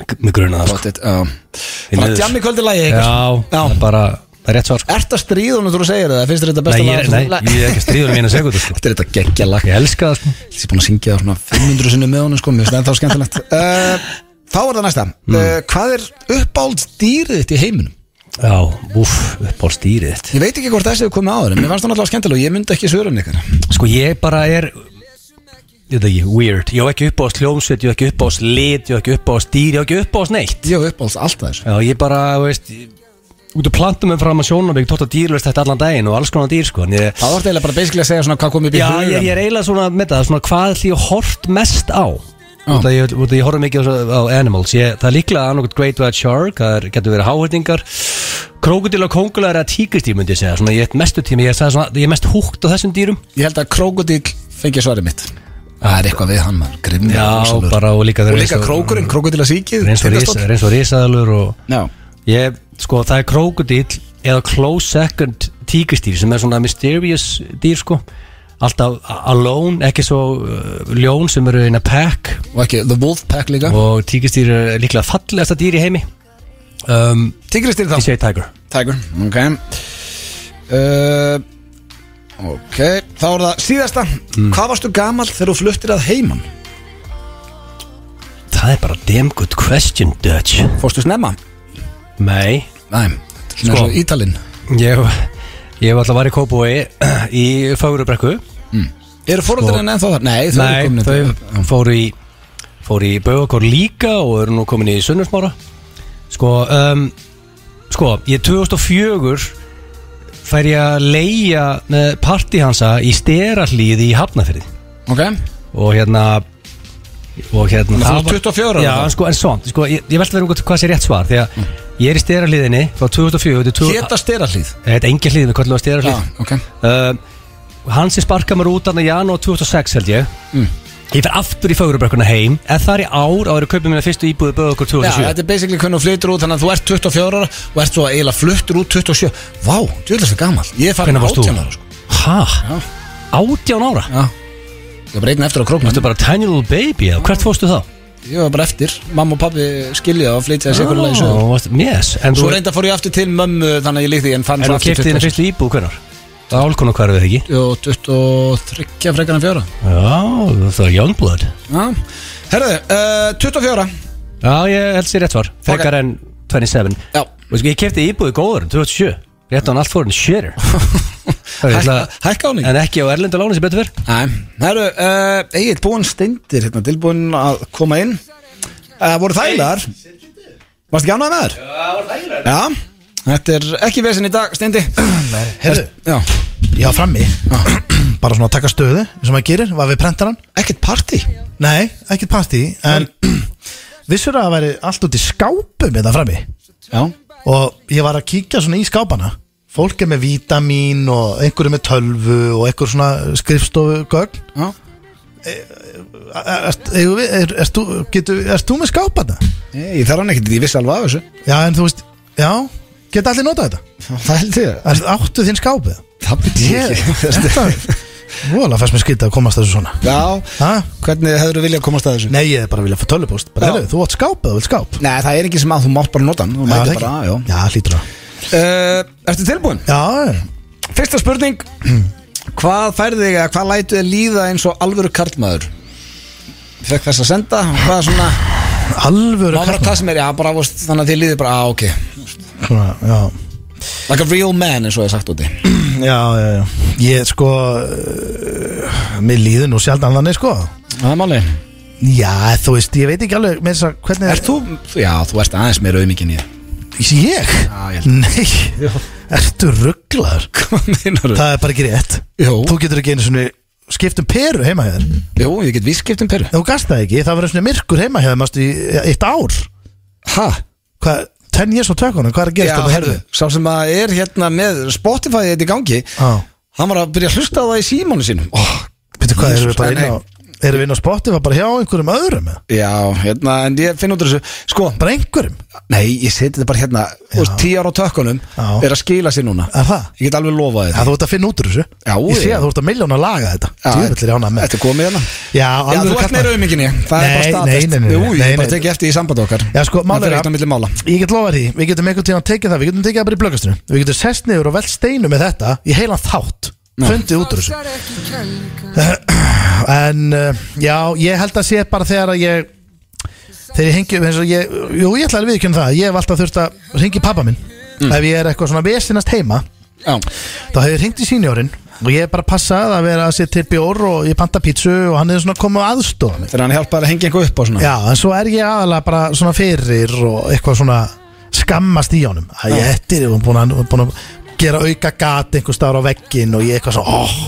B: með gruna það sko.
A: Pottit, já.
B: Í
A: Þannig
B: niður.
A: að djammi kvöldi lagi
B: Já, það er bara, það er rétt svar sko.
A: Ert að stríða honum þú segir það? Finnst þér þetta
B: Nei,
A: besta
B: ég,
A: lag?
B: nei, ég er ekki að stríður mínu segundu sko.
A: Þetta er þetta geggja lag
B: Ég elska það sko.
A: Ég er búin að syngja það svona 500 sinni með honum sko Mér finnst það ennþá skemmtilegt uh, Þá er það næsta
B: Mm.
A: uh, Hvað er uppáld dýrið þitt í heiminum?
B: Já, úff, upp á stýrið þitt
A: Ég veit ekki hvort þessi hefur komið áður en Mér fannst það náttúrulega skemmtilega og ég myndi ekki svöra um ykkur
B: Sko ég bara er Ég veit ekki, weird Ég á ekki upp á sljómsveit, ég á ekki upp á slit Ég á ekki upp á stýr, ég á ekki upp á neitt
A: Ég hef uppáld alltaf þessu
B: Já, ég bara, þú veist ég- Út að planta mig fram að sjónabík Tótt að dýrlust þetta allan daginn og alls konar dýr sko en ég,
A: Þá er þetta bara basically að segja svona hvað komið upp í
B: Já,
A: hugann.
B: ég, ég er eiginlega svona með það Svona hvað ætli ég hort mest á Út að ég, út að ég horfði mikið á, svo- á animals ég, Það er líklega annokvæmt great white shark Það er, getur verið háhörningar Krókudil og kongular eða tíkristýr myndi ég segja Svona ég er mestu tími, ég, sagði svona, ég er mest húkt á þessum dýrum
A: Ég held að krokodil fengi svarið mitt Það er eitthvað við hann maður, grimmur
B: Já,
A: rosalur.
B: bara og líka þeir
A: Og
B: eru
A: líka
B: eins og-
A: krókurinn, krokodilasíkið
B: Það er eins og risa- það er eins og risaðalur og
A: Já,
B: ég, sko, það er krókudýl eða close second tíkristýr sem er svona mysterious dýr, sko alltaf alone, ekki svo uh, ljón sem eru in a pack
A: Og ekki, The Wolfpack líka
B: og tíkistýr er líklega fallegasta dýr í heimi um,
A: Tigristýr
B: Ég
A: þá
B: segi Tiger
A: Tiger, ok uh, Ok, þá er það síðasta Hvað varstu gamal þegar þú fluttir að heiman?
B: Það er bara damn good question, Dutch
A: Fórstu snemma?
B: Nei,
A: Næm,
B: Sko.
A: sko Ítalinn
B: ég, ég var alltaf að vera í Kópói í Fögrubrekku
A: Eru fóröldarinn ennþá þar? Sko. Nei, þau eru
B: Nei,
A: komin
B: þau fóru í fóru í Bögakor líka og eru nú komin í Sunnarsmára sko, um, sko ég 2004 fær ég að leia með partihansa í sterahlíð í Hafnafyrði
A: Ok,
B: og hérna og
A: Þannig að
B: hérna
A: þú
B: það
A: ert
B: var-
A: 24 ára
B: já,
A: þá? Mm.
B: sko, en svont, sko, ég, ég velta verið um hvað sé rétt svar því að ég er í sterahlíðinni frá 2004 til 2000
A: hétta sterahlíð
B: þetta er engin hlíð, við kallum að sterahlíð
A: Já, ok
B: uh, Hann sem sparkað mér út hann í janúar 2006 held ég
A: Mm.
B: Ég fer aftur í fögrubrekkuna heim En það er í ár á að kaupa mér fyrstu íbúðu Böðokur
A: Já,
B: 2007
A: þetta er basically hvernig þú flyttur út Þannig að þú ert 24 ára og ert svo eiginlega fluttur út 27 Vá, þú er þessi gamal Ég er farin
B: Hvenær varst þú?
A: 18 ára sko.
B: Hæ?
A: Já.
B: Átján ára?
A: Já Ég var bara einn eftir á króknum
B: Þetta er bara tiny little baby eða Hvert fórstu þá?
A: Ég var bara eftir Mamma og pappi skilja og flytja þessi ykkur leið
B: Ó, varstu- Yes En
A: Svo
B: þú, en
A: reynda fór ég aftur til mömmu Þannig að ég líkti en fann
B: þú kipti þínu fyrstu íbúð hvernar? Það er álkona hverfið ekki?
A: Og 23 frekar en fjóra
B: Já, það er Youngblood
A: Já Herðu, uh, 24
B: Já, ég held sér rétt svar Frekar en 27
A: Já
B: Og sko, ég kipti íbúðu góður 2007 Rétt á hann allt fórin Shitter
A: Hækka- Hækka á nýtt
B: En ekki á erlenda láni sem betur fyrr
A: Nei Herðu, uh, Egil búinn steindir hérna, Tilbúinn að koma inn uh, Voru þægilegar Varst ekki ánægð með þær? Já, voru þægilegar Já Þetta er ekki vesen í dag, steindi
C: Herðu,
A: Já
C: ég var frammi Bara svona að taka stöðu eins og maður gerir, var við prentar hann
A: Ekkert party
C: Nei, ekkert partí En vissur að það væri allt út í skápum Þetta frammi
A: Já
C: og ég var að kíkja svona í skápana fólk er með vítamín og einhverju með tölvu og einhver svona skrifstofu gögn
A: Já
C: erst, E, eigum við- er, erst, þú- getur- erst þú með skápana?
A: Nei, ég þarf hann ekkert, ég vissi alveg af þessu
C: já en þú veist, já geta allir notað þetta,
A: Það held ég
C: er, áttu þinn skápið
A: Það byrði
C: ég, þetta vola fannst mér skytta að komast þessu svona
A: Já,
C: ha?
A: hvernig hefur þú viljað komast að þessu?
C: nei ég er bara að vilja að fá tölvupóst bara,
A: Já.
C: heyrðu, þú átt skápið, þú vilt skáp
A: Nei, það er ekki sem að þú mátt bara nota hann Þú
C: það
A: mætir
C: ekki?
A: bara, að, já
C: já, hlýtur það
A: uh, Ertu tilbúin?
C: já,
A: Fyrsta spurning Hvað færði þig að hvað lætu þig líða eins og alvöru karlmaður? Fekk þess að senda og hvað svona
C: alvöru
A: Má bara
C: karlmaður.
A: það sem er, já, bara veist, þannig að þið líði bara, á, ok
C: svona, já
A: Like a real man eins og það er sagt úti
C: Já, já, já Ég sko uh, Mér líður nú sjaldan þannig sko
A: Það er máli
C: Já, þú veist, ég veit ekki alveg með þess að hvernig
A: Ert þú, já, þú ert aðeins meira auðmikinn ég
C: Ég?
A: Já, ég held.
C: Nei, ertu rugglar?
A: Hvað meinar
C: Það er bara ekki rétt
A: Jó.
C: Þú getur ekki einu svona skipt um peru heima hjá þér Ef
A: Jú, ég get vískipt um peru
C: Þú gast það ekki, það verður svona myrkur heima hjá þér Mástu í eitt ár
A: Ha?
C: Hvað, tenn ég svo tökunum, hvað er að hérna?
A: Já,
C: gera þetta
A: herðu, sá sem að er hérna með Spotify þetta í gangi
C: Já,
A: Hann var að byrja að hlusta á það í símónu sínum oh,
C: betur hvað, erum við bara
A: Nei,
C: inn á Erum við inn á Spotify bara hjá einhverjum öðrum eða?
A: Já, hérna, en ég finn út úr þessu Sko,
C: Bara einhverjum,
A: nei, ég seti þetta bara hérna Þú veist, tíu ára á tökkunum
C: Já.
A: Er að skila sér núna
C: er það?
A: Ég get alveg lofað
C: Já,
A: þetta
C: þú ert að finna út úr þessu
A: Já,
C: Ég sé
A: ég-
C: að þú ert að milljón að laga þetta
A: Já,
C: Djöfullir ána með
A: Þetta er komið hérna
C: Já,
A: Já,
C: alveg
A: þú ert meira um- auðmikinn ég Það er bara
C: Nei,
A: staðfest
C: nei, nei, nei,
A: Jú,
C: nei,
A: ég
C: nei,
A: er bara
C: nei.
A: tekið eftir í samband okkar
C: Já, sko,
A: Það
C: málið
A: fyrir
C: er
A: ekkert á milli mála
C: Ég get lofað því, við getum einhvern tíðan tekið það Við getum tekið það bara í blöggastinu Við getum sest niður og velt steinu með þetta Í heilan þátt Fundið út úr þessu En uh, já, ég held að sé bara þegar að ég Þegar ég hengi eins og ég, Jú, ég ætla alveg viðkjönda það Ég hef alltaf þurft að hringi pappa minn
A: Mm.
C: Ef ég er eitthvað svona vesinast heima
A: Já,
C: þá hefur hringt í sínjórin og ég er bara passað að vera að setja til bjór og ég panta pítsu og hann er svona komið að aðstofa mig
A: þegar hann hjálpar að hengja eitthvað upp á svona
C: já, en svo er ég aðalega bara svona fyrir og eitthvað svona skammast í honum að ég hettir og búin að, búin að gera auka gat einhver staðar á veggin og ég eitthvað svona oh,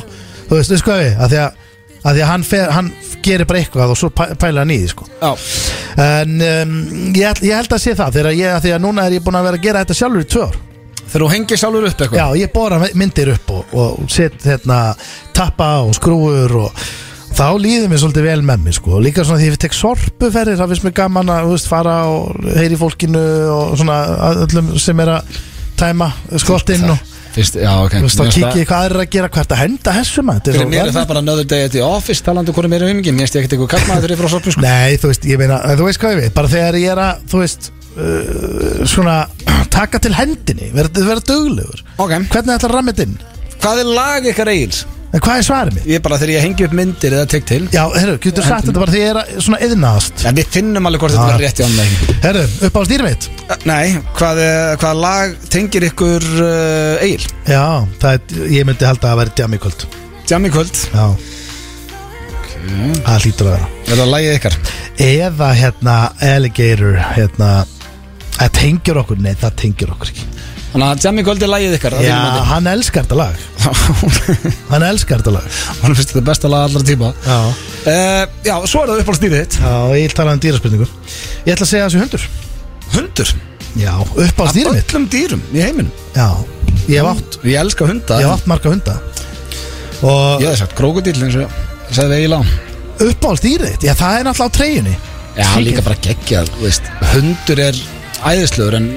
C: þú veist, veist hvað við, að því að að því að hann, fer, hann gerir bara eitthvað og svo pæ- pælir hann í því sko
A: Já.
C: en um, ég, held- ég held að sé það þegar ég, að því að núna er ég búin að vera að gera þetta sjálfur í tvö ár
A: Þegar þú hengir sjálfur upp eitthvað
C: Já, ég bora myndir upp og, og set hérna tappa og skrúur og þá líður mér svolítið vel með mér sko, líka svona því ég tek sorpuferðir það finnst mér gaman að, þú veist, fara og heyri í fólkinu og svona öllum sem er að tæma skoltinn og
A: Fyrst, já, ok
C: Þú veist, þá
A: Mér finnst
C: kikið ég hvað er að gera hvert að henda hessum að
A: Fyrir mér er það bara another day at the office talandi hvernig mér er umginn, mér stið ekkert eitthvað kallmaður þegar ég er frá sorgum sko
C: Nei, þú veist, ég meina, þú veist hvað ég veit Bara þegar ég er að, þú veist uh, Svona, taka til hendinni Verða vera duglegur
A: Ok.
C: Hvernig ætlar rammið inn?
A: Hvað er lag ykkar eigins?
C: En hvað er svarið mitt?
A: Ég er bara þegar ég hengi upp myndir eða tek til
C: Já, herru, getur sagt þetta bara því ég er að, svona yðnaðast
A: En við finnum alveg hvort þetta
C: Já.
A: er rétt í annað ekki
C: Herru, upp á stýri mitt
A: Nei, hvað, eh, hvað lag tengir ykkur uh, eigil?
C: Já, það er, ég myndi halda að vera djami kvöld
A: Jammi kvöld,
C: Já Það hlýtur að vera
A: er það lagið ykkar?
C: Eða hérna Alligator hérna Það tengir okkur, nei það tengir okkur ekki
A: Þannig að Jammi kvöld er lagið ykkar að
C: Já,
A: þínu mati.
C: hann elskar þetta lag Hann elskar þetta lag
A: Honum finnst þetta besta lag allra tíma
C: Já
A: uh, Já, svo er það upp á stíðið þitt
C: Já, ég vil tala um dýraspurningu Ég ætla að segja þessu hundur
A: Hundur,
C: Já, upp á stýri mitt
A: öllum dýrum í heiminum
C: Já, ég hef átt
A: Ég elska hunda
C: Ég hef átt marga hunda Og
A: Ég hef sagt krokodil eins og sagði við eigil á
C: upp á stýrið þitt Já, það er náttúrulega á treyjunni
A: Já, líka bara geggja, þú veist Hundur er æðislegur en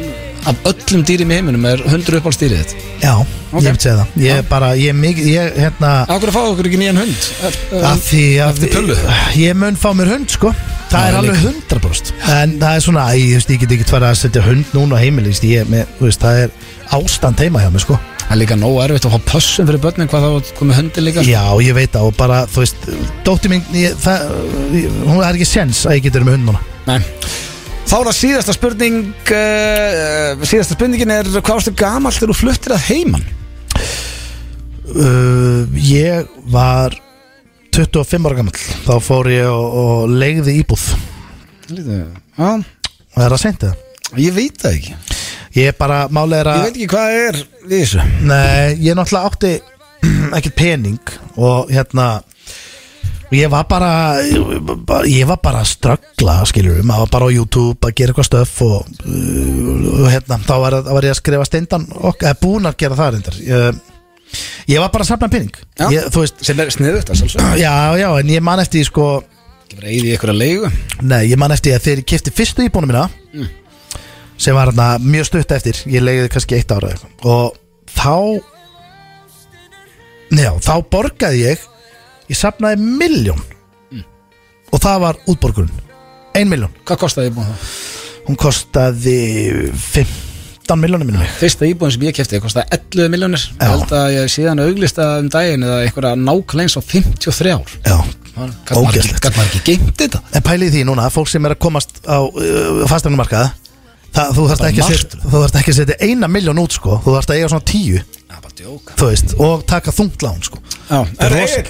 A: af öllum dýrim í heiminum er hundur upp á stýrið þitt
C: Já, ég hef segið það Ég er bara, ég er mikið, ég, hérna
A: Af hverju fá okkur ekki nýjan hund? Er,
C: að því að
A: Eftir pullu?
C: ég mun fá mér hund sko það
A: Já,
C: er alveg
A: líka.
C: hundra brost en það er svona, æ, ég, veist, ég get ekki tvara að setja hund núna á heimili veist, ég, er með, þú veist, það er ástand heima hjá mér sko
A: Það er líka nóg erfitt að fá pössum fyrir börnin hvað þá komið hundir líka
C: já, ég veit það og bara, þú veist dóttir mín, ég, það, ég, hún er ekki sens að ég getur með hund núna
A: Nei Þá er það síðasta spurning uh, Síðasta spurningin er Hvað varstu gamall þegar þú fluttir að heiman?
C: uh, ég var 25 ára gamall þá fór ég og, og legði íbúð
A: Lítið Já
C: það er að seinti það
A: Ég veit það ekki Ég
C: ég er bara, málega er að
A: veit ekki hvað er í þessu
C: Nei, ég náttúrulega átti ekkert pening og hérna ég var bara ég var bara að ströggla skiljum, maður var bara á YouTube að gera eitthvað stöf og, uh, og hérna, þá var, var ég að skrifa steindan og eða búin að gera það reyndar ég, ég var bara að safna pening
A: Já.
C: ég, þú veist,
A: Sem er sniðut að sjálfsög
C: já, já, en ég man eftir því, sko,
A: Ekki bara eyða í ykkur að leigu
C: nei, ég man eftir því að þegar ég kefti fyrstu íbúinu mína sem var hérna mjög stutt eftir ég leiði kannski eitt ára eða eitthvað. og þá Já, þá borgaði ég Ég safnaði milljón Og það var útborgurinn Ein milljón
A: Hvað kostaði íbúin það?
C: Hún kostaði 15 miljónum minnum mig
A: Fyrsta íbúin sem ég kefti kostaði 11 miljónir Ég held að ég síðan auglista um daginn eða einhverja nákvæmleins á 53 ár
C: Já
A: Gat maður ekki-
C: Ógeðslegt.
A: gat maður ekki geimt þetta
C: En pælið því núna, fólk sem er að komast á uh, fasteignumarkaða Það, þú þarft
A: Bara
C: ekki, að
A: margt.
C: setja- þú þarft ekki að setja eina miljón út sko Þú þarft að eiga svona tíu
A: Já, bara djóka
C: Þú veist, og taka þungt lán sko
A: Já,
C: Það er rosa-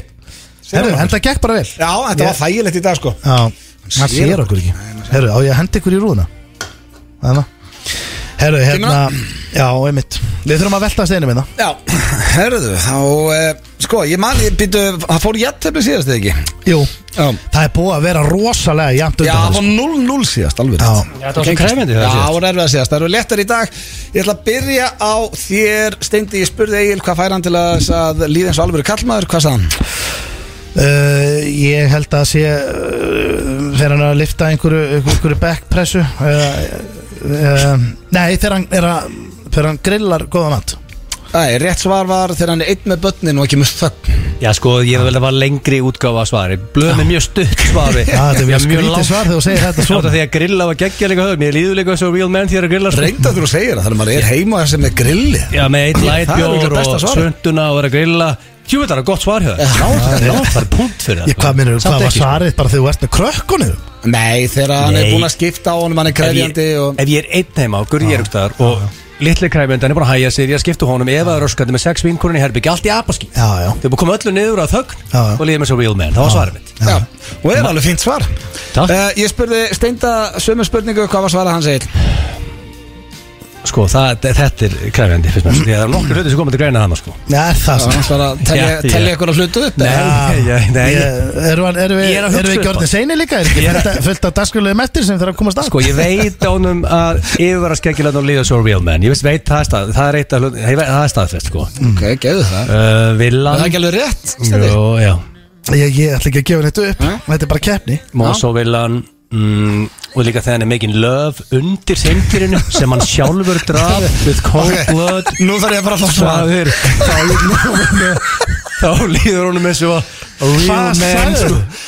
C: Herru, en það gekk bara vel
A: Já, þetta var þægilegt í dag sko
C: Já, hann
A: sér
C: sér okkur ekki Herru, á ég að henda ykkur í rúðuna Þannig Herru, hérna Já, einmitt Við þurfum að velta steinu minna
A: Já, herðu, þá, eh, sko, ég man, ég býtu, það fór jættefni síðast eða ekki
C: Jú
A: Já,
C: Það er búið að vera rosalega jæmt
A: já það
C: undan
A: var 0-0 síðast, alveg
C: Já.
A: rétt.
B: Já, þetta var svo krefjandi
A: Já,
B: það
A: það
B: síðast.
A: var erfið að síðast, það eru léttar í dag Ég ætla að byrja á þér, Steindi, ég spurði Egil Hvað fær hann til að, að líða eins og alveg kallmaður, hvað sagði hann?
C: uh, Ég held að sé uh, Þegar hann er að lifta einhverju, einhverju backpressu uh, uh, Nei, þegar hann er að Þegar hann grillar góða mat
A: Æ, rétt svar var þegar hann er einn með börnin og ekki með þögn
B: Já sko, ég vil að það var lengri útgáfa af svari Blöð með mjög stutt svari
C: Já, Ah, þetta er mjög
B: Já,
C: skrítið
B: langt.
C: svar þegar þú segir þetta
B: Já,
C: svona.
B: þetta er því að grilla var geggja líka höfum Ég líður líka eins og real man því að grilla sko.
A: Reynda þú segir það, þannig að maður er heima sem er grilli
B: Já, með eitt
A: Það er örugglega
B: lightbjór
A: besta
B: og
A: svarið.
B: sönduna og er að grilla Jú, þetta er gott svar hjá þér Já, það er punkt fyrir það
C: Ég, hvað minnur,
B: Samt
C: hvað var
B: ekki, sko.
C: svarið bara þegar þú ert með krökkunum
A: Nei, þegar hann er
B: Nei.
A: búin að skipta á honum, hann er
B: ef ég,
A: krefjandi og...
B: ef ég er einn heima og gurri ég er umstæðar og litli kræfjandi, hann er bara að hæja sér, ég skiptu honum ef að röskandi með sex vinkurinn í herbyggja, allt í apaskí
C: Já, já
B: þau búið koma öllu niður að þögn
C: Já, já.
B: og líðið með svo real man, það var svarið mitt
A: Já, og er alveg fínt svar
B: Takk.
A: Eh, Ég spurði Steinda sömu spurningu Hvað var svarað hans eil?
B: sko, það, þetta er kræfjandi fyrst mér, því að það er nokkur hluti sem koma til greina þannig sko
C: Já, er
A: Var
C: það sem
A: hans svarað
B: Já, já.
A: Telli ykkur að hlutu upp? eða?
B: Nei, nei, nei.
C: Ég- Erum við-
B: Ég
C: erum við
B: er að
C: erum
B: hugsa
C: við ekki
B: upp á-
C: orðin seinir líka? Er ekki
B: Ég er að-
C: fullt af- fullt af dagskurlegum eftir sem þarf að komast að?
B: sko, ég veit ánum að yfirvara skeggilega og líða svo real man, ég veist, veit það er stað það er eitt af hluti, ég veit- það er staðfest sko
A: Ok, gefðu það
B: uh,
A: Er Mm. það
B: Villan
A: ekki alveg rétt? Steindi?
B: Jó, já,
C: Ég, ég ætla ekki að gefa þetta upp Þetta er bara keppni
B: Mosó Villan mm, og líka þegar hann er making love undir sendirinu sem hann sjálfur draf with cold blood
H: Nú þarf ég að fara að fá
B: það er þá líður honum- þá líður honum eins og a real
C: Hvað
B: man
C: sagður?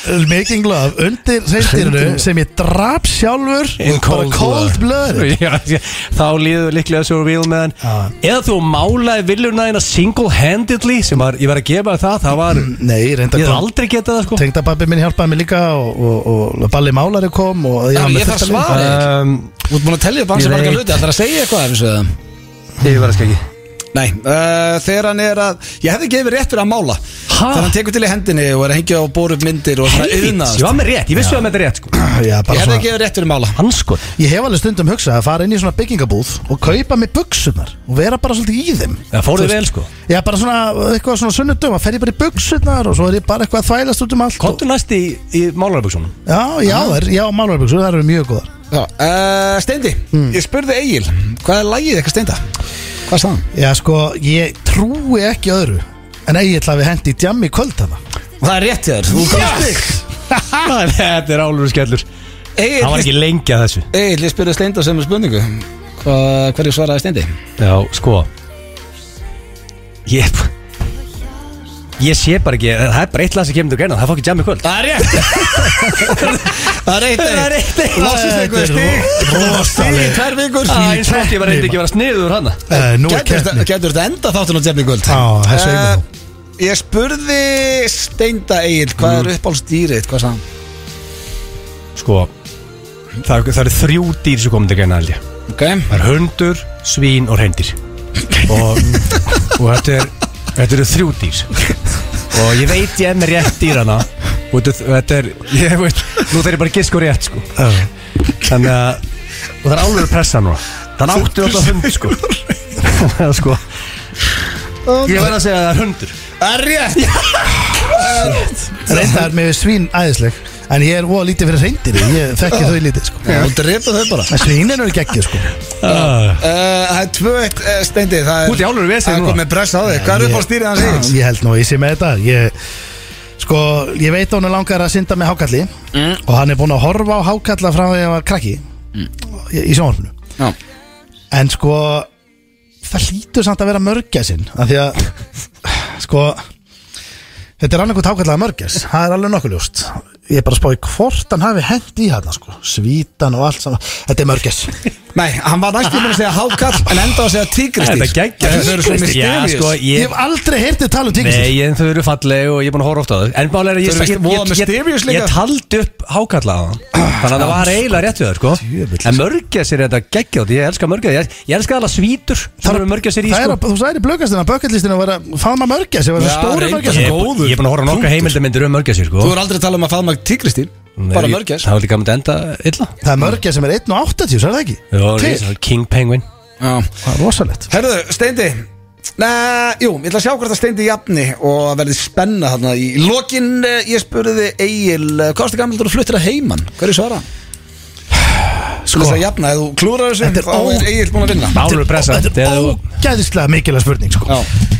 B: sko.
C: Making love undir reyndirinu sem ég drap sjálfur
B: In
C: bara cold blood
B: já, já, Þá líður líklega svo real man
C: Já.
B: Eða þú málaði viljuna þína single handedly sem var, ég var að gefa þér það, það var
C: Nei, reynda
B: Ég hef aldrei getað það sko
C: Tengdababbi minn hjálpaði mér líka og, og, og Balli Málari kom og
A: Já,
C: var með
A: ég þarf
C: fullt af
A: svar.
C: liði.
B: um,
A: Þú ert búin að tellja upp hans
B: Ég
A: að marga
B: veit.
A: hluti Það er að segja eitthvað af þessu eða?
B: Ég verða skeggi
A: Nei, uh, þegar hann er að Ég hefði gefið rétt fyrir að mála Þegar hann tekur til í hendinni og er að hengja og bóra upp myndir og svona
B: Helvíts,
A: yðnaðast
B: ég var með rétt, ég vissi að með þetta er rétt sko
C: Já,
A: Ég
C: bara
A: hefði
C: svona
A: gefið rétt fyrir að mála
B: Hann sko
C: Ég hef alveg stundum hugsað að fara inn í svona byggingabúð og kaupa mig buksunar og vera bara svolítið í þeim
B: Það fór þið vel sko
C: Já, bara svona, eitthvað svona sunnudum að fer ég bara í buksunar og svo er ég bara eitthvað að þvælast út um allt og,
B: Kontu næst í, í málaraböksunum
C: Já, já, þær, já, málvarbuksur, það eru mjög góðar
A: Já, uh, Steindi,
B: Hmm.
A: ég spurði Egil Hvað er lagið eitthvað Steinda? Hvað sagði hann?
C: Já, sko, ég trúi ekki öðru en ég ætla að við hendi í djammi í kvöld hana
A: Það er rétt hjá þér Þú komst yes!
B: Þetta er álur skellur Það var
A: Egil,
B: ekki lengi að þessu
A: Egil, ég spurði Steinda sem spurningu Hva, Hverju svaraði Steindi?
B: Já, sko Ég Ég sé bara ekki, það er bara eitt lag sem kemur til að greina Það fá ekki jammi kvöld
A: Það er rétt Það er eitt
B: Það er eitt eitt.
A: Lossist eitthvað stig Stig í tvær vikur
B: Það er eins og ég var reyndi ekki að vera sniður hann
C: uh, Nú er Ah,
A: Gætur
C: keppni
A: þetta enda þáttunum tefni kvöld
C: Já, þessu eigum
A: Eh,
C: við þá.
A: Ég spurði Steinda Egil Hvað er uppáhaldsdýrið? Hvað sagði hann?
B: Sko Það, það eru þrjú dýr sem komum til að greina held ég
A: Ok
B: Það er hundur, svín og reyndir og, og þetta er þetta eru þrjú dýr og ég veit ég er með rétt dýrana og þetta- þetta er ég veit, nú þarf ég bara að giska á rétt sko þannig að og það er alveg pressa núna þannig að áttu alltaf hund sko Eða, sko ég verð að segja að það er hundur
A: Það er rétt
C: Reyndar með svín æðisleg En ég er óa lítið fyrir reyndir Ég þekki þau lítið sko
A: Þú drepa þau bara
C: En svínin eru geggir sko
A: Uh, Það er tvö eitt uh, Steindi Það
B: Út í
A: er
B: álur við
A: Það
B: segja
A: er
B: núna
A: komið press á þig Hvað er uppáhaldsdýrið hans Egil?
C: Já, Ég held nú að ég sé með þetta Ég Sko, ég veit að hún er langar að synda með hákalli Og hann er búinn að horfa á hákalla frá því að ég var krakki Í, í sjónvarpinu
A: Já.
C: En sko Það hlýtur samt að vera mörgæsin Af því að Sko Þetta er annarkvæmt hákallaða mörgæs Það er alveg nokkuð ljóst Ég er bara að spá í hvort hann hafi hent í hann sko. Svítan og allt saman Þetta er mörgæs
A: Nei, hann var næstum búin að segja hákall En enda á að segja tígristýr
B: Þetta geggja
A: Þau eru svo
B: Já sko
A: mysterious
C: Ég
B: ég
C: hef aldrei heyrtið tala um tíkisins
B: Nei, en þau eru falleg og ég er búin að horfa ofta á þau En málega er að ég,
A: Þau eru
B: ég,
A: víst voða
B: ég,
A: mysterious
B: ég,
A: líka.
B: ég taldi upp hákallaðan Þannig að það var eiginlega rétt við þau sko.
C: Djöfull.
B: En mörgæsir er þetta geggjátt Ég elska mörgæsir, ég, ég elska alveg svítur Það eru mörgæsir í
C: Það er
B: sko.
C: að, þú sagðir í blökastina, bucketlistinu að vera faðma mörgæs, ég var svo
A: Já,
C: stóri
A: reyndar.
C: mörgæs
B: Ég ég er búin að horfa á nokkra heimildamindir um mörgæsir sko.
A: Þú er aldrei að tala um að faðma tígristýr
B: Nei,
A: Bara mörgjast
B: Það var líka myndi enda illa
C: Það er mörgæs sem er 1 og 80, sagði það ekki?
B: Jó,
C: Til,
B: risa- King Penguin
C: það er rosalegt
A: Herðu, Steindi Nei, jú, ég ætla að sjá hvort að Steindi jafni og verði spenna þarna í lokin eh, ég spurði Egil eh, hvað varstu gammaldur að fluttir að heiman? Hverju svara? Sko, þess að jafna, ef þú klúrar þessu
C: Þetta er
A: þá er
C: ó-
A: Egil búin að vinna
B: Álur pressa
C: Þetta er ógæðislega mikilvæg spurning, sko
A: Já,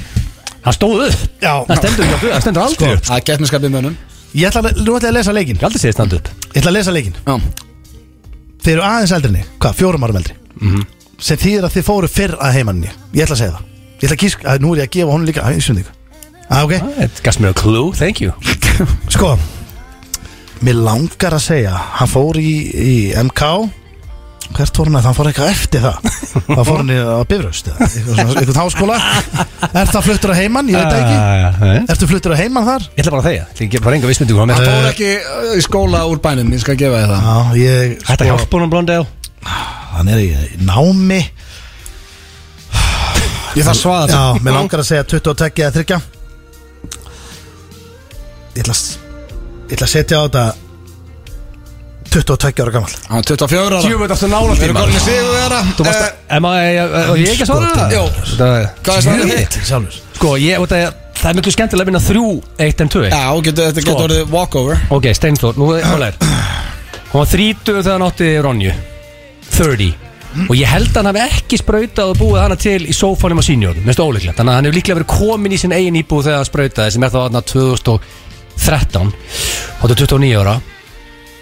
B: Það stóð upp
C: Já,
B: Það stendur ekki upp, það stendur
C: Sko.
B: aldrei upp
A: það er keppniskapið mönnum
C: ég ætla að, nú ætla ég að lesa leikin
B: Ég aldrei segið stand upp
C: Ég ætla að lesa leikin
A: Já,
C: Þið eru aðeins eldri en ég, hvað, fjórum árum eldri Sem þýðir að þið fóru fyrr að heimann ég Ég ætla að segja það Ég ætla að kísk, að nú er ég að gefa honum líka Ah, að, ég, að, okay.
B: Þetta gafst mér að clue, thank you
C: Sko Mér langar að segja Hann fór í, í MK Hvert fór hann að hann fór eitthvað eftir það Hann fór hann í- á Bifröst eða eitthvað svona- Eitthvað háskóla Er það fluttur að heiman? Ég veit það ekki
B: Ah, eh.
C: Ertu fluttur að heiman þar?
B: Ég ætla bara að þegja Ég gef bara enga vissmyndu hvað með
A: það fór ekki eh, í skóla úr bænum, ég skal gefa þér það
C: Já, ég sko,
B: Þetta hjálpa honum Blondel
C: Hann er í í námi
A: Ég þarf svaða
C: Já,
A: það
C: mér langar að segja 22 eða 30 Ég ætla að s- Ég ætla að setja á þetta 22 ára gamall
A: Já, 24 ára
B: Djöfull, ertu
A: Við
B: nálægt því,
A: erum
B: maður.
A: komin í sigur vera
B: Þú varst
A: Eh,
B: að Emma, ég, ég ekki að svara það?
A: Jó.
B: Jó
A: Hvað er svarað þitt?
C: Þetta er sjálfur
B: Sko, ég, og það, er- það er miklu skemmtilega að vinna þrjú, eitt en tvö
A: Já, getur- þetta
B: Sko.
A: getur orðið walkover
B: Ok, Steinflór, nú er hvað er Hún var 30 þegar hann átti Ronju 30 Og ég held að hann hafi ekki sprautað og búið hana til í sófánum á sínjórnum, minnst ólíklegt Þannig að hann hefur líklega verið komin í sinn eigin íbúð þegar hann sprautaði sem er þá aðna 2013 Hóttu 29 ára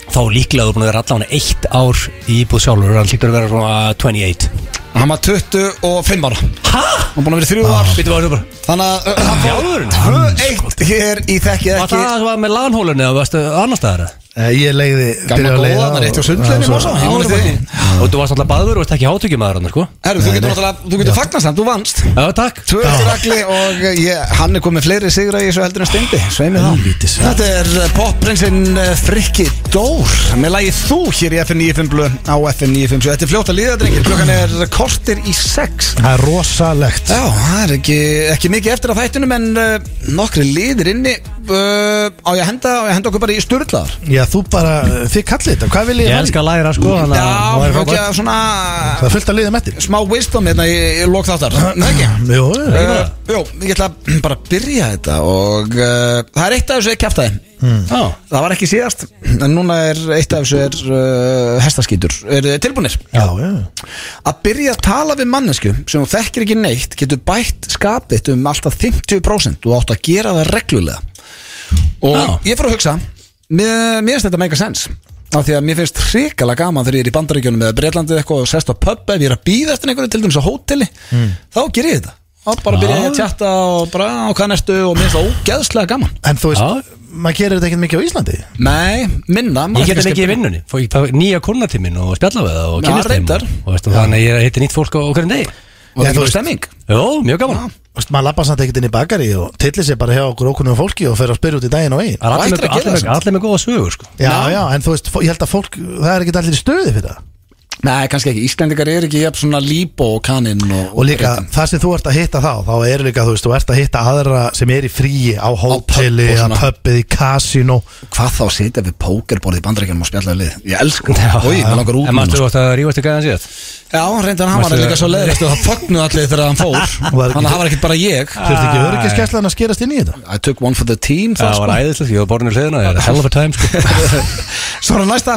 B: þá er líklega þú búin að vera allan eitt ár í íbúð sjálfur hann líktur að vera svona 28
A: Hann var 25 ára
B: Hæ?
A: Hann búin að vera í þrjú ár
B: Býttu bara, bara
A: Þannig að uh, hann
B: Ah. Þjálfurinn?
A: fór 2-1 hér í þekkið
B: Var
A: ekki
B: það það var með lanhólunni eða varstu annar staðar?
C: Eh, Ég leiði
A: Gammal góða, hann er eitt á sundleginni Mósa Ég muni því
B: Og þú varst alltaf baður og varst ekki hátökjum aður hann, sko
A: Herru, þú getur náttúrulega, þú getur fagnast hann, þú vannst
B: Já, takk
A: Tvö eftir agli og ég, hann er komið fleiri sigra í þessu heldur en steindi Sveimi það
C: Helvítis.
A: Þetta er popprinsinn eh, Frikki Dór Með lagið þú hér í FN 95 blöð á FN 95 Þetta er fljótt að líða drengir, klokkan er kortir í sex
C: Það er rosalegt
B: Eh?
A: Já, það er ekki, ekki mikið eftir af þættunum En uh, nokkri liðir inni uh, Á ég að henda, á ég að henda okkur bara í sturlaðar
C: Já, þú bara, þið kallið þetta, hvað vil ég
B: Ég
C: fara í?
B: elska að læra, sko þannig að
A: Já,
B: það væri
A: ekki
B: frábært.
A: að svona
C: Það er fullt að liða mettir
A: Smá wisdom hérna í, í lók þáttar Nei, ekki
C: Jó, eh,
A: Uh, Jó, ég ætla að bara að byrja þetta og uh, það er eitt af þessu ekki kæftæði
B: Já.
A: Það var ekki síðast en núna er eitt af þessu er uh, hestaskýtur Er þið tilbúinir?
C: já, já
A: Að byrja að tala við mannesku sem þú þekkir ekki neitt getur bætt skapið um alltaf 50% og átt að gera það reglulega og ég fór að hugsa mér, mér finnst þetta meika sens af því að mér finnst hrikalega gaman þegar ég er í bandaríkjunum eða breytlandið eitthvað og sest á pub ef ég er að býða eftir einhverju til dæmis á hóteli þá ger ég þetta og bara byrja ég að tjatta og bara og hvað næstu og mér finnst það ógeðslega gaman
C: En þú
B: Já.
C: veist, maður gerir þetta ekkert mikið á Íslandi
A: nei, minna
B: Ég get þetta ekki í vinnunni Fá ég fá nýja konartímin og spjalla við það og
A: Já,
B: kynast þeim
A: reyndar.
B: og veistu, Þannig að ég hitti nýtt fólk á á hverjum degi
A: og það er
C: Já, þú
A: ekki
C: veist.
A: stemming
B: Jó, mjög gaman
C: Þú veist, maður lappa samt ekkert inn í bakari og tillir sér bara hjá okkur ókunnum fólki og fer að spyrja út í daginn og einn
B: Það er allir
A: ættir
B: með-
A: að gera
B: allir með-
A: það.
B: allir með góða sögur, sko
C: Já, já, en þú veist, fó- ég held að fólk, það er ekkert allir í stöði fyrir það
A: nei, kannski ekki, Íslendingar er ekki jafn svona líbo og kaninn og,
C: Og líka, það sem þú ert að hitta þá, þá er líka, þú veist, þú ert að hitta aðra sem er í fríi á hóteli,
A: og
C: á
A: svona.
C: pubið, í kasinu
A: hvað þá að sitja við pókerborð í bandarækjanum og spjalla við lið ég elsku það, oi, maður langar út
B: En
A: núna,
B: maður
A: sko.
B: þú átt að rífast í gæðan síðan
A: já, reyndar hann var
B: Manstu-
A: líka svo leiðist og það fögnuð allir þegar hann fór
C: Var
A: þannig
C: ekki-
A: að það var ekkert bara ég
C: Þú veist ekki öryggiskeslan að skerast inn í þetta
A: I took one for the team
B: Það
A: það,
B: var
A: sko.
B: æðislegt, ég var borðin í hliðina Það er hell of a time, sko
A: svo er það næsta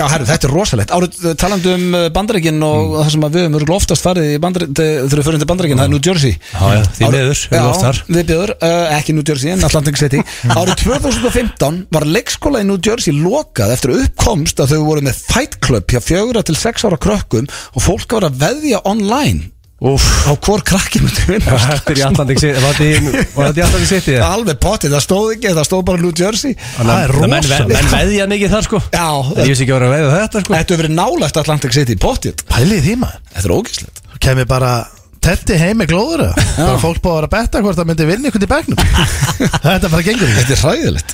A: já, herru, þetta er rosalegt árið eh, talandi um bandarækjan og það sem að við höfum örugglega oftast farið í Bandarík- eh, þegar við förum til bandarækjan, það er New Jersey
B: Mm. Já, já, því
A: Árið-
B: miður, við erum oft þar
A: Já, við bjöður, uh, ekki New Jersey en Atlantic City Árið 2015 var leikskóla í New Jersey lokað eftir uppkomst að þau voru með Fight Club hjá fjögura til sex ára krökkum og fólk var að veðja online
B: Úff
A: á hvor krakki myndi vinna
B: Þetta er í Atlantic City Var þetta í- var þetta í Atlantic City?
A: Það
B: eða?
A: er alveg potið, það stóð ekki, það stóð bara New Jersey
C: Það er
B: Menn ve-
C: rosalegt
B: menn veðja mikið þar, sko
A: Já,
B: Ég vissi ekki að vera að veðja þetta, sko
A: þetta hefur verið nálægt Atlantic City, potið
C: Pælið í því maður,
A: Þetta er ógæslegt
C: þú kemur bara Tetti heim með glóður eða? Bara fólk búið að vera að betta hvort það myndi vinna ykkur til begnum Þetta bara gengur ekki
A: Þetta er hræðilegt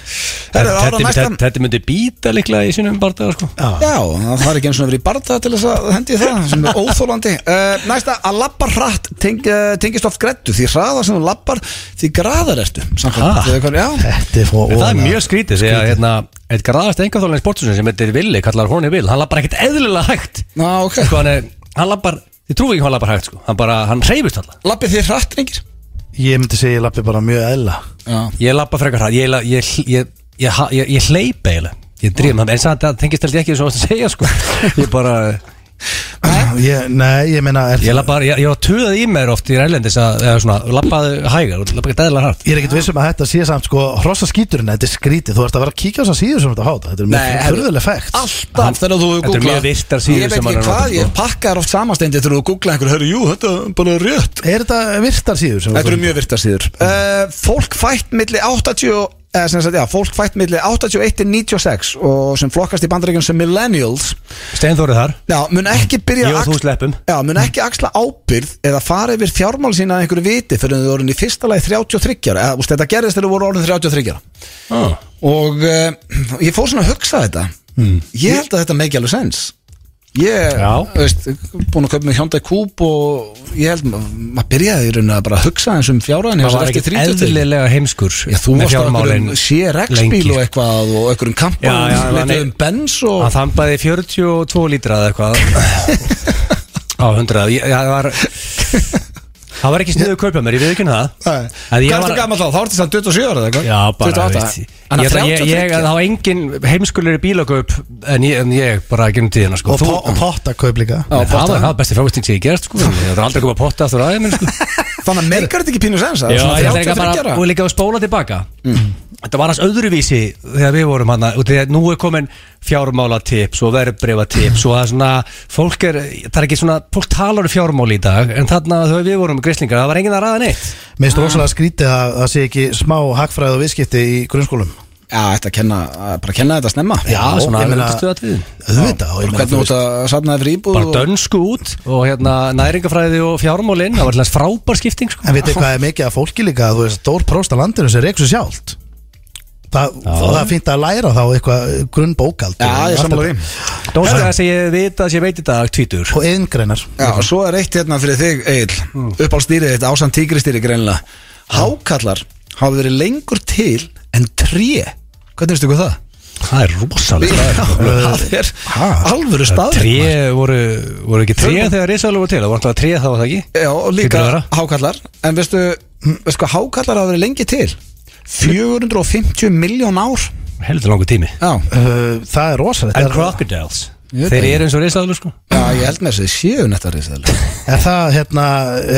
A: Herra, ára
B: Þetta-
A: næsta-
B: þetta- Þetta myndi býta líklega í sínum bardaga, sko
C: Já,
A: Já, það er ekki eins og verið í barða til þess að hendi ég það sem er óþólandi uh, Næsta, að labba hratt teng, uh, tengist oft grættu því hraðar sem þú labbar því graðar ertu
B: Ha?
A: samkvæmt Þau eitthvað- Já,
C: þetta er fóð
B: En það er mjög skrítið því að hérna, eitt graðast engaþólan í sportsunum sem heitir Willi, kallar Horny Will, hann lappar ekkert eðlilega hægt
A: Ná, ok
B: sko, hann, er, hann lappar, þið trúið ekki hvað hann lappar hægt sko. hann bara, hann reyfist alltaf
A: Lappið þið hratt, rengir
C: Ég myndi segja ég lappi bara mjög eðla
A: Já,
B: ég lappa frekar hægt, ég, la- ég, ég, ég, ha- ég, ég hleyp eiginlega ég drýðum það, en samt að það tengist alltaf ekki eins og það segja sko. ég bara,
C: ég, Nei, ég meina er,
B: ég lappa ég, ég var töðað í mér oft í rælendis að, eða svona, lappaðu hægar, lappa ekkert eðlilega hægt
C: Ég er ekkert vissum að þetta sé samt sko Hrossa skíturinn, þetta er skrítið Þú ert að vera að kíkja á þess að síður sem þetta háta Þetta er
A: Nei,
C: mjög
A: herru,
C: fyrðuleg fægt
B: Hann-
A: Alltaf þegar þú hefur
B: Þetta eru
A: googlað
B: mjög virtar síður
A: Ég veit
B: sem hann
A: ekki
B: er að nota,
A: hvað,
B: sko.
A: ég pakkar oft samanstendi þegar þú googlað einhver Hörru, jú, þetta er bara rétt
C: Er þetta virtar síður sem
A: Þetta eru mjög virtar síður uh, Fólk fætt milli 80 eh, sem sagt, já, Fólk fætt milli 81 til 96 og sem flokkast í bandaríkjum sem millennials
B: Steinþórið þar,
A: Já, mun ekki byrja
B: Ég og
A: að
B: þú
A: axla-
B: sleppum.
A: Já, mun ekki axla ábyrð eða fara yfir fjármál sína að einhverju viti fyrir þau voru í fyrsta lagi 33 ára eða, úst, þetta gerðist þegar þau voru orðin 33 ára
B: ah.
A: og uh, ég fór svona að hugsa þetta ég held að þetta make alveg sens ég,
B: Hmm. Já.
A: veist, búin að köpa mig Hyundai Coupe og ég held ma- maður byrjaði í rauninni að bara hugsa eins um fjárhæðin
B: það var ekkert eðlilega heimskur
A: Já, þú
B: með
A: varst á einhverjum
B: fjármálin
A: CRX-bíl
B: lengi, sko.
A: og eitthvað og einhverjum kampa
B: Já, já,
A: og
B: hann er-
A: leitum bens um og
B: Hann þambaði 42 lítra eða eitthvað Á 100 ég, ég, það var, Það var ekki sniðu að kaupa mér, ég við ekki um það
A: Nei.
B: En
A: Hvað
B: ég
A: ertu
B: var-
A: gammal þá? Þá ertu sann 27 ára eða eitthvað?
B: Já, bara,
A: 28
B: veist, ég,
A: Þannig
B: ég,
A: að
B: ég, ég,
A: 33
B: það var engin heimskulir í bílagaup en ég, en ég bara genum tíðina sko.
C: Og, po og potta kaup líka
B: Nei, það var það besti fjárvisting sem ég gerst sko. Ég var aldrei að koma að potta aftur aðeins sko.
A: Þannig að meikar þetta ekki pínu sens að Mm.
B: Já,
A: það
B: ég
A: er svona
B: ætla líka
A: 33
B: bara,
A: ára?
B: og líka að spóla tilbaka Þetta var hans öðruvísi þegar við vorum hann og þegar nú er komin fjármála tips og verðbrefa tips og það er svona, fólk er, það er ekki svona fólk talar um fjármál í dag en þarna þegar við vorum grislingar, það var enginn að ræða neitt
C: Mér finnst rosalega skrítið að það sé ekki smá hagfræði og viðskipti í grunnskólum
A: Já, þetta að kenna, að bara kenna þetta snemma
C: Já,
B: svona
C: ég meina-
B: undirstöðu atriðin.
C: Auðvitað og ég meina,
A: Hvernig
C: þú
A: út
C: veist-
A: að safna þér fyrir íbúð
B: bara dönsku út og hérna næringafræði og fjármálin, það var alltaf frábær skipting sko.
C: En veitir hvað er mikið af fólki líka Þú veist, stór próst að landinu sem reyksu sjálft Það, það er fínt að læra þá eitthvað grunnbókald
A: Já, ég sammála því
B: Dósa það sem ég veit að ég veit í dag tvítur
C: Og yðingreinar
A: Já, og svo er eitt hérna fyrir þig, Egil mm. uppálstýrið þitt, ásand tígristýri greinlega Hákallar hafa verið lengur til en tré Hvernig veistu hvað það?
B: það er rosalega
A: Já, það er alvöru stað
B: Tré voru, voru ekki tré þegar risaðlega voru til, það voru alltaf tré þá var það ekki
A: Já, og
B: Hlýtur
A: líka
B: að vera.
A: hákallar En veistu, hm, veistu hvað hákallar hafa verið lengi til? 450 miljón ár
B: heldur langur tími
A: Já,
C: Uh, Það er rosalegt
B: En
C: Er-
B: crocodiles
A: Ég veit
B: Þeir
A: það.
B: eru eins og risaðlur sko
A: já ég held með þessi séu nettar Já,
C: Er það, hérna,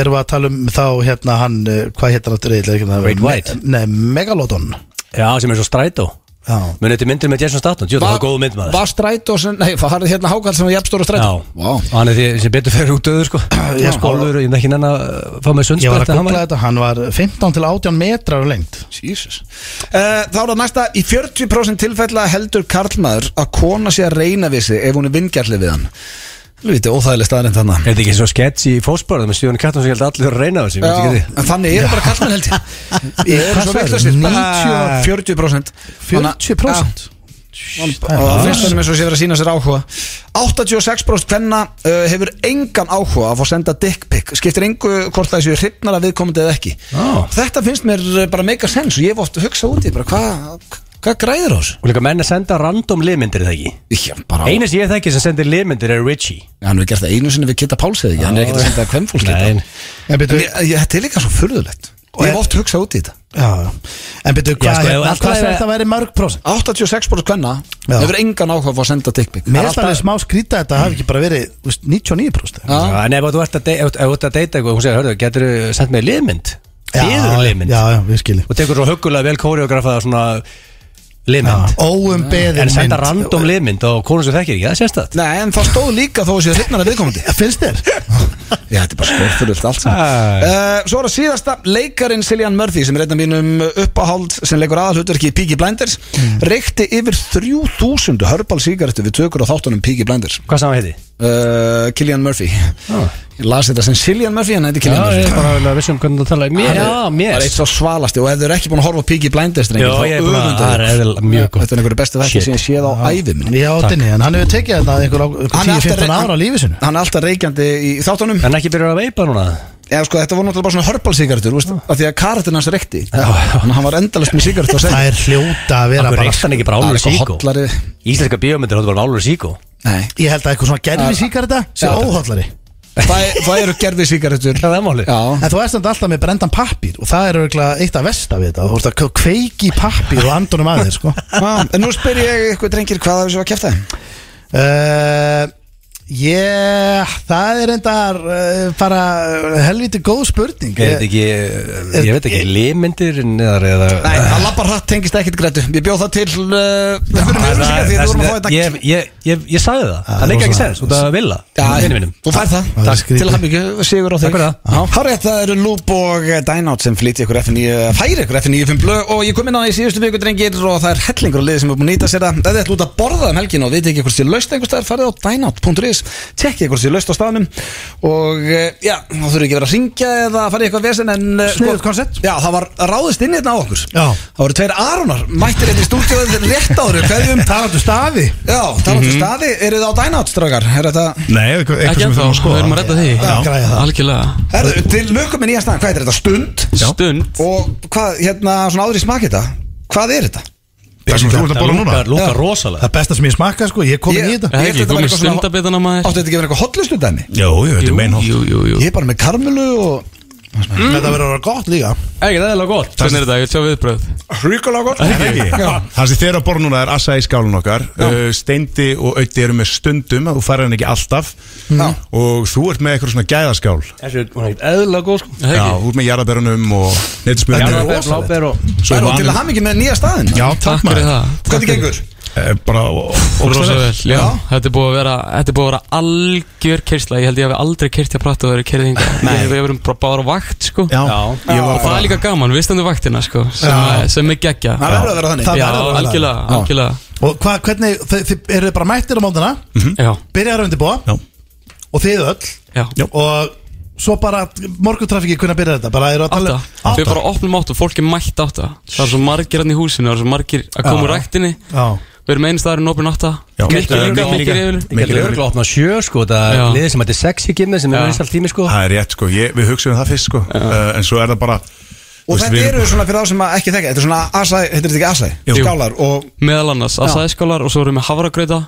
C: erum við að tala um þá, hérna, hann, eh, hvað héttar áttur eiginlega?
B: Great White.
C: Nei, Megalodon.
B: Já, sem er svo strætó
C: Já.
B: Muni þetta myndir með Jason Statham Jú, það var góð mynd maður
A: Var strætó sem, nei, var hérna hákall sem var jafnstóra
B: Já,
A: strætó Vá.
B: og hann er því sem betur fyrir út döður sko Já,
C: sko.
B: skólfur, ég er ekki nenn að uh, fá með
C: Ég var
B: sundsprett
C: að googla þetta, hann var 15 til 18 metrar lengt.
A: Jesus. Uh, þá er það næsta Í 40% tilfella heldur karlmaður að kona sé að reyna við sig ef hún er vingjarlið við hann Lítið óþægileg staðarinn þannig
B: Er þetta ekki svo sketch í fósbörðum með Stjóni Kjartan sem ég held að allir eru að reyna þessi
A: Já, en þannig eru bara karlmenn held ég Ég er
C: Hvað
A: svo
C: sagði?
A: veitlausir
C: 90?
A: 40%
C: 40%?
A: Og það finnst þannig eins og sé verið að sína sér áhuga 86% hvenna uh, hefur engan áhuga að fá að senda dick pic Skiptir engu hvort það séu hrypnar að viðkomandi eða ekki
B: Já.
A: Þetta finnst mér uh, bara meika sens og ég hef oft hugsað út í bara hvað hva græðir á þessu?
B: Og líka menn að senda random liðmyndir er það ekki
A: Já, bara
B: Einu sem ég þekki sem sendir liðmyndir er Richie
A: Hann hefur gert það einu sinni við Kitta Páls eða ekki Hann er ekkert að senda hvem fólk
B: Nei,
C: En betur,
A: Þetta er líka svo furðulegt
C: Og
A: Ég hef
C: er-
A: oft hugsað út í þetta
C: já, en betur,
B: Já,
C: hvað,
B: sko,
C: hérna,
B: ef- ef-
C: hvað er þetta að væri mörg prósent?
A: 86% hvenna
C: Já.
A: hefur engan áhuga að fá að senda dick pic
C: Mér finnst alveg smá skrýta þetta hafi ekki bara verið, þú veist, 99 prósent.
A: Já.
B: Já, En ef þú ert að de- ef þú ert að deyta eitthvað og hún segir, hörðu, getur þú sendt mig liðmynd? Þýður liðmynd?
C: Já, já, við skiljum.
B: og tekur svo huggulega vel kóreografaða svona limmynd
C: Óum beðin
B: en senda random limmynd og konur sem þekkir ekki, það sést það
A: Nei, en það stóð líka þó að séu hrypnar að viðkomandi
C: Finnst þér?
A: Já, þetta er bara stórfurðult allt
B: Æ.
A: saman uh, Svo er það síðasta leikarin Cillian Murphy sem er einn af mínum uppáhald sem leikur aðalhutverki í Peaky Blinders
C: Mm.
A: reykti yfir 3000 hörbal sígarettu við tökur á þáttunum Peaky Blinders
B: hvað saman heiti?
A: uh, Cillian Murphy Ég las þetta sem Cillian Murphy en þetta er
B: Ah. Já,
A: Cillian Murphy
B: ég er bara alveg viss um hvernig það tala mér,
A: Það er-
B: já,
A: Það
B: mér
A: er eitt svo svalasti og ef þau eru ekki búin að horfa á Peaky Blinders
B: já,
A: drengir,
B: ég
A: þá
B: er bara,
A: öfunda
B: það er
A: þau.
B: eðlilega mjög gott
A: Þetta er einhverju bestu þætti
B: Shit.
A: sem ég séð á ævi minni
C: Já, dinni, en hann hefur tekið þetta einhver á- einhver
A: Hann er alltaf
C: 10-15
A: re-
C: ára á lífi sinu.
A: Hann er alltaf reykjandi í þáttunum
B: en ekki byrjar að veipa núna
A: Já, sko, þetta voru náttúrulega bara svona hörbalsigartur, veist, af því að karatinn hans reykti Þannig að hann var endalist með sigart og
C: Það
A: segja
C: er hljóta að vera
B: akkur
C: bara
B: reykst hann ekki bara
A: Það er
B: álur
A: eitthvað
B: síkó
A: hollari
B: íslenska bíómyndir hóttu bara álur síkó
A: Nei,
C: Ég held að eitthvað svona gerfi síkarita sé
A: Já.
C: óhóllari
A: það, er- það eru gerði sigartur
B: það er máli
A: Já,
C: En þú ert samt alltaf með brendan pappir og það er auðvitað eitt að vesta við þetta Þú veist að kveiki í pappir og andunum að þér sko
A: Ah, en nú spyr ég ykkur drengir hvað það er svo að kæfta
C: uh, Ég, það er endar uh, bara helviti góð spurning
B: er þetta ekki, ég veit ekki limyndir eða eða
A: Nei, að labba hratt tengist ekkit grætu Ég bjóð það til uh, Við fyrir með
B: Það-
A: auðvitað því að þú vorum að fá
B: það-
A: þetta
B: ég, ég, ég, ég sagði það, það leik ekki sens út að vilja
A: Já, þú færð það,
C: Það er
A: Takk.
C: skrítið.
A: til hamingju, sigur á þig
B: Takk fyrir það.
A: Hárið, það eru Lúb og Dynout sem flytja ykkur FN9, færi ykkur FN9 blöð og ég kom inn á það í síðustu viku drengir og það er hellingur og liðið sem er búin að nýta sér það Það er alltaf út að borða um helgin og veit ekki hvort þið laust einhvers staðar, farið á dynout.is tjekkið hvort þið laust á staðnum og eh, já, þá þurfum ekki verið að ringja eða farið eitthvað vesen en eh,
C: Sniðugt koncept.
A: Já, það var ráðist inn hérna á okkur
C: Já.
A: Það voru tveir Aronar, mættir hérna í stúdíóið rétt áður, hverjum
C: Talandu um staði
A: Já, talandi mm staði, eru þið á Dynout strákar? Er þetta
I: Nei, eitthvað eitthvað sem við þurfum að skoða
J: Við erum að redda því
C: Já, græja það.
J: Algjörlega
A: Herðu, til lökum með nýja staðan, hvað er þetta? Stund?
J: Stund
A: Og hvað, hérna, svona áður í smak þetta? Hvað er þetta?
I: Það sem þú ert að borða núna
B: lúka rosalega
C: Það besta sem ég smakka sko, ég er komin í þetta
J: Ég hef
A: held
J: ekki
A: þetta var
J: komið
A: eitthvað svona-
J: stundabitana maður
A: Áttu þetta ekki verið eitthvað hotlustu dæmi?
I: Jú, jú, þetta er
J: Jú,
I: meinholt
J: jú, jú, jú
A: Ég er bara með karmelu og
C: Mm. Þetta verður að vera gott líka
B: Ekkert eðlilega gott
K: Hvernig er þetta? Ég vil sjá viðbröð
A: Ríkulega gott
I: Það sem þeir eru að borða núna er assa í skálun okkar uh, Steindi og Ötti eru með stundum að Þú færir hann ekki alltaf Mm, Og þú ert með eitthvað svona gæðaskál
B: Þessi er hún er ekkert eðlilega góð sko
I: Já, þú ert með jarðabærunum og neytismjörnum
B: Jarðabær, blábær og
A: Það er til að hafa mikið með nýja staðin
I: Já, takk
K: Fyrir
I: maður
K: það
A: Hvernig gengur?
I: Eh, Bara
K: Rosa
I: ógstæðið
K: vel, já. Þetta er búið að vera, þetta er búið að vera algjör kyrsla Ég held ég hafi aldrei kyrt að prata og verið kyrðið hinga Við erum bara bara á vakt, sko
I: Já, ég var
K: Og það er líka gaman, við stöndum vaktina, sko Sem, sem er geggja
A: Það verður að vera þannig
C: Það
K: Já,
C: verður að vera
K: algjörlega, algjörlega
C: Og hva, hvernig, þið, þið eru bara mættir á mótana
K: Já,
C: Byrjar að undirbúa
I: Já.
C: Og þið öll
K: já
C: Og svo bara morguntrafiki, hvernig byrjar þetta? Bara eru að tala
K: Átta Við
C: Átta
K: bara opnum átta, fólk er mætt átta Það er svo margir hann í húsinu, það er svo margir að koma úr ræktinni
C: Já
K: Við erum einu staðurinn opinn átta
I: Já.
K: Mikið
B: hérna
I: Mikið líka.
K: líka, mikið yfir
B: Ég gæti örgulega opnað sjö sko Það
K: Já.
B: er liðið sem hætti sex í gimmi sem er
K: Já.
B: vinsall tími sko
I: Það er rétt sko, ég, við hugsaum það fyrst sko uh, En svo er það bara
A: Og þetta eru svona fyrir þá sem að ekki þekka Þetta er svona asæ, heitir þetta ekki asæ?
I: Jú.
A: Skálar og
K: Meðal annars, asaðiskálar og svo erum við havragrauta,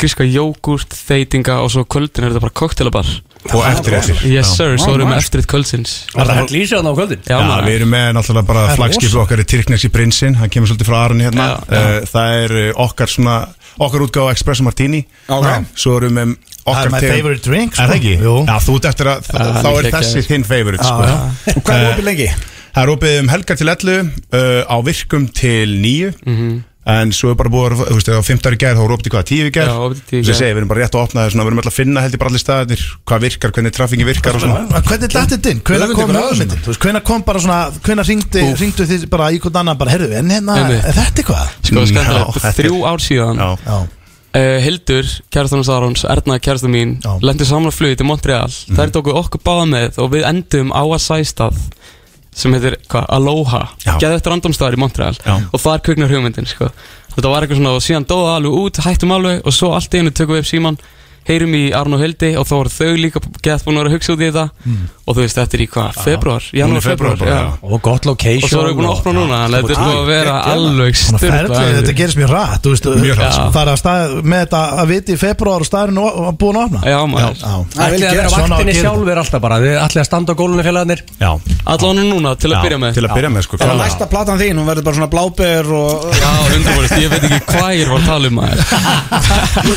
K: gríska jógurt, þeitinga og svo kvöldin er þetta bara koktelabar
I: Og eftir eftir
K: Yes sir, svo erum við eftirrit kvöldsins
B: Það er hægt lýsið hann á kvöldin
I: Já,
K: Já, maður.
I: við erum með náttúrulega bara flagskipu okkar í Tyrkneski prinsinn, hann kemur svolítið frá Arun hérna
K: Já,
I: Uh, Það er uh, okkar svona, okkar útgáfa Espresso Martini
A: Ok.
I: Já. Svo erum við með
C: Það
I: okkar
C: er my
I: tegund-
C: favorite drink,
I: Er
C: sko.
I: það ekki?
C: Jú.
I: Já, þú ert eftir að,
K: Já,
I: þá
K: hann
I: er
K: er
I: þessi
K: geggjaður.
I: þinn favorite sko
A: Og hvað er opið lengi?
I: Það er opið um helgar til 11 uh, á virkum til 9
K: Mhm.
I: en svo er bara búið að, þú veist, á 15 í gerð þá er opið til hvað, 10 í gerð
K: Já, opið til 10 í
I: Svo
K: gær.
I: segir, við erum bara rétt að opna það svona, við erum alltaf að finna held ég bara allir staðir hvað virkar, hvernig traffingi virkar og svona
C: En Hvernig dætti þetta inn? Hvenær
A: Öfund
C: kom
A: ykkur aðeins.
C: öðmyndin? Þú veist, hvenær kom bara svona Hvenær ringdu, ringdu þið bara í hvort annan bara Herðu, en hérna,
K: Einmitt.
C: er þetta eitthvað?
K: Sko,
I: Já,
K: skemmtilegt,
I: þetta er-
K: þrjú ár síðan uh,
I: Já,
C: Já
K: Eh, Hildur, kærastan hans Arons, Erna, kærastan mín
C: Já.
K: Lendi saman á flugi til Montreal
I: Mhm.
K: Þær tóku okkur báða með og við endum á að sæstað Sem heitir, hvað, Aloha
I: Já.
K: Geða eftir randomstaðar í Montreal
I: Já.
K: Og þar kviknar hugmyndin, sko Þetta var eitthvað svona, og síðan dóða alveg út, hættum alveg Og svo allt í einu tökum við upp síman Heyrum í Arn og Hildi og þá voru þau líka Geða búin að vera að hugsa út í þetta Og þú veist, þetta er í hvað,
I: Mhm.
K: februar,
I: Hún er
K: janúar,
I: febrúar
K: februar,
I: bara, já.
B: Og gott location
K: Og svo erum við búin að opna núna Þannig að þetta er búin að vera alveg
C: Svona ferlið, þetta
K: styrta
C: gerist mjög rætt, þú veist
I: Mjög hratt,
K: sko.
C: Það er að stað með þetta að viti í februar og staðurinn og- og búin að opna
K: Já maður
C: Já,
B: Ætli að vera
C: Svona á að
B: vaktinni
C: gera
B: sjálf er alltaf bara Þið ætli að standa á gólunni félagarnir
I: já,
K: Allan er núna til að byrja með
I: til að byrja með sko
A: Þannig að
I: klárlega.
A: næsta platan þín, hún verður bara svona bláber og
K: Já, hundarborist, ég veit ekki hvað ég var að tala um maður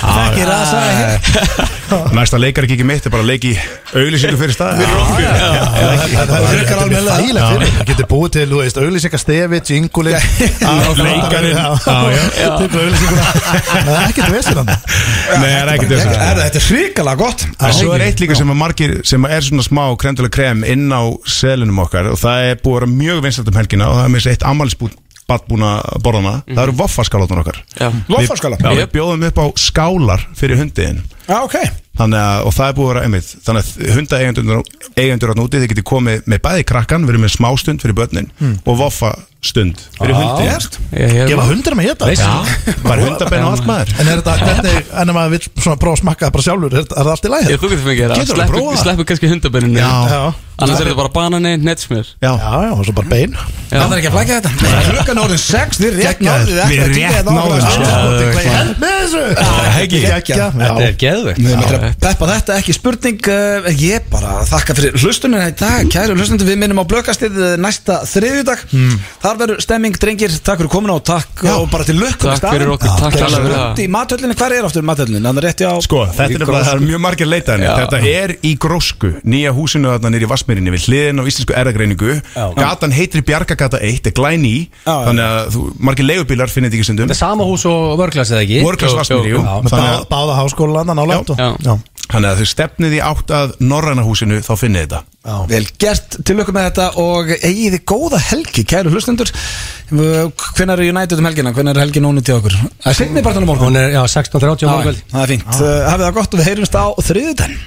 A: Þekki rasa
I: Næsta leikar ekki ekki mitt, er bara leik í auglýsingu fyrir stað
C: Það er
A: virkar alveg vel.
C: þægilegt fyrir Það getur búið til, þú veist, auðlýsingastefi, jinguli
I: leikarinn. Já, já.
C: Tippa auðlýsinguna Það er ekkert vesinn
I: Nei, það er ekkert
A: Herðu,
I: þess að
A: Þetta er hrikalega gott
I: En svo er eitt líka sem að margir sem að er svona smá kremdulega krem inn á selinum okkar og það er búið að vera mjög vinsalt um helgina og það er með þess eitt ammælisbad búin að borða hana það eru vaffaskálótnar okkar
K: Já,
A: Loffarskála
I: Já, við
K: Jep.
I: bjóðum upp á skálar fyrir hundiðin
A: Já, ok
I: Þannig að, og það er búið að vera einmitt Þannig að hundaeigendur eigendur að núti Þið getið komið með bæði krakkan, við erum með smástund fyrir börnin Og voffastund fyrir hundi
K: ég hef
C: Gefa hundra með þetta
I: Bara hundabenn og allt maður
C: En er þetta, hvernig, en ef maður vill svona prófa að smakka það bara sjálfur, er, er það allt í lagi?
K: Ég þú getur fyrir
I: Getur alveg
K: mig
I: prófað.
K: að Sleppu kannski hundarbenninu
I: Já,
C: Já,
K: Annars er þetta bara banani, nettsmjör
I: já
C: já, já, og svo bara bein
A: Það er ekki að flækja þetta Klukkan orðin 6, þið rétt
I: Geggjaður.
A: náðuð
I: Við rétt náðum þessu.
C: Með þessu!
I: Heggi
C: Gekkja,
B: Þetta
C: já
B: er geðvegt
A: Við erum eftir að peppa þetta, ekki spurning eh, Ég bara þakka fyrir hlustunina í dag Kæru hlustundur, við minnum á blökastið eh, næsta þriðjudag
I: Hmm.
A: Þar verður stemming, drengir, takk fyrir komin á Takk og bara til lukkum
K: Takk fyrir okkur, takk
A: Takk
K: alveg fyrir
A: fyrir
K: það.
A: Í mathöllinni, hver er aftur mathöllinni? Þannig rétt já
I: Sko, þetta er bara, það er mjög margir leitað
K: Já.
I: Þetta er í grósku, nýja húsinu þarna nýri í Vassmyrinni Við hliðin á íslensku erðagreiningu Gatan heitir Bjargagata 1, er glæni í
A: Já, já.
I: Þannig að þú, margir leigubílar finnir þetta ekki stundum
B: Þetta er sama hús og vörglas eða ekki
I: Vorklas Vassmyri, jú
C: Með
I: Þannig
C: bá-
I: að-
C: Báða háskólan, nálægt og
K: Já.
C: Já,
I: Þannig að þau stefnið í átt að Norræna húsinu þá finnið þetta
C: já
A: Vel gert, til lukkum með þetta og eigið þið góða helgi, kæru hlustundur Hvenær er United um helgina? Hvenær er helgin ónið til okkur? Það er sinni bara þannig morgun
B: Hún er, Eh, já, 16.30 á morgun
A: Það er fínt, Uh, hafið það gott og við heyrumst á þriðutan